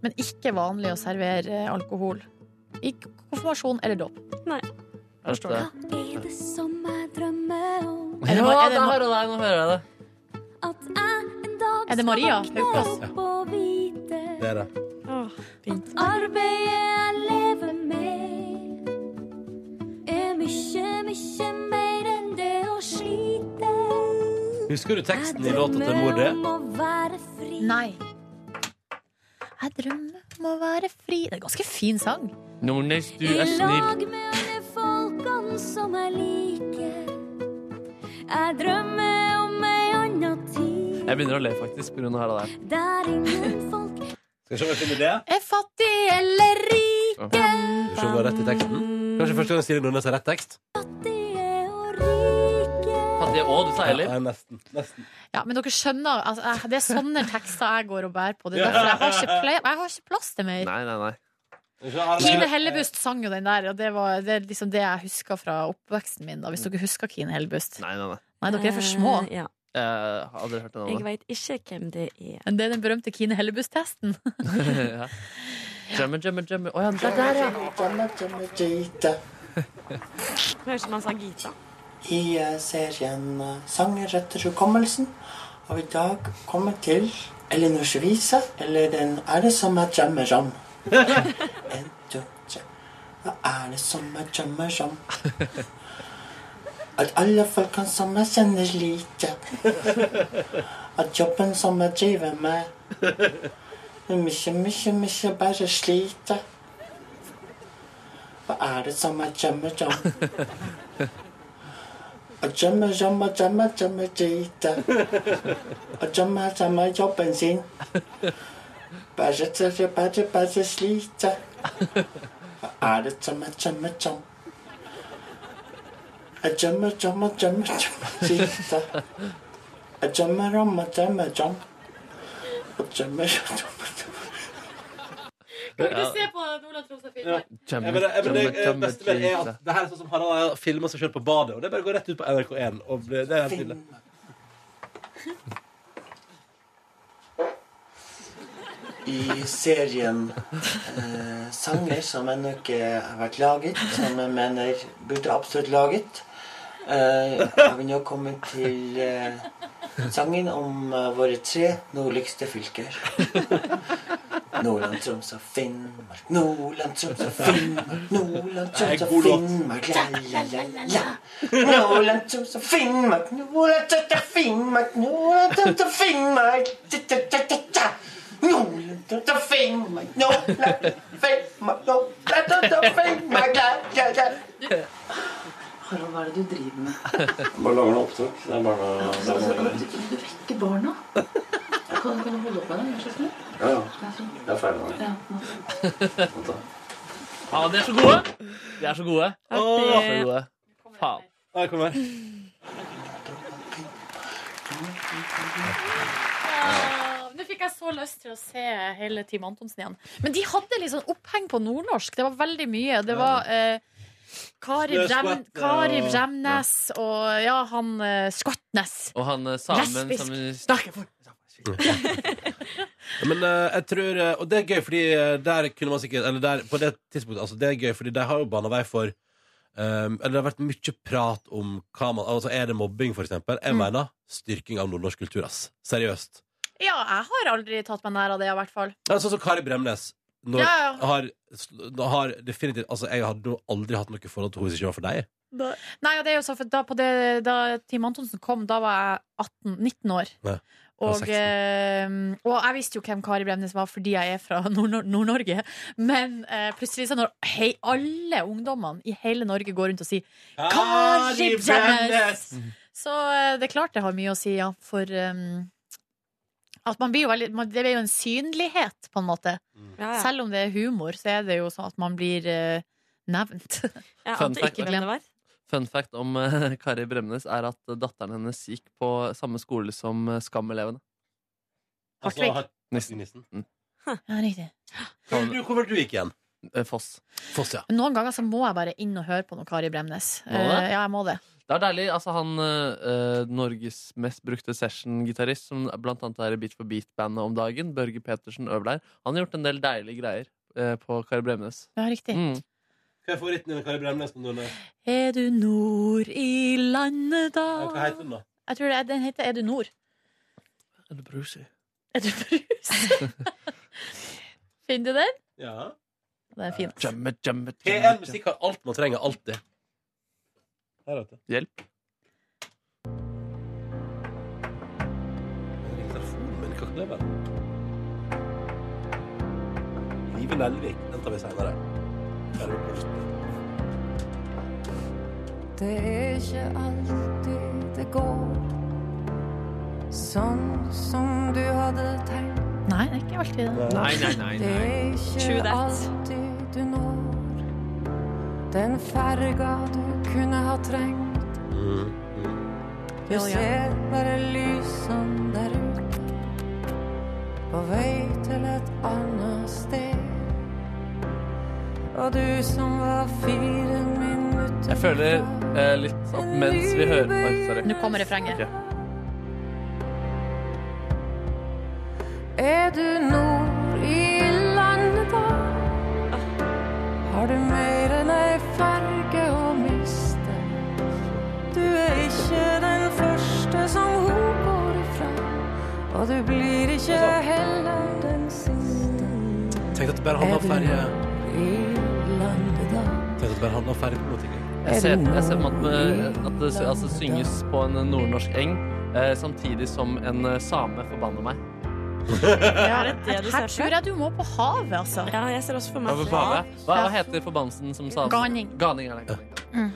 B: Men ikke vanlig å servere eh, alkohol i konfirmasjon eller dåp. Forstår
C: Dette-
I: Er det som jeg drømmer om?
B: Er det
C: Ja,
B: Mar- er det
C: der
B: Mar-
C: hører jeg deg, nå hører jeg det.
I: At jeg en dag
B: Er det Maria Haukås?
I: skal opp og vite
A: Det er det.
G: Åh, fint.
I: arbeidet jeg lever med, er mye, mye mer enn det å slite.
A: Husker du
I: Jeg
A: teksten i låta til mor di?
I: drømmer om å være fri.
B: Nei. Jeg drømmer om å være fri. Det er en ganske fin sang.
C: Nordnes, du
I: I
C: er snill.
I: lag med alle folkene som jeg liker. Jeg drømmer om ei anna tid.
C: Jeg begynner å le faktisk på grunn av her og der.
I: Der ingen folk
A: Skal vi se om jeg finner det?
B: Er fattig eller rik?
A: Skal vi se om du har rett i teksten?
G: Mm,
A: Kanskje første gang Silje Nordnes har rett tekst?
I: fattige og rike.
C: Fattige å, du sier Eilif.
A: Ja, nesten. nesten.
B: Ja, men dere skjønner, altså, jeg- det er sånne tekster jeg går og bærer på. Det er derfor jeg har ikke, ple- jeg har ikke plass til mer.
C: Nei, nei, nei.
A: Skal vi se, her er det-
B: Kine Hellebust sang jo den der, og det, var, det er liksom det jeg husker fra oppveksten min. da Hvis dere husker Kine Hellebust.
C: nei, nei, nei.
B: Nei, dere er for små.
G: Eh, Ja.
C: Jeg har aldri hørt den
G: Jeg
C: andre.
G: veit ikke hvem det er.
B: Men det er den berømte Kine Hellebust-testen.
C: ja. Jammer, jammer, jammer. Å ja, det er der, ja.
G: Høres ut som han sa Gita.
J: i eh, serien eh, Sanger etter hukommelsen. Og i dag kommer til Elinors vise, eller den er det som jeg drømmer om. En, to, tre. Nå er det sommertømmer som At alle folkene som jeg kjenner like At jobben som jeg driver med Det er mye, mye, mye bare slite Hva er det som jeg gjemmer om? Jeg gjemmer, gjemmer, gjemmer, gjemmer drite Jeg gjemmer, gjemmer jobben sin Bare, bare, bare, bare slite Hva er det som jeg gjemmer om? Jeg gjemmer, gjemmer, gjemmer, gjemmer drite Jeg gjemmer om, jeg gjemmer om Jeg gjemmer, gjemmer,
B: Kan ikke du se på Nordland, Troms og Finnmark?
A: Ja, men det, men det, eh, beste med det er at det her er sånn som Harald har filma seg sjøl på badet, og det bare går rett ut på NRK1. Og det, det er helt nydelig.
J: i serien eh, sanger som ennå ikke har vært laget, som jeg mener burde absolutt laget, eh, har vi nå kommet til eh, sangen om eh, våre tre nordligste fylker. Nordland, Troms og Finnmark. Nordland, Troms og Finnmark. Nordland, Troms og Finnmark. La, la, la, la, la. Nordland, Troms og Finnmark. Nordland, Troms og Finnmark. Nordland, Troms og Finnmark. Ta, ta, ta, ta, ta. Nordland, Troms og Finnmark. Nordland, Finnmark. Nordland, Troms og Finnmark. La, la, la.
K: Harald, hva er det du driver med?
L: Bare lager noe opptak. Det er bare det er bare-
K: Du, du vekker barna. Kan, kan du holde opp med det? Vær så snill?
L: Ja, ja.
K: Vær så snill.
L: Jeg er ferdig med
K: Ja,
L: det.
K: nå.
C: Ja, de er så gode! De er så gode.
L: Artig.
C: Åh, så gode. Faen.
B: Nå fikk jeg så lyst til å se hele Team Antonsen igjen. Men de hadde litt sånn oppheng på nordnorsk. Det var veldig mye. Det var eh, Kari, Brem,
C: Snøskvatt, ja.
B: Kari Bremnes og eh, ja, han eh, Skvattnes.
C: Og han eh, samen
B: Lesbisk.
C: som
B: Snakker for
A: Ja, Men eh, jeg tror eh, Og det er gøy, fordi eh, der kunne man sikkert Eller der, på det tidspunktet altså, Det er gøy, fordi de har jo bana vei for ehm, Eller det har vært mye prat om hva man Altså, er det mobbing, for eksempel?
B: Mm.
A: Jeg mener styrking av nordnorsk kultur, ass. Seriøst.
B: Ja, jeg har aldri tatt meg nær av det, i hvert fall.
A: Ja, Sånn som Kari Bremnes. Når,
B: Ja, ja.
A: Har, har definitivt Altså, jeg hadde jo aldri hatt noe forhold til henne hvis det ikke var for deg.
B: Nei, og det er jo så, for da, på det, da Team Antonsen kom, da var jeg 18, 19 år.
A: Nei.
B: Og,
A: Jeg var 16.
B: eh, og jeg visste jo hvem Kari Bremnes var fordi jeg er fra Nord- Nord-Norge. Men eh, plutselig, så når hei, alle ungdommene i hele Norge går rundt og sier Kari Bremnes! Så eh, det er klart det har mye å si, ja. For em, at man blir jo veldig man, Det er jo en synlighet, på en måte.
G: Ja, ja.
B: Selv om det er humor, så er det jo sånn at man blir eh, nevnt.
G: Ja,
C: Fun at ikke fact. hvem det
G: var.
C: Fun fact om eh, Kari Bremnes er at datteren hennes gikk på samme skole som eh, Skam-elevene.
A: Altså, har-
C: Nissen. Mm.
B: Ja, riktig.
A: Hvor du- hvor var det du gikk igjen?
C: Eh, Foss.
A: Foss, ja.
B: Noen ganger så må jeg bare inn og høre på noe Kari Bremnes.
C: Må du det?
B: Eh, ja, jeg må det.
C: Det er deilig. Altså, han eh, Norges mest brukte session-gitarist, som blant annet er i Beat for Beat-bandet om dagen, Børge Petersen Øverleir, han har gjort en del deilige greier eh, på Kari Bremnes.
B: Ja, riktig.
C: Mm.
A: Hva er favoritten din av Kari Bremnes? på Nordnorsk?
B: Er du nord i landet, da?
A: Ja, Hva heter den, da?
B: Jeg tror det er, den heter Er du nord?
C: Er du brucy?
B: Er du brus? Finner du den?
A: Ja.
B: Den er fin.
C: Jamme, jamme, jamme,
A: P1 Musikk har alt man trenger, alltid. Der, vet du.
C: Hjelp.
A: Telefonen min, hva kan det være? Live Nelvik, den tar vi senere. Der er vi på slutten.
M: Det er ikke alltid det går sånn som du hadde tenkt.
B: Nei, det er ikke alltid det.
M: Nei,
B: nei,
M: Det er ikke alltid du når den ferga du kunne ha trengt. Du ser bare lysene der ute, på vei til et annet sted. Og du som var fire minutter
C: Jeg føler eh, litt at mens vi hører Oi, sorry.
B: Nå kommer refrenget.
C: Ok.
M: Er du nord i landet da? Har du mer enn ei farge å miste? Du er ikke den første som hun går ifra, og du blir ikke heller den siste
A: Tenk at det bare handler om ferje.
M: i landet da.
A: vet at det bare handler om ferdigpolitikk.
C: Jeg ser, jeg ser for meg at, eh, at det s- altså, synges på en nordnorsk eng eh, samtidig som en eh, same forbanner meg.
B: Her tror jeg du må på havet, altså.
G: Ja, jeg ser også for
C: Hva, hva, hva heter forbannelsen som same?
B: Ganing.
C: Ganing er det.
A: Um,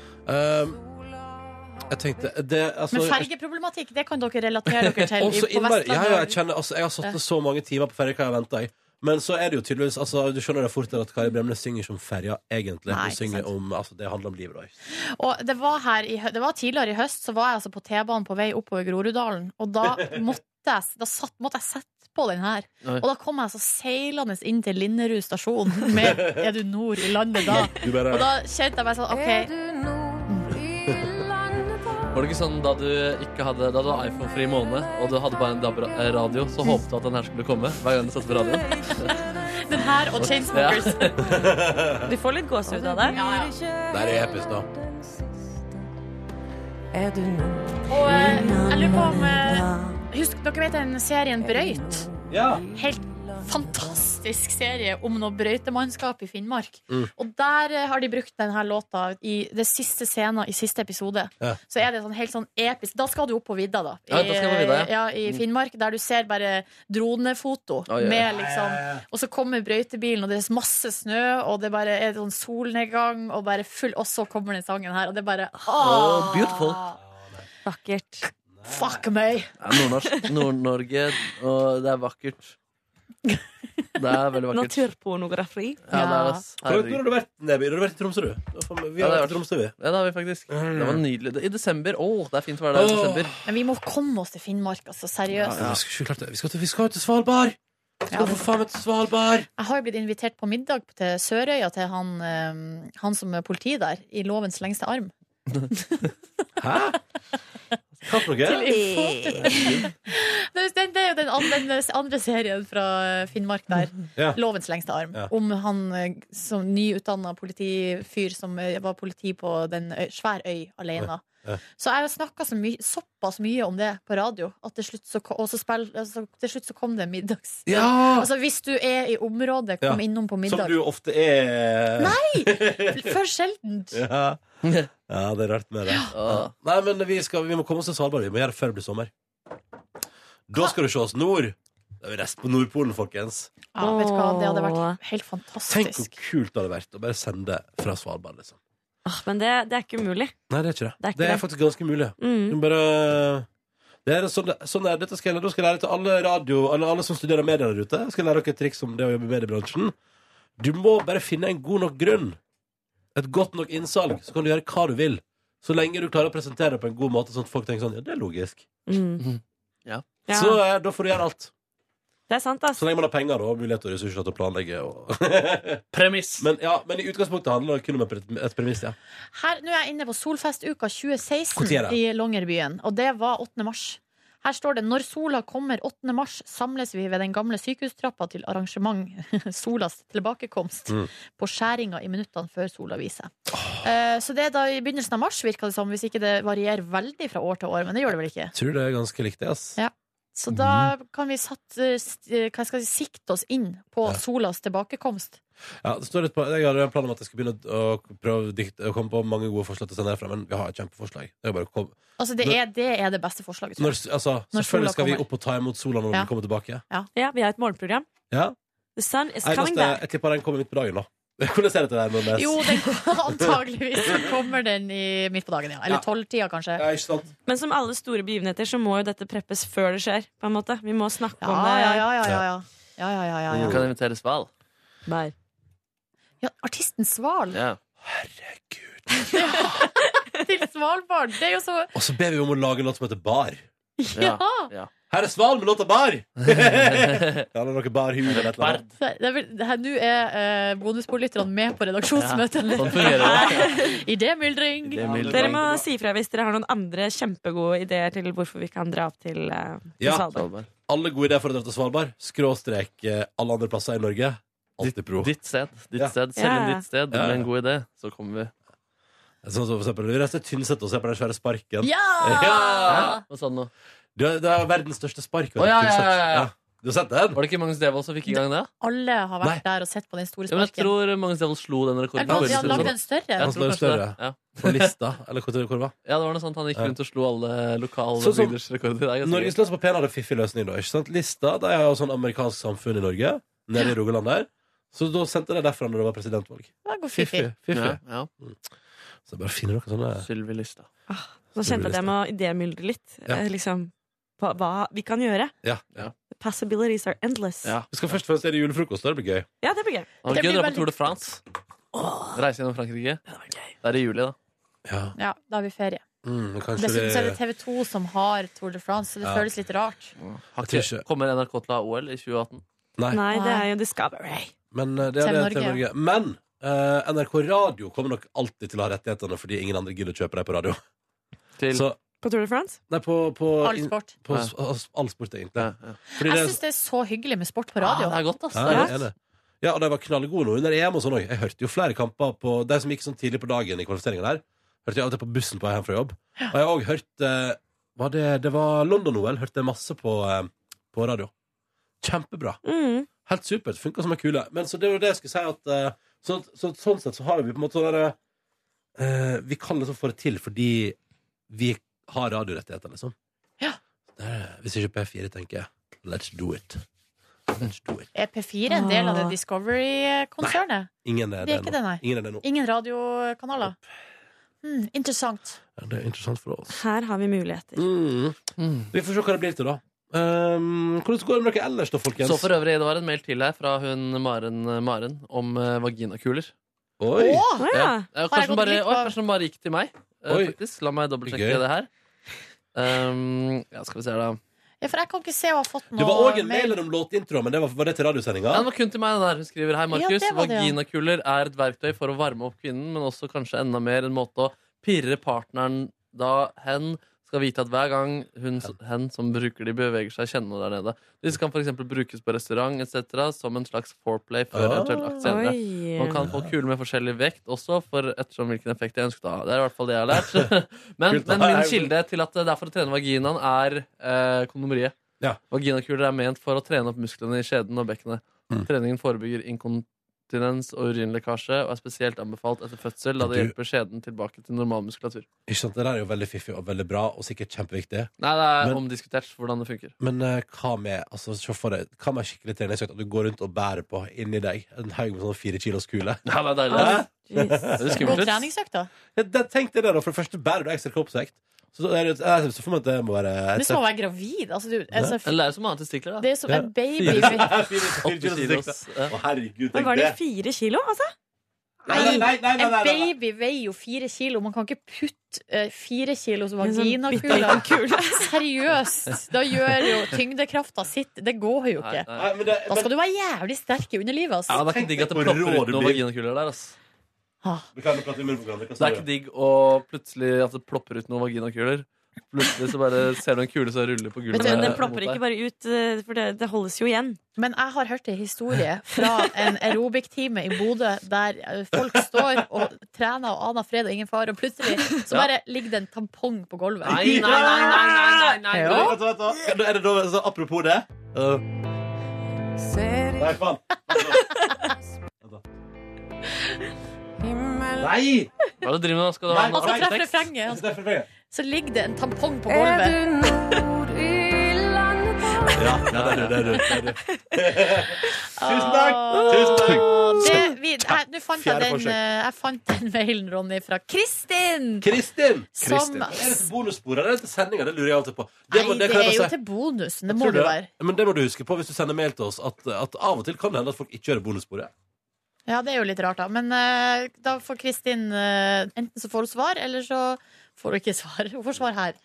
A: jeg tenkte det, altså,
B: Men fergeproblematikk, det kan dere relatere dere til
A: Også
B: i- på
A: innmari- ja, ja, jeg,
B: Vestlandet.
A: kjenner, altså, jeg har satt
B: Ja.
A: det så mange timer på ferjekaia og venta. Men så er det jo tydeligvis altså, Du skjønner det fort at Kari Bremnes synger ikke om ferja, egentlig.
B: Nei,
A: Hun
B: ikke
A: synger
B: sant.
A: om, altså, det handler om livet da.
B: Og det var, her i, hø- det var tidligere i høst, så var jeg altså på T-banen på vei oppover Groruddalen, og da måtte jeg, da satt, måtte jeg sette på den her.
A: Oi.
B: Og da kom jeg altså seilende inn til Linderud stasjon med Er du nord i landet da?
C: Du bare-
B: Og da kjente jeg bare sånn OK.
C: Var det ikke sånn da du ikke hadde Da du hadde iPhone-fri måned, og du hadde bare en DAB-radio, så håpet du at den her skulle komme hver gang du satte på radioen?
B: Den her og Chainsmokers.
C: Ja.
G: Du får litt gåsehud av det.
A: Der er episk, da.
M: Er du nå
B: Og eh, jeg lurer på om eh, Husk, dere vet den serien Brøyt? Helt fantastisk serie om noe brøytemannskap i Finnmark.
M: Mm.
B: Og der eh, har de brukt denne låta i det siste scenen i siste episode.
M: Ja.
B: Så er det sånn helt sånn episk Da skal du opp på vidda, da.
M: Ja, da skal jeg på vidda, ja.
B: ja, I
M: Mm.
B: Finnmark, der du ser bare dronefoto.
M: Oi, oi.
B: Med
M: Ja,
B: liksom
M: ja, ja.
B: Og så kommer brøytebilen, og det er masse snø, og det bare er sånn solnedgang, og bare full Og så kommer den sangen her, og det er bare
C: Oh, beautiful.
B: Vakkert. Fuck meg!
C: Ja, Nordnorsk. Nord-Norge, og det er vakkert. Det er veldig vakkert.
G: Naturpornografi.
C: Ja, det er det, ass.
A: Hvor hvor har du vært, Neby? Har du vært i Tromsø, du? Da får Vi vi
C: Ja,
A: har
C: det har
A: vært i Tromsø, vi.
C: Ja, det har vi faktisk. Det var nydelig. Det- I desember. Å, det er fint å være der i desember.
B: Men vi må komme oss til Finnmark, altså. Seriøst.
A: Ja, vi skal ikke klart det. Vi skal til, vi skal til Svalbard! Vi skal for faen til Svalbard!
B: Jeg har jo blitt invitert på middag til Sørøya til han, eh, han som er politi der, i lovens lengste arm.
A: Hva for
B: Til info.
G: Eh.
A: noe?
B: Det, er- det er jo den andre, den andre serien fra Finnmark der.
A: Ja.
B: Lovens lengste arm.
A: Ja.
B: Om han eh, som nyutdanna politifyr som eh, var politi på den øy, svær øy alene.
A: Ja.
B: Så jeg har snakka så my såpass mye om det på radio, at til slutt så, ko- og så, spill, altså, til slutt så kom det en middags...
A: Ja!
B: Altså, hvis du er i området, kom
A: Ja.
B: innom på middag.
A: Som du ofte er.
B: Nei! For sjeldent.
A: Ja. ja, det er rart med det. Ja. Nei, men vi, skal, vi må komme oss til Svalbard. Vi må gjøre det før det blir sommer. Da skal du se oss nord. Da er vi rest på Nordpolen, folkens.
B: Ja, vet du hva, det hadde vært helt
A: Tenk hvor
B: fantastisk.
A: kult det hadde vært å bare sende fra Svalbard, liksom.
G: Åh, Men det, det er ikke umulig.
A: Nei, det er ikke det.
G: Det er ikke
A: det er
G: det.
A: faktisk ganske mulig.
G: Mm.
A: Du må bare det er sånn, sånn er, dette skal jeg, Da skal jeg lære til alle radio alle, alle som studerer media der ute. Jeg skal lære dere et triks om det å jobbe i mediebransjen. Du må bare finne en god nok grunn. Et godt nok innsalg. Så kan du gjøre hva du vil. Så lenge du klarer å presentere det på en god måte, sånn at folk tenker sånn Ja, det er logisk.
C: Ja.
A: Så eh, da får du gjøre alt.
G: Mm. Det er sant, altså. ass.
A: Så lenge man har penger og mulighet og ressurser til å planlegge. Og...
C: premiss.
A: Men, ja, men i utgangspunktet handler det kun om et pre- et premiss, ja.
B: Her, nå er jeg inne på Solfestuka
A: Hvor tid
B: 2016
A: er det?
B: i Longyearbyen, og det var 8. mars. Her står det 'Når sola kommer 8. mars, samles vi ved den gamle sykehustrappa til arrangement solas tilbakekomst'
M: Mm.
B: på skjæringa i minuttene før sola viser. Eh, så det er da i begynnelsen av mars, virker det som, hvis ikke det varierer veldig fra år til år. Men det gjør det vel ikke?
A: Tror det er ganske likt, det, ass.
B: Ja. Så da
A: Mhm.
B: kan vi satt, eh, st- eh, hva skal jeg si, sikte oss inn på solas tilbakekomst.
A: Ja, det står et par, jeg hadde en plan om at jeg skulle begynne å å prøve å dikte, å komme på mange gode forslag til å sende herfra, men vi har et kjempeforslag. Det er bare å komme.
B: Altså, det er det, er det beste forslaget, tror
A: Når,
B: jeg.
A: altså,
B: Når sola
A: selvfølgelig skal vi
B: kommer.
A: opp og ta imot sola når
B: Ja.
A: den kommer tilbake.
B: Ja.
G: vi har et morgenprogram.
A: Ja.
G: The sun is
A: Nei,
G: coming
A: neste,
G: back.
A: jeg tipper den kommer midt på dagen, da. Hvordan ser det til deg, Nordnes?
B: Jo, den, antageligvis så kommer den i, midt på dagen, ja. Eller
G: Ja.
B: tolvtida, kanskje.
G: Men som alle store begivenheter så må jo dette preppes før det skjer. På en måte. Vi må snakke om det.
B: ja, ja, ja, ja, ja. Ja, ja, ja, ja, ja.
A: Mm.
C: Kan invitere Sval.
B: ja artisten Sval
C: Ja.
B: til Svalbard. Det er jo så
A: Og så ber vi om å lage en låt som heter Bar.
B: Ja!
A: Her er Sval med låta Bar! Eller noe barhue eller et eller annet.
B: Det er vel- det her- Nå er eh, bonusbordlytterne med på redaksjonsmøtet.
A: Ja, sånn fungerer
B: Idémyldring.
G: Dere må si ifra hvis dere har noen andre kjempegode ideer til hvorfor vi kan dra opp til, eh, til
A: Ja.
G: Svalbard.
A: Alle gode ideer for å dra til Svalbard. Skråstrek eh, alle andre plasser i Norge. Alltid pro.
C: Ditt sted. Ditt
A: Ja.
C: sted. Selv
A: Ja,
C: om
A: ja.
C: ditt sted
A: Ja,
C: blir
A: ja.
C: en god idé, så kommer vi.
A: Sånn som for eksempel, Vi reiste til Tynset og ser på den svære sparken.
C: Ja!
A: Ja!
C: Hva sa du nå?
A: Det, det er verdens største spark. vet du,
C: Å, ja,
A: Tynset.
C: ja, ja, ja.
A: Du har sett den?
C: Var det ikke Magnus Devold som fikk i gang det?
B: Alle har vært der og sett på den store
C: Ja, men jeg
B: sparken.
C: tror Magnus Devold slo den rekorden.
B: Eller han-
C: på
B: han
C: Wilson.
B: lagde en større.
C: Jeg
A: Han
C: tror
A: slår en
C: kanskje det.
A: større.
C: Ja.
A: På lista, eller hvor, hvor det var.
C: Ja, det var noe sånt. Han gikk
A: Ja.
C: rundt og slo alle lokale
A: Sånn som-
C: bydels rekorder. Det er ganske
A: Norges
C: gøy.
A: Løs på P-en hadde fiffig løsning da, ikke sant? Lista, det er jo sånn amerikansk samfunn i Norge, nede i Rogaland der. Så da sendte de derfra når det var presidentvalg.
B: Det går fiffig.
A: fiffig.
C: Ja,
A: Så bare finner dere sånne...
C: Sylvi Lista.
G: Nå kjente jeg at jeg må idémyldre litt.
A: Ja.
G: Eh, Liksom, hva, hva vi kan gjøre.
A: Ja, ja.
G: Possibilities are endless.
C: Ja.
A: Vi skal først og fremst gjøre julefrokost, det blir gøy.
G: Ja, det blir gøy.
C: Det var
G: Det
C: gøy å
G: blir
C: dra på
G: veldig-
C: Tour de France. Reise gjennom Frankrike. Det er i juli, da.
B: Ja, da har vi ferie.
A: Mm, kanskje
B: Dessuten så er det
A: vi...
B: TV 2 som har Tour de France, så det
A: Ja.
B: føles litt rart.
C: Har ikke- Kommer NRK til å ha OL i 2018?
A: Nei.
G: Nei, det er jo Discovery.
A: Men eh, det er det
G: TV
A: til Norge.
G: Norge.
A: Men eh, NRK Radio kommer nok alltid til å ha rettighetene fordi ingen andre gidder å kjøpe dem på radio. Så,
G: På Tour de France?
A: nei, på, på,
B: All
A: in-
B: sport.
A: På, s- s- all sport, egentlig. Fordi
B: Jeg
A: det,
B: syns det er så hyggelig med sport på radio.
C: Ah, det er godt, ass.
A: ja, jeg er enig. ja, og de var knallgode nå under EM og sånn òg. Jeg hørte jo flere kamper på de som gikk sånn tidlig på dagen i kvalifiseringa der. Hørte jeg av og til på bussen på vei hjem fra jobb. Og jeg har òg hørt eh, var det, det var London-OL. Hørte jeg masse på, eh, på radio. Kjempebra.
G: Mm.
A: Helt supert. Funka som ei kule. Men så det var det jeg skulle si at eh, så, så, Sånn sett så har vi på en måte sånn derre eh, Vi kan liksom få det til fordi vi har radiorettigheter, liksom. Det er, hvis ikke P4 tenker jeg let's do it.
B: E Er P4 en del av
G: Ah.
B: det Discovery-konsernet?
A: Ingen
B: Det
A: er det,
B: er ikke det,
A: nå.
B: nei.
A: Ingen er det nå.
B: Ingen radiokanaler? Hmm, interessant.
A: Ja, det er interessant for oss.
G: Her har vi muligheter.
A: Mm. Vi får se hva det blir til, da. Um, hvordan går det med dere ellers, da, folkens?
C: Så for øvrig, det var en mail til her fra hun Maren, Maren om eh, vaginakuler.
A: Oi!
G: Å, ja.
C: Ja,
G: Har jeg
C: Kanskje
G: gått
C: den bare,
G: glipp
C: oi,
G: av-
C: kanskje den bare gikk til meg, eh,
A: Oi.
C: faktisk. La meg dobbeltsjekke
A: Gøy.
C: det her. Um, ja, skal vi se her, da.
B: Ja, for jeg kan ikke se å ha fått noe
A: Det var òg en mail om låtintro, men det var, var det til radiosendinga?
C: Ja, den var kun til meg, den der. Hun skriver Hei, Markus.
B: Ja, det var det, ja.
C: Vaginakuler er et verktøy for å varme opp kvinnen, men også kanskje enda mer en måte å pirre partneren da hen skal vite at hver gang hun, hen som bruker de, beveger seg, kjenner noe der nede. Disse kan f.eks. brukes på restaurant etc. som en slags foreplay før
A: Ah,
C: eventuell akt senere.
A: oi.
C: Man kan få kuler med forskjellig vekt også, for ettersom hvilken effekt jeg ønsket å ha. Det er i hvert fall det jeg har lært. men,
A: Kult, da.
C: men min kilde til at det er for å trene vaginaen, er eh, kondomeriet.
A: Ja.
C: Vaginakuler er ment for å trene opp musklene i skjeden og bekkenet. Treningen forebygger inkontinens og urinlekkasje og er spesielt anbefalt etter fødsel, da det
A: Du-
C: hjelper skjeden tilbake til normal muskulatur.
A: Ikke sant, Det der er jo veldig fiffig og veldig bra, og sikkert kjempeviktig.
C: Nei, det er
A: Men-
C: omdiskutert hvordan det funker.
A: Men eh, hva med altså, se for deg, hva med skikkelig treningsøkt at du går rundt og bærer på inni deg en haug med sånn fire kilos kule?
C: Ja, det er deilig.
A: Hæ?
C: Jeez. Det er skummelt.
B: God treningsøkt, da.
A: Ja, det- Tenk deg det, da. For det første bærer du ekstra kroppsvekt. Så da er det, jeg ser for meg at det må være
B: Du
A: et
B: som
A: sett-
B: må være gravid. Altså, du, altså,
A: Ja. Eller
C: er det som å ha testikler,
B: Det er som
A: Ja.
B: en baby.
A: Fire-
B: med-
A: fire- fire kilos testikler. Å, herregud,
G: Men
A: tenk
G: var det
A: det.
G: fire kilo, altså?
A: Nei, nei, nei, nei,
B: En
A: nei, nei.
B: baby veier jo fire kilo. Man kan ikke putte eh, fire kilos
G: En sånn bitte
B: vaginakule.
G: liten kule.
B: Seriøst! Da gjør jo tyngdekrafta sitt. Det går jo ikke.
C: Nei, nei.
B: Da skal du være jævlig sterk i underlivet. altså. ass.
C: Ja, det er ikke digg at det
A: hvor
C: plopper
A: rå
C: ut
A: du
C: noen
A: blir.
C: vaginakuler der, ass.
B: Ah.
A: Du kan jo prate i munnen på hverandre. Hva
C: Det
A: sa
C: er
A: du?
C: ikke digg å plutselig at det plopper ut noen vaginakuler. Plutselig så bare ser du en kule som ruller på gulvet.
G: Vet du, Den
C: mot
G: plopper
C: deg.
G: ikke bare ut, eh, for det, det holdes jo igjen.
B: Men jeg har hørt en historie fra en aerobic-time i Bodø der eh, folk står og trener og aner fred og ingen far, og plutselig så bare ligger det en tampong på gulvet.
C: Nei, nei, nei, nei, nei, nei, nei.
B: Jo.
A: Vent, vent, vent, vent. Er det da, så apropos det øh, Nei, faen. Nei!
C: Hva er det du driver med nå? Skal du ha
B: Han skal
C: noe
G: altså,
B: treffe
C: arkitekts?
B: refrenget. Han skal- Så ligger det en tampong på
M: Er
B: gulvet.
M: du nord i landet
A: Ja, ja, det er du. det er du, det er du. Tusen takk! Tusen takk.
B: Åh, det, vi, jeg, nå fant jeg,
A: Fjerde
B: den,
A: forsøk.
B: eh, jeg fant den mailen, Ronny, fra Kristin!
A: Kristin!
B: Som-
A: Kristin. Er det til bonussporet eller er det til sendinga? Det lurer jeg alltid på.
B: Nei,
A: må-
B: det
A: kan
B: er
A: jeg bare
B: jo
A: si.
B: til bonusen. Det
A: Jeg
B: må
A: tror
B: det være.
A: Men det må du huske på hvis du sender mail til oss, at, at av og til kan det hende at folk ikke gjør bonussporet.
B: Ja, det er jo litt rart, da. Men eh, da får Kristin eh, Enten så får hun svar, eller så får hun ikke svar. Hun får svar her.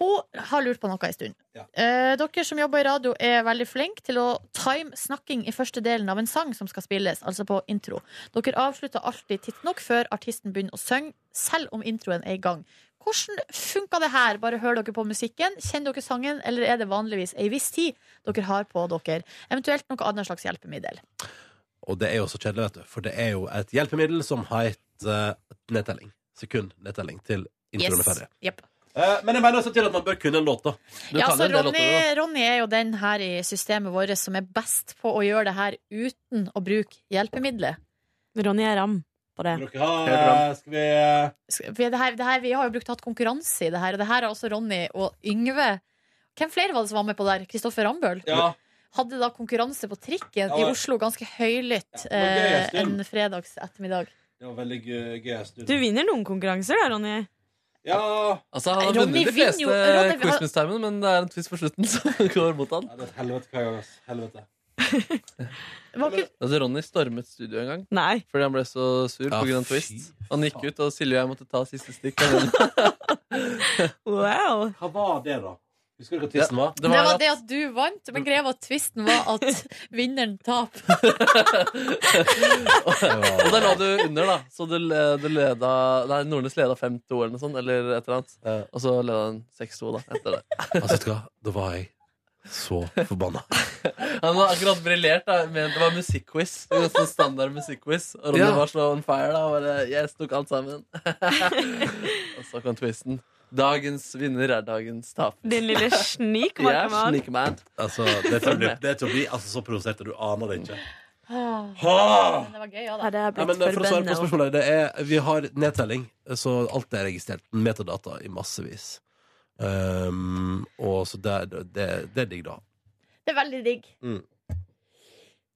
B: Hun har lurt på noe en stund. Eh, dere som jobber i radio, er veldig flinke til å time snakking i første delen av en sang som skal spilles, altså på intro. Dere avslutter alltid tidsnok før artisten begynner å synge, selv om introen er i gang. Hvordan funka det her? Bare hører dere på musikken? Kjenner dere sangen, eller er det vanligvis ei viss tid dere har på dere? Eventuelt noe annet slags hjelpemiddel.
A: Og det er jo så kjedelig, vet du. For det er jo et hjelpemiddel som heter eh, nedtelling. Sekund nedtelling til introen er ferdig.
B: Jepp.
A: Eh, Men jeg mener også til at man bør kunne en låt, da. Du
B: Ja,
A: kan
B: altså,
A: en del
B: Ronny,
A: låter,
B: Ronny er jo den her i systemet vårt som er best på å gjøre det her uten å bruke hjelpemidler.
G: Ronny er ram på det.
A: da. Ja, eh, skal vi
B: Skal- for Det her, det her, vi har jo brukt hatt konkurranse i det her, og det her har også Ronny og Yngve. Hvem flere var det som var med på der? Kristoffer Rambøll?
A: Ja.
B: Hadde da konkurranse på trikken
A: Ja,
B: i
A: men-
B: Oslo ganske høylytt
A: var gøy en
B: eh,
A: stund.
B: en fredags ettermiddag.
A: Det var veldig gøy. gøy en stund.
G: Du vinner noen konkurranser da, Ronny.
A: Ja.
C: Altså, han har
G: Ronny
C: vunnet de
G: vinner
C: fleste
G: jo- Ronny- han-
C: Quizmiss-timene, men det er en twist på slutten som går mot han.
A: det er et helvete hver gang, ass. Helvete.
C: Altså, Ronny stormet studio en gang
G: Nei.
C: fordi han ble så sur på grunn av twist. Han gikk ut, og Silje og jeg måtte ta siste stikk. av den.
G: Wow.
A: Hva var det, da? Husker du hva tissen var?
B: Det var, det at du vant, men greia var at tvisten var at vinneren taper.
C: Og da lå du under, da. Så du, le- du leda Nei, Nordnes leda 5-2 eller noe sånt. Eller et eller annet. Og så leda han 6-2 da, etter det.
A: Altså, vet du hva? Da var jeg så forbanna.
C: Han har akkurat briljert. da men Det var musikkquiz. Det var Sånn standard musikkquiz. Og Ronny
A: Ja.
C: var så on fire. da og bare, Yes, tok alt sammen. og så kom twisten. Dagens vinner er dagens taper.
G: Din lille snik,
C: Ja,
G: Markemann.
C: snikmann.
A: Altså, det tror jeg blir- det tror jeg blir altså, så provosert at du aner det ikke. Ha!
B: Men det var gøy, ja,
G: da.
A: Ja, men eh, for å svare på spørsmålet det er, Vi har nedtelling, så alt er registrert. Metadata i massevis. Um, og så det, er- det, det er digg, da.
B: Det er veldig digg.
A: Mm.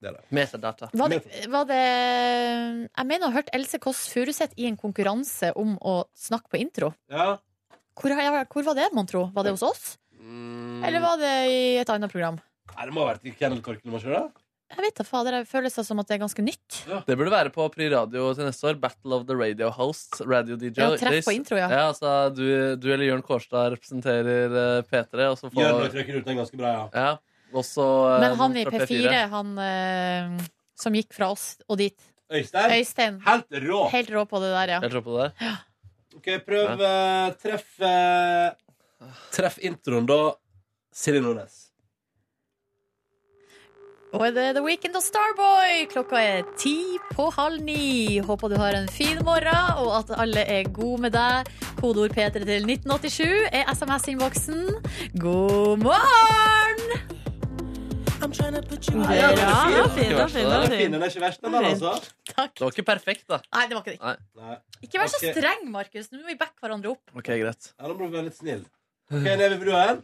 A: Det er det.
C: Metadata.
B: Var det, var det Jeg mener å ha hørt Else Kåss Furuseth i en konkurranse om å snakke på intro.
A: Ja.
B: Hvor, har- hvor var det, mon tro? Var det hos oss? Eller var det i et annet program?
A: Nei, det må ha vært i Kenneltorken. må ikke det?
B: Jeg vet da fader. Det føles det som at det er ganske nytt.
C: Det burde være på Pri Radio til neste år. Battle of the Radio Hosts. Radio DJ.
B: Ja, treff på intro, ja.
C: altså, du, du eller Jørn Kårstad representerer eh, P3. Og så får,
A: Gjør nok røyker ut den ganske bra, ja.
C: ja. Og så eh,
B: Men han i
C: fra
B: P4, han eh, som gikk fra oss og dit.
A: Øystein? Helt rå.
B: Helt rå på det der, ja.
C: Jeg tror på det.
A: OK, prøv eh, treff eh, Treff introen, da. Silje Nordnes.
B: Og er det The Weekend og Starboy. Klokka er ti på halv ni. Håper du har en fin morgen, og at alle er gode med deg. Kodeord P3 til 1987 er SMS-innboksen. God morgen!
C: Nei, ja, den er
B: Ja,
C: fin.
B: den er fin, den er fin, den er
C: Den er fin, den er ikke verst, den der, altså.
A: sånn.
C: Det var ikke perfekt, da.
B: Nei, det var ikke det.
C: Nei.
B: Ikke vær så
A: Ok.
B: streng, Markus. Nå må vi backe hverandre opp.
C: Ok, greit.
A: Ja, da må du være litt snill. OK, ned ved brua her.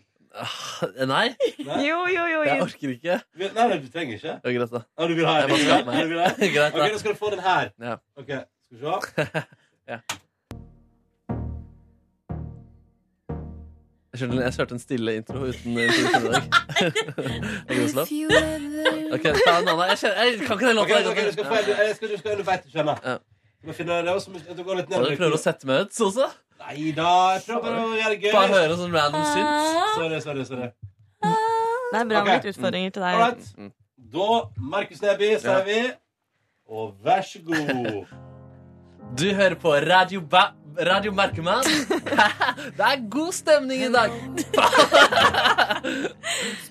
C: Nei.
G: Jo, jo, jo,
C: Jeg
G: jo.
C: orker ikke.
A: Vi- Nei, nei, du trenger ikke.
C: Det er greit, da.
A: Ja, du vil ha en?
C: Jeg må skape
A: Ja, du vil ha en?
C: meg. Greit, da.
A: Ok, da skal du få den her.
C: Ja.
A: Ok, skal vi se.
C: Jeg kjørte, jeg kjørte en stille intro uten introduksjon i dag. Er det slapp? Ok, ta en annen. Jeg, kjører, jeg kan ikke den
A: Ok,
C: låta.
A: ok, du skal få en, jeg skal, du skal, du vet du skjønner. Du må finne det også, du går litt ned.
C: Og du prøver å sette meg ut, så også?
A: Nei da, jeg prøver bare å gjøre det gøy.
C: Bare høre sånn random synth.
A: Sorry, sorry, sorry.
G: Det er bra
A: Ok.
G: med litt utfordringer til deg.
A: All right. Da, Markus Neby, sier
C: Mm. Ja.
A: vi. Og vær så god.
C: Du hører på Radio, ba Radio Merkemann. Det er god stemning i dag.
G: Nei!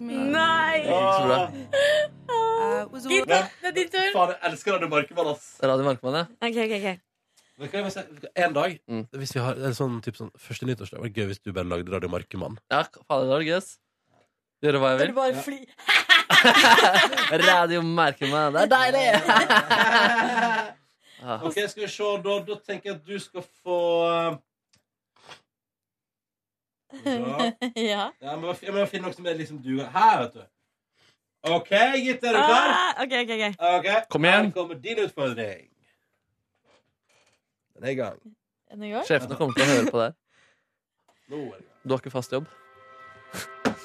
A: Men- Faen, jeg elsker Radio Markemann, ass.
C: Radio Merkemann, ja.
G: Ok, ok, ok.
A: Men kan jeg bare si, En dag, hvis vi har en sånn, typ sånn første nyttårsdag, var det gøy hvis du bare lagde Radio Markemann.
C: Ja, fader, det var gøy. ass. Gjøre hva jeg vil.
B: Bare fly.
C: Radio Merkemann, det er deilig! Ja.
A: Ok, skal vi se, da, da tenker jeg at du skal få Bra.
B: ja.
A: eh, Ja, men jeg må finne noe som er liksom du Her, vet du. OK, gitt, er du klar?
G: Ah, ok, ok, ok.
A: Ok,
C: Kom igjen.
A: Her kommer din utfordring. Den er i gang.
B: Er det i gang?
C: Sjefene kommer til å høre på det her.
A: Nå er det i gang.
C: Du har ikke fast jobb?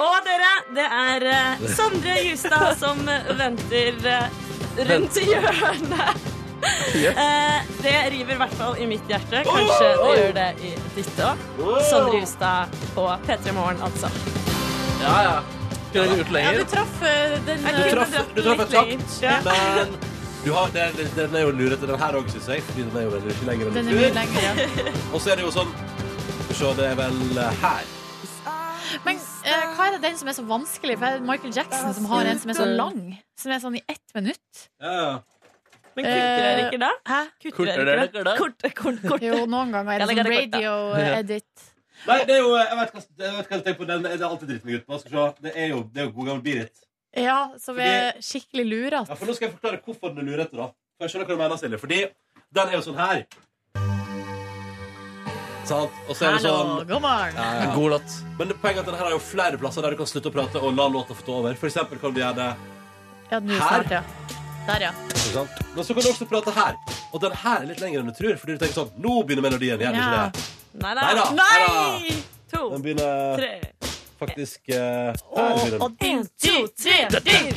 G: Og dere, det er eh, Sondre Justad som eh, venter eh, rundt i hjørnet. Eh, det river i hvert fall i mitt hjerte. Kanskje det gjør det i ditt òg. Sondre Justad på P3 Morgen, altså.
C: Ja, ja. Skulle dere gjort
B: Ja,
C: lenger?
B: du traff eh, den
G: Jeg
A: Du
G: kunne
A: traff,
G: dratt
A: du
G: den
A: traff
G: litt
A: eksakt,
G: lenger. Ja.
A: men du har, den, den er jo lurete, den her òg, syns jeg. Fordi den er jo veldig- ikke lenger enn
B: eh, Den
A: en
B: er mye
A: tur.
B: lengre. ja.
A: Og så er det jo sånn Skal vi se, det er vel eh, her.
B: Men eh, hva er det den som er så vanskelig? For det er Michael Jackson som har en som er så lang. Som er sånn i ett minutt.
A: Ja, ja.
G: Men kutter dere ikke da?
B: Hæ?
G: Kutter dere ikke da? eh, Korte, korte, korte.
B: Jo, noen ganger er det
G: Ja, det
B: sånn
G: er det korte.
B: radio-edit.
H: Nei, det er jo Jeg vet hva jeg, vet hva jeg tenker på. Den er det alltid dritt meg ut på. Skal vi se. Det er jo, det er jo god gammel Birit.
B: Ja, som er skikkelig lurete.
H: Ja, for nå skal jeg forklare hvorfor den er lurete, da. For jeg skjønner hva du mener, Silje. Fordi den er jo sånn her. Sant? Og så er det
B: Hallo,
H: sånn
B: god morgen.
H: God låt. Men det poenget er at denne her er jo flere plasser der du kan slutte å prate og la låta få ta over. For eksempel kan du gjøre det
B: Ja, nå snart, ja. Der, ja.
H: Ikke sant? Men så kan du også prate her. Og den her er litt lengre enn du tror. Fordi du tenker sånn Nå begynner melodien igjen.
G: Ja.
H: Ikke det?
G: Nei da.
H: Neida,
G: Nei! To,
H: Den begynner
G: tre.
H: faktisk eh, her begynner den.
G: En, to, tre, ding!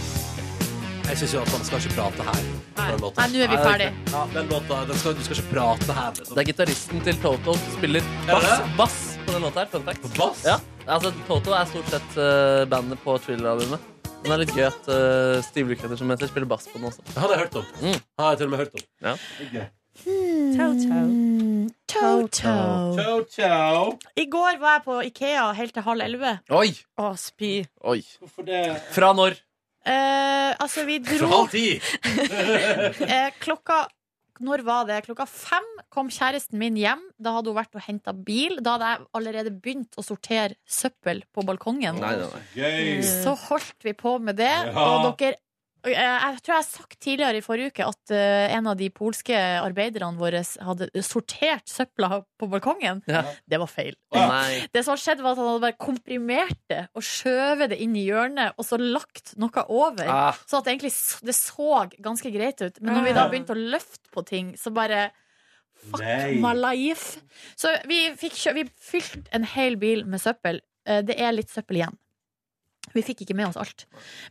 H: Jeg syns at man skal ikke prate her. Nei,
B: Nei, nå er vi ferdig.
H: Ja, den låta, den skal, du skal ikke prate her. Liksom.
C: Det er gitaristen til Toto som spiller
H: Er det
C: bass,
H: det?
C: bass på den låta her. Fun fact.
H: Bass?
C: Ja. Altså, Toto er stort sett eh, bandet på Thriller-albumet. Men det er litt gøy at uh, Steve Lukather som heter, spiller bass på den også.
H: Han har jeg hørt om.
C: Mm.
H: Har jeg til og med hørt om.
C: Ja.
B: Toto.
H: Ciao, ciao.
B: I går var jeg på Ikea helt til halv elleve.
C: Oi!
B: Å, spy.
C: Oi.
H: Hvorfor det?
C: Fra når?
B: Eh, altså, vi dro
H: ti!
B: eh, klokka når var det? Klokka fem kom kjæresten min hjem. Da hadde hun vært og henta bil. Da hadde jeg allerede begynt å sortere søppel på balkongen.
C: Nei, nei, nei.
H: Gøy.
B: Så holdt vi på med det.
H: Ja.
B: Og dere eh, Jeg tror jeg har sagt tidligere i forrige uke at eh, en av de polske arbeiderne våre hadde sortert søpla på balkongen. Det var feil.
C: Nei.
B: Det som hadde skjedd, var at han hadde bare komprimert det og skjøvet det inn i hjørnet, og så lagt noe over.
C: Ah.
B: Så at det egentlig s- det så ganske greit ut. Men når vi da begynte å løfte på ting, så bare
H: Nei.
B: My life. Så vi fikk kjø Vi fylte en hel bil med søppel. Eh, Det er litt søppel igjen. Vi fikk ikke med oss alt.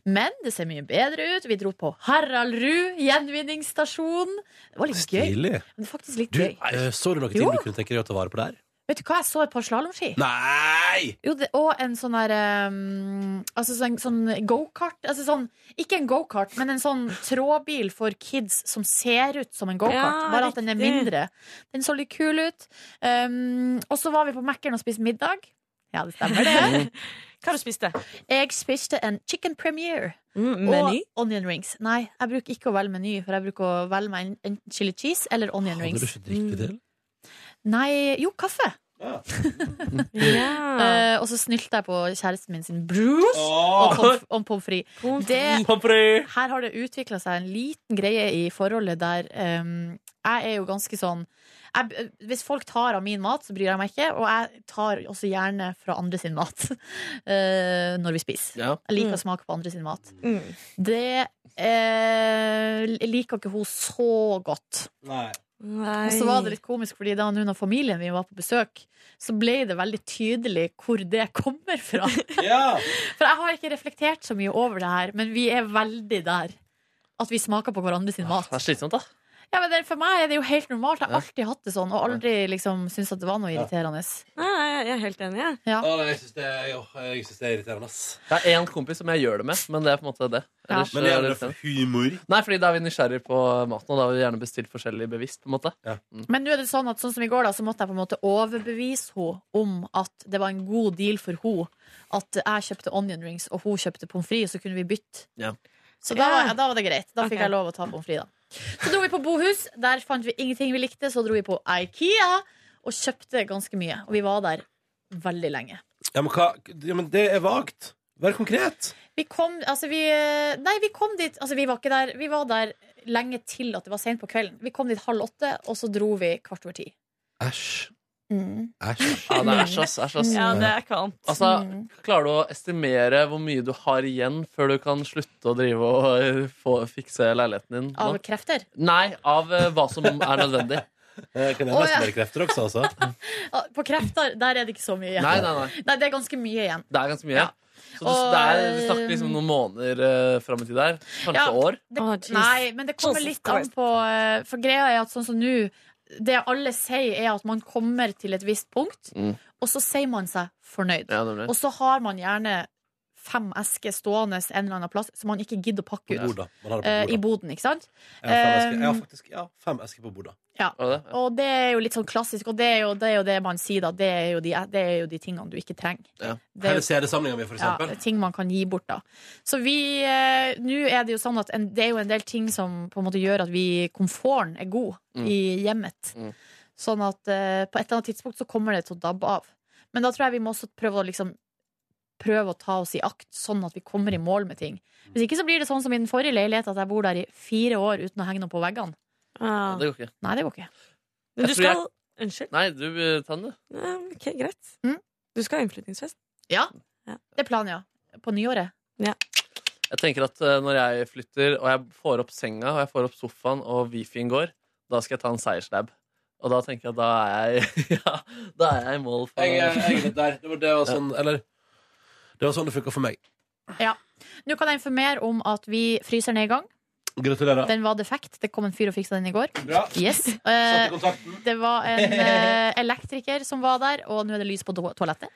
B: Men det ser mye bedre ut. Vi dro på Harald Ruud gjenvinningsstasjon. Det var litt gøy.
A: Stilig.
B: Men det er faktisk litt
A: Du,
B: gøy.
A: eh, så du noen ting
B: Jo.
A: du kunne tenke deg å ta vare på der?
B: Vet du hva, jeg så et par slalåmski.
A: Nei!
B: Jo, det, og en sånn der um, Altså sånn, sånn gokart. Altså sånn, ikke en gokart, men en sånn trådbil for kids som ser ut som en gokart,
G: Ja,
B: bare at den er
G: riktig.
B: mindre. Den så litt kul ut. Um, og så var vi på Mækkern og spiste middag. Ja, det stemmer,
G: Mm.
B: det.
G: Hva har du spist? det?
B: Jeg spiste en chicken premiere.
G: meny?
B: Og onion rings. Nei, jeg bruker ikke å velge meny, for jeg bruker å velge meg en- enten chili cheese eller onion
A: Hadde du
B: rings.
A: ikke drukket det?
B: Nei, jo, kaffe. Eh, og så snylta jeg på kjæresten min sin brus
G: Åh.
B: og pomf- om pommes frites.
G: Pommes
B: Det-
C: Pommes frites.
B: Her har det utvikla seg en liten greie i forholdet der em, jeg er jo ganske sånn jeg, Hvis folk tar av min mat, så bryr jeg meg ikke. Og jeg tar også gjerne fra andre sin mat eh, når vi spiser.
C: Ja.
B: Jeg liker
G: Mm.
B: å smake på andre sin mat.
G: Mm.
B: Det eh, liker ikke hun så godt.
H: Nei.
G: Nei.
B: Og så var det litt komisk, fordi da hun og familien min var på besøk, så ble det veldig tydelig hvor det kommer fra.
H: Ja.
B: For jeg har ikke reflektert så mye over det her, men vi er veldig der. At vi smaker på hverandre sin mat.
C: Det er slitsomt, da.
B: Ja, men det, For meg er det jo helt normalt. Jeg
C: Ja.
B: har alltid hatt det sånn, og aldri liksom syntes at det var noe irriterende.
G: Nei, nei, jeg er helt enig, jeg.
B: Ja.
H: Å, jeg syns det, er- jo, jeg synes det er irriterende, ass.
C: Det er én kompis som jeg gjør det med, men det er på en måte det.
B: Ja.
C: Ellers,
H: Men det
C: eh,
H: er det
C: irriterende.
H: for humor.
C: Nei, fordi da er vi nysgjerrige på maten, og da har vi gjerne bestilt forskjellig bevisst. på en måte
B: Men nå er det sånn at sånn som i går, da, så måtte jeg på en måte overbevise henne om at det var en god deal for henne at jeg kjøpte onion rings, og hun kjøpte pommes frites, og så kunne vi bytte.
C: Ja.
B: Så da var,
G: Ja.
B: da var det greit. Da fikk
G: Ok.
B: jeg lov å ta pommes frites. da. Så dro vi på Bohus. Der fant vi ingenting vi likte, så dro vi på Ikea og kjøpte ganske mye. Og vi var der veldig lenge.
A: Ja, men, hva? Ja, men det er vagt. Vær konkret.
B: Vi kom, altså vi, nei, vi kom dit altså vi, var ikke der, vi var der lenge til at det var sent på kvelden. Vi kom dit halv åtte, og så dro vi kvart over ti.
A: Æsj.
B: Mm.
A: Æsj.
C: Ja, det er æsj, ass. æsj, ass.
G: Ja, det er kaldt.
C: Altså,
B: Mm.
C: Klarer du å estimere hvor mye du har igjen før du kan slutte å drive og eh, få, fikse leiligheten din?
B: Av
C: nå?
B: krefter.
C: Nei, av eh, hva som er nødvendig.
A: Jeg Eh, kan
B: Å, ja.
A: nesten være krefter også, altså.
B: Ah, På krefter der er det ikke så mye igjen.
C: Nei, nei, nei.
B: Nei, det er ganske mye igjen.
C: Det er ganske mye. Så du,
B: Og, eh,
C: det er, du snakker liksom noen måneder uh, fram i tid der. Kanskje
B: Ja.
C: år.
B: Det,
G: Å, jeez.
B: nei, men det kommer
G: Jesus
B: litt an
G: Christ.
B: på eh, For greia er at sånn som nå Det alle sier, er at man kommer til et visst punkt,
C: Mm.
B: og så sier man seg fornøyd.
C: Ja, nemlig.
B: Og så har man gjerne fem esker stående en eller annen plass som man ikke gidder å pakke ut.
A: Borda. Man har
B: eh,
A: det
B: I
A: på borda.
B: boden, ikke sant?
A: Jeg har fem esker,
B: eh,
A: jeg har faktisk ja, fem esker på borda.
C: Var det det?
B: Og det er jo litt sånn klassisk, og det er jo det, er jo det man sier da. Det er, jo de, det er jo de tingene du ikke trenger.
C: Ja.
B: Det er
A: Her
B: jo
A: er CD-samlinga mi, for
B: ja,
A: eksempel.
B: ting man kan gi bort, da. Så vi eh, Nå er det jo sånn at en, det er jo en del ting som på en måte gjør at vi Komforten er god
C: Mm.
B: i hjemmet.
C: Mm.
B: Sånn at eh, på et eller annet tidspunkt så kommer det til å dabbe av. Men da tror jeg vi må også prøve å liksom prøve å ta oss i akt, sånn at vi kommer i mål med ting. Hvis ikke så blir det sånn som i den forrige leiligheten, at jeg bor der i fire år uten å henge noe på veggene.
G: Ja,
C: Det går ikke.
B: Nei, det går ikke.
G: Men du
C: Jeg tror jeg-
G: skal Unnskyld?
C: Nei, du eh, ta den, du.
G: Ja, Ok, greit. Du skal ha innflyttingsfest?
B: Ja. Det er planen, ja. På nyåret.
C: Jeg tenker at eh, når jeg flytter, og jeg får opp senga, og jeg får opp sofaen, og wifien går, da skal jeg ta en seierslab. Og da tenker jeg at da er jeg, ja, da er jeg eh, i mål. For,
A: Jeg er- jeg er litt der. Det var, det var sånn, eller Det var sånn det funka for meg.
B: Ja. Nå kan jeg informere om at vi fryser ned i gang.
A: Gratulerer.
B: Den var defekt. Det kom en fyr og fiksa den i går.
A: Bra.
B: Yes. Eh,
A: Satte kontakten.
B: det var en eh, elektriker som var der, og nå er det lys på do- toalettet.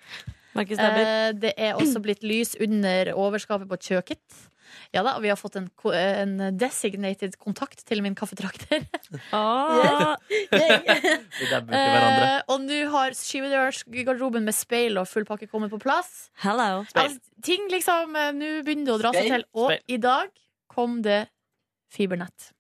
G: Markus Neby.
B: Eh, det er også blitt lys under overskapet på kjøkkenet. Ja da, og vi har fått en, ko- eh, en designated kontakt til min kaffetrakter.
G: Ah.
C: Vi dabber til hverandre.
B: Eh, og nå har skyvedørsgarderoben med speil og full pakke kommet på plass.
G: Hello.
B: Altså, ting liksom, eh, Nå begynner det å dra seg
G: Speil.
B: til. Og
G: Speil.
B: i dag kom det fibernett.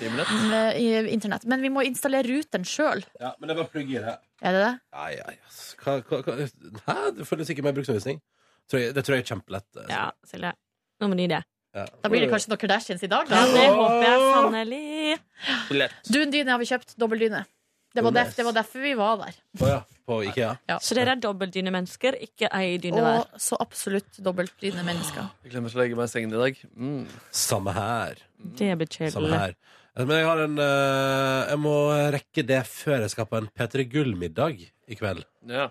B: Med, i, internett. Men vi må installere ruteren sjøl.
A: Ja, men det var plugg i det.
B: Er det det?
A: Nei, nei, ass. Hva, hva, hva? Hæ? Det føles ikke med bruksanvisning. Tror jeg- Det tror jeg er kjempelett. altså.
G: Ja, Silje. Nå må du gi det.
A: Ja.
B: Da blir det kanskje noen Kardashians i dag. Da.
G: Ja, det håper jeg sannelig.
C: Lett.
B: Dundyne har vi kjøpt. Dobbeldyne. Det var,
A: Nice.
B: derf- det var derfor vi var der.
A: Å ja. På Ikea.
G: Så dere er dobbeltdynemennesker, ikke ei dyne hver?
B: Og så absolutt dobbeltdyne mennesker.
A: Ah,
C: Jeg glemmer å legge meg i sengen i dag. Mm.
A: Samme her.
G: Det blir
A: Samme
G: kjedelig.
A: her. Men jeg har en eh, Jeg må rekke det før jeg skal på en P3 Gull-middag i kveld.
C: Ja.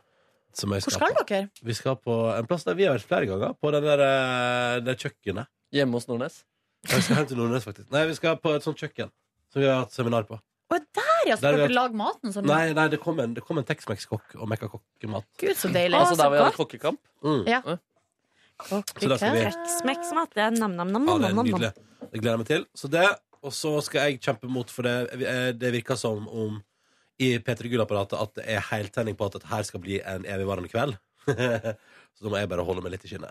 A: Som jeg
B: Hvor skal
A: på.
B: dere?
A: Vi skal på en plass der vi har vært flere ganger. På den der, eh, det kjøkkenet.
C: Hjemme hos Nordnes.
A: Jeg skal hjem til Nordnes, faktisk. Nei, vi skal på et sånt kjøkken som vi har hatt seminar på.
B: Og der, ja! Så
A: Der vi
B: dere
A: har-
B: lager maten sånn?
A: Nei, nei, det kom en, det kom en Tex-Mex-kokk og mekka kokkemat.
B: Gud, så deilig.
C: Altså, der
B: Å,
C: vi
B: så
C: hadde kokkekamp.
A: Mm.
B: Ja.
A: Så da skal vi-
G: Smekksmat. Det er nam-nam-nam.
A: Ja, det er nydelig. Det gleder jeg meg til. Så det, og så skal jeg kjempe mot, for det, eh, det virker som om i P3 Gull-apparatet at det er heltenning på at dette her skal bli en evigvarende kveld. så da må jeg bare holde meg litt i kinnet.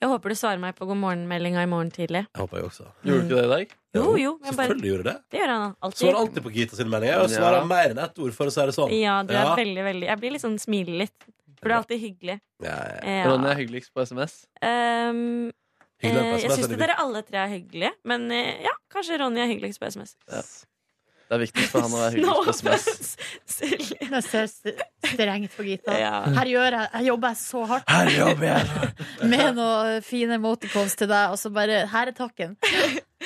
G: Jeg håper du svarer meg på god morgen-meldinga i morgen tidlig.
A: Jeg håper jeg også.
C: Gjorde du ikke det i dag?
G: Jo, jo. men bare-
A: Selvfølgelig gjorde du det.
G: Det gjør
A: Svarer
G: han alltid.
A: alltid på Gita sine meldinger, og svarer
C: Ja.
A: mer enn ett ord, for å si det sånn.
G: Ja, du er veldig, veldig Jeg blir litt sånn smilende litt. For du er alltid hyggelig.
A: Ja, ja.
G: Ja.
C: Ronny er hyggeligst på SMS.
G: Ehm,
C: Hyggelig
G: eh,
C: på
G: jeg
C: SMS,
G: syns
C: er det
G: dere alle tre er hyggelige, men eh, ja, kanskje Ronny er hyggeligst på SMS.
C: Ja. Det er viktigst for han å være hyggeligst på SMS.
G: Silje.
B: Nå ser jeg st- strengt på Gita.
G: Ja.
B: Her, gjør jeg, her jobber jeg så hardt med noen fine emoticons til deg, og så bare Her er takken.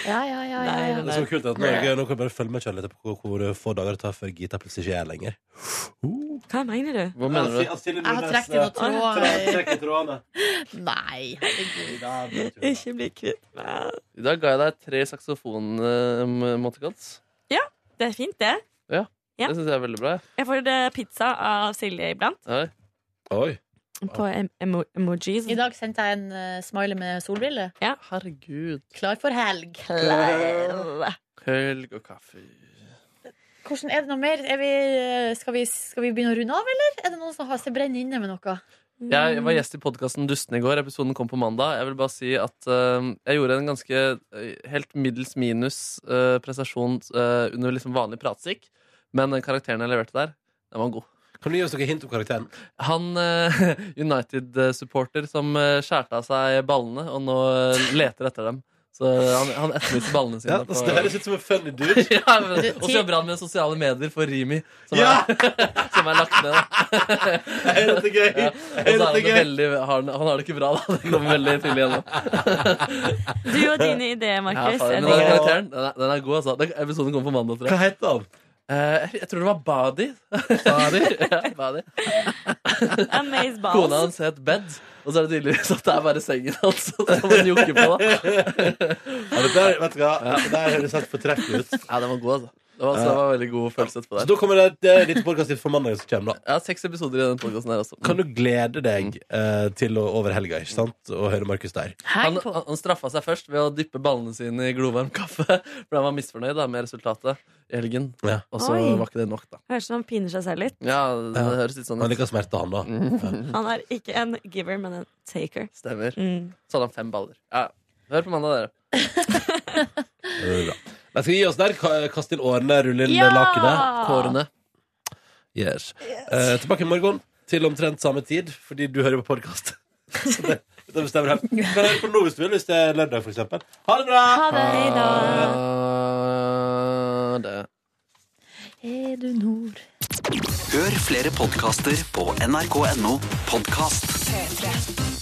B: Ja, ja, ja. ja, ja.
A: Det er så kult at Norge, nå kan jeg bare følge med og kjenne litt på hvor- hvor få dager det tar før Gita plutselig ikke er her lenger.
G: Hva mener du?
C: Hva mener du?
B: Jeg har trukket i noen tråder.
A: i trådene.
B: Nei, herregud.
G: Ikke bli kvitt meg.
C: I dag ga jeg deg tre um, saksofon-motikons.
G: Ja, det er fint, det.
C: Ja.
G: Ja.
C: Det syns jeg er veldig bra. jeg.
G: Jeg får eh, pizza av Silje iblant.
C: Oi.
A: Oi.
G: På em emo emojis.
B: I dag sendte jeg en eh, smiley med solbriller.
G: Ja.
C: Herregud.
B: Klar for helg.
G: Klar.
C: Helg og kaffe.
B: Hvordan er det noe mer? Er vi, eh, skal, vi, skal vi begynne å runde av, eller? Er det noen som har seg brenner inne med noe?
C: Jeg var gjest i podkasten Dustene i går. Episoden kom på mandag. Jeg vil bare si at eh, jeg gjorde en ganske eh, helt middels minus eh, prestasjon eh, under liksom vanlig pratstikk, men den karakteren jeg leverte der, den var god.
A: Kan du gi oss noen hint om karakteren?
C: Han eh, United-supporter som eh, skjærte av seg ballene, og nå eh, leter etter dem. Så eh, han, han etterlyser ballene sine.
A: Ja, altså, det høres ut som en funny dude.
C: ja, men, og så jobber han med sosiale medier for Rimi, som, er, som er lagt ned.
A: Er dette gøy?
C: Ja. Og så er han, veldig, har han, han har det ikke bra, da. Det kommer veldig tidlig igjen.
G: Du og dine ideer,
C: Ja,
G: Markus.
C: faen,
G: Jeg
C: men den
G: digger det.
C: karakteren den er, den er god, altså. Den, episoden kommer på mandag, tror jeg.
A: Hva heter han?
C: Eh, jeg tror det var Badi. ja, Badi.
G: Amaze
C: Kona
G: balls.
C: hans het Bed, og så er det tydeligvis at det er bare sengen hans som han jokker på. Da.
A: Ja, det der, vet du hva? Det der høres helt fortreffelig ut.
C: Ja, den var god, altså. Det var, altså, det var veldig god følelse etterpå
A: Så
C: der.
A: da kommer det et eh, lite podkast for mandagen som kommer, da.
C: Jeg har seks episoder i den podkasten her også.
A: Kan du glede deg eh, til å, over helga, ikke sant? Og høre Markus der.
C: Han, han, han straffa seg først ved å dyppe ballene sine i glovarm kaffe, for han var misfornøyd da, med resultatet i helgen.
A: Ja.
C: Og så
G: Oi.
C: var ikke det nok, da.
G: Høres ut som han piner seg selv litt.
C: Ja, det høres litt sånn
A: Han
C: ut.
A: liker smerte, han, da. Ja.
G: Han er ikke en giver, men en taker.
C: Stemmer.
G: Mm.
C: Så hadde han fem baller. Ja. Hør på mandag, dere.
A: Det er bra. Nei, skal vi gi oss der? Ka- Kaste inn årene, rulle inn
B: Ja!
A: lakenet.
C: Kårene.
A: Yes. Eh, tilbake i morgen. til omtrent samme tid, fordi du hører på podkast. Så det, det bestemmer helt. Du kan høre på nå hvis du vil, hvis det er lørdag, for eksempel. Ha det bra!
B: Ha det, hei da.
C: Ha Ah, det.
B: Er du nord?
N: Hør flere podkaster på nrk.no podkast.
O: P3.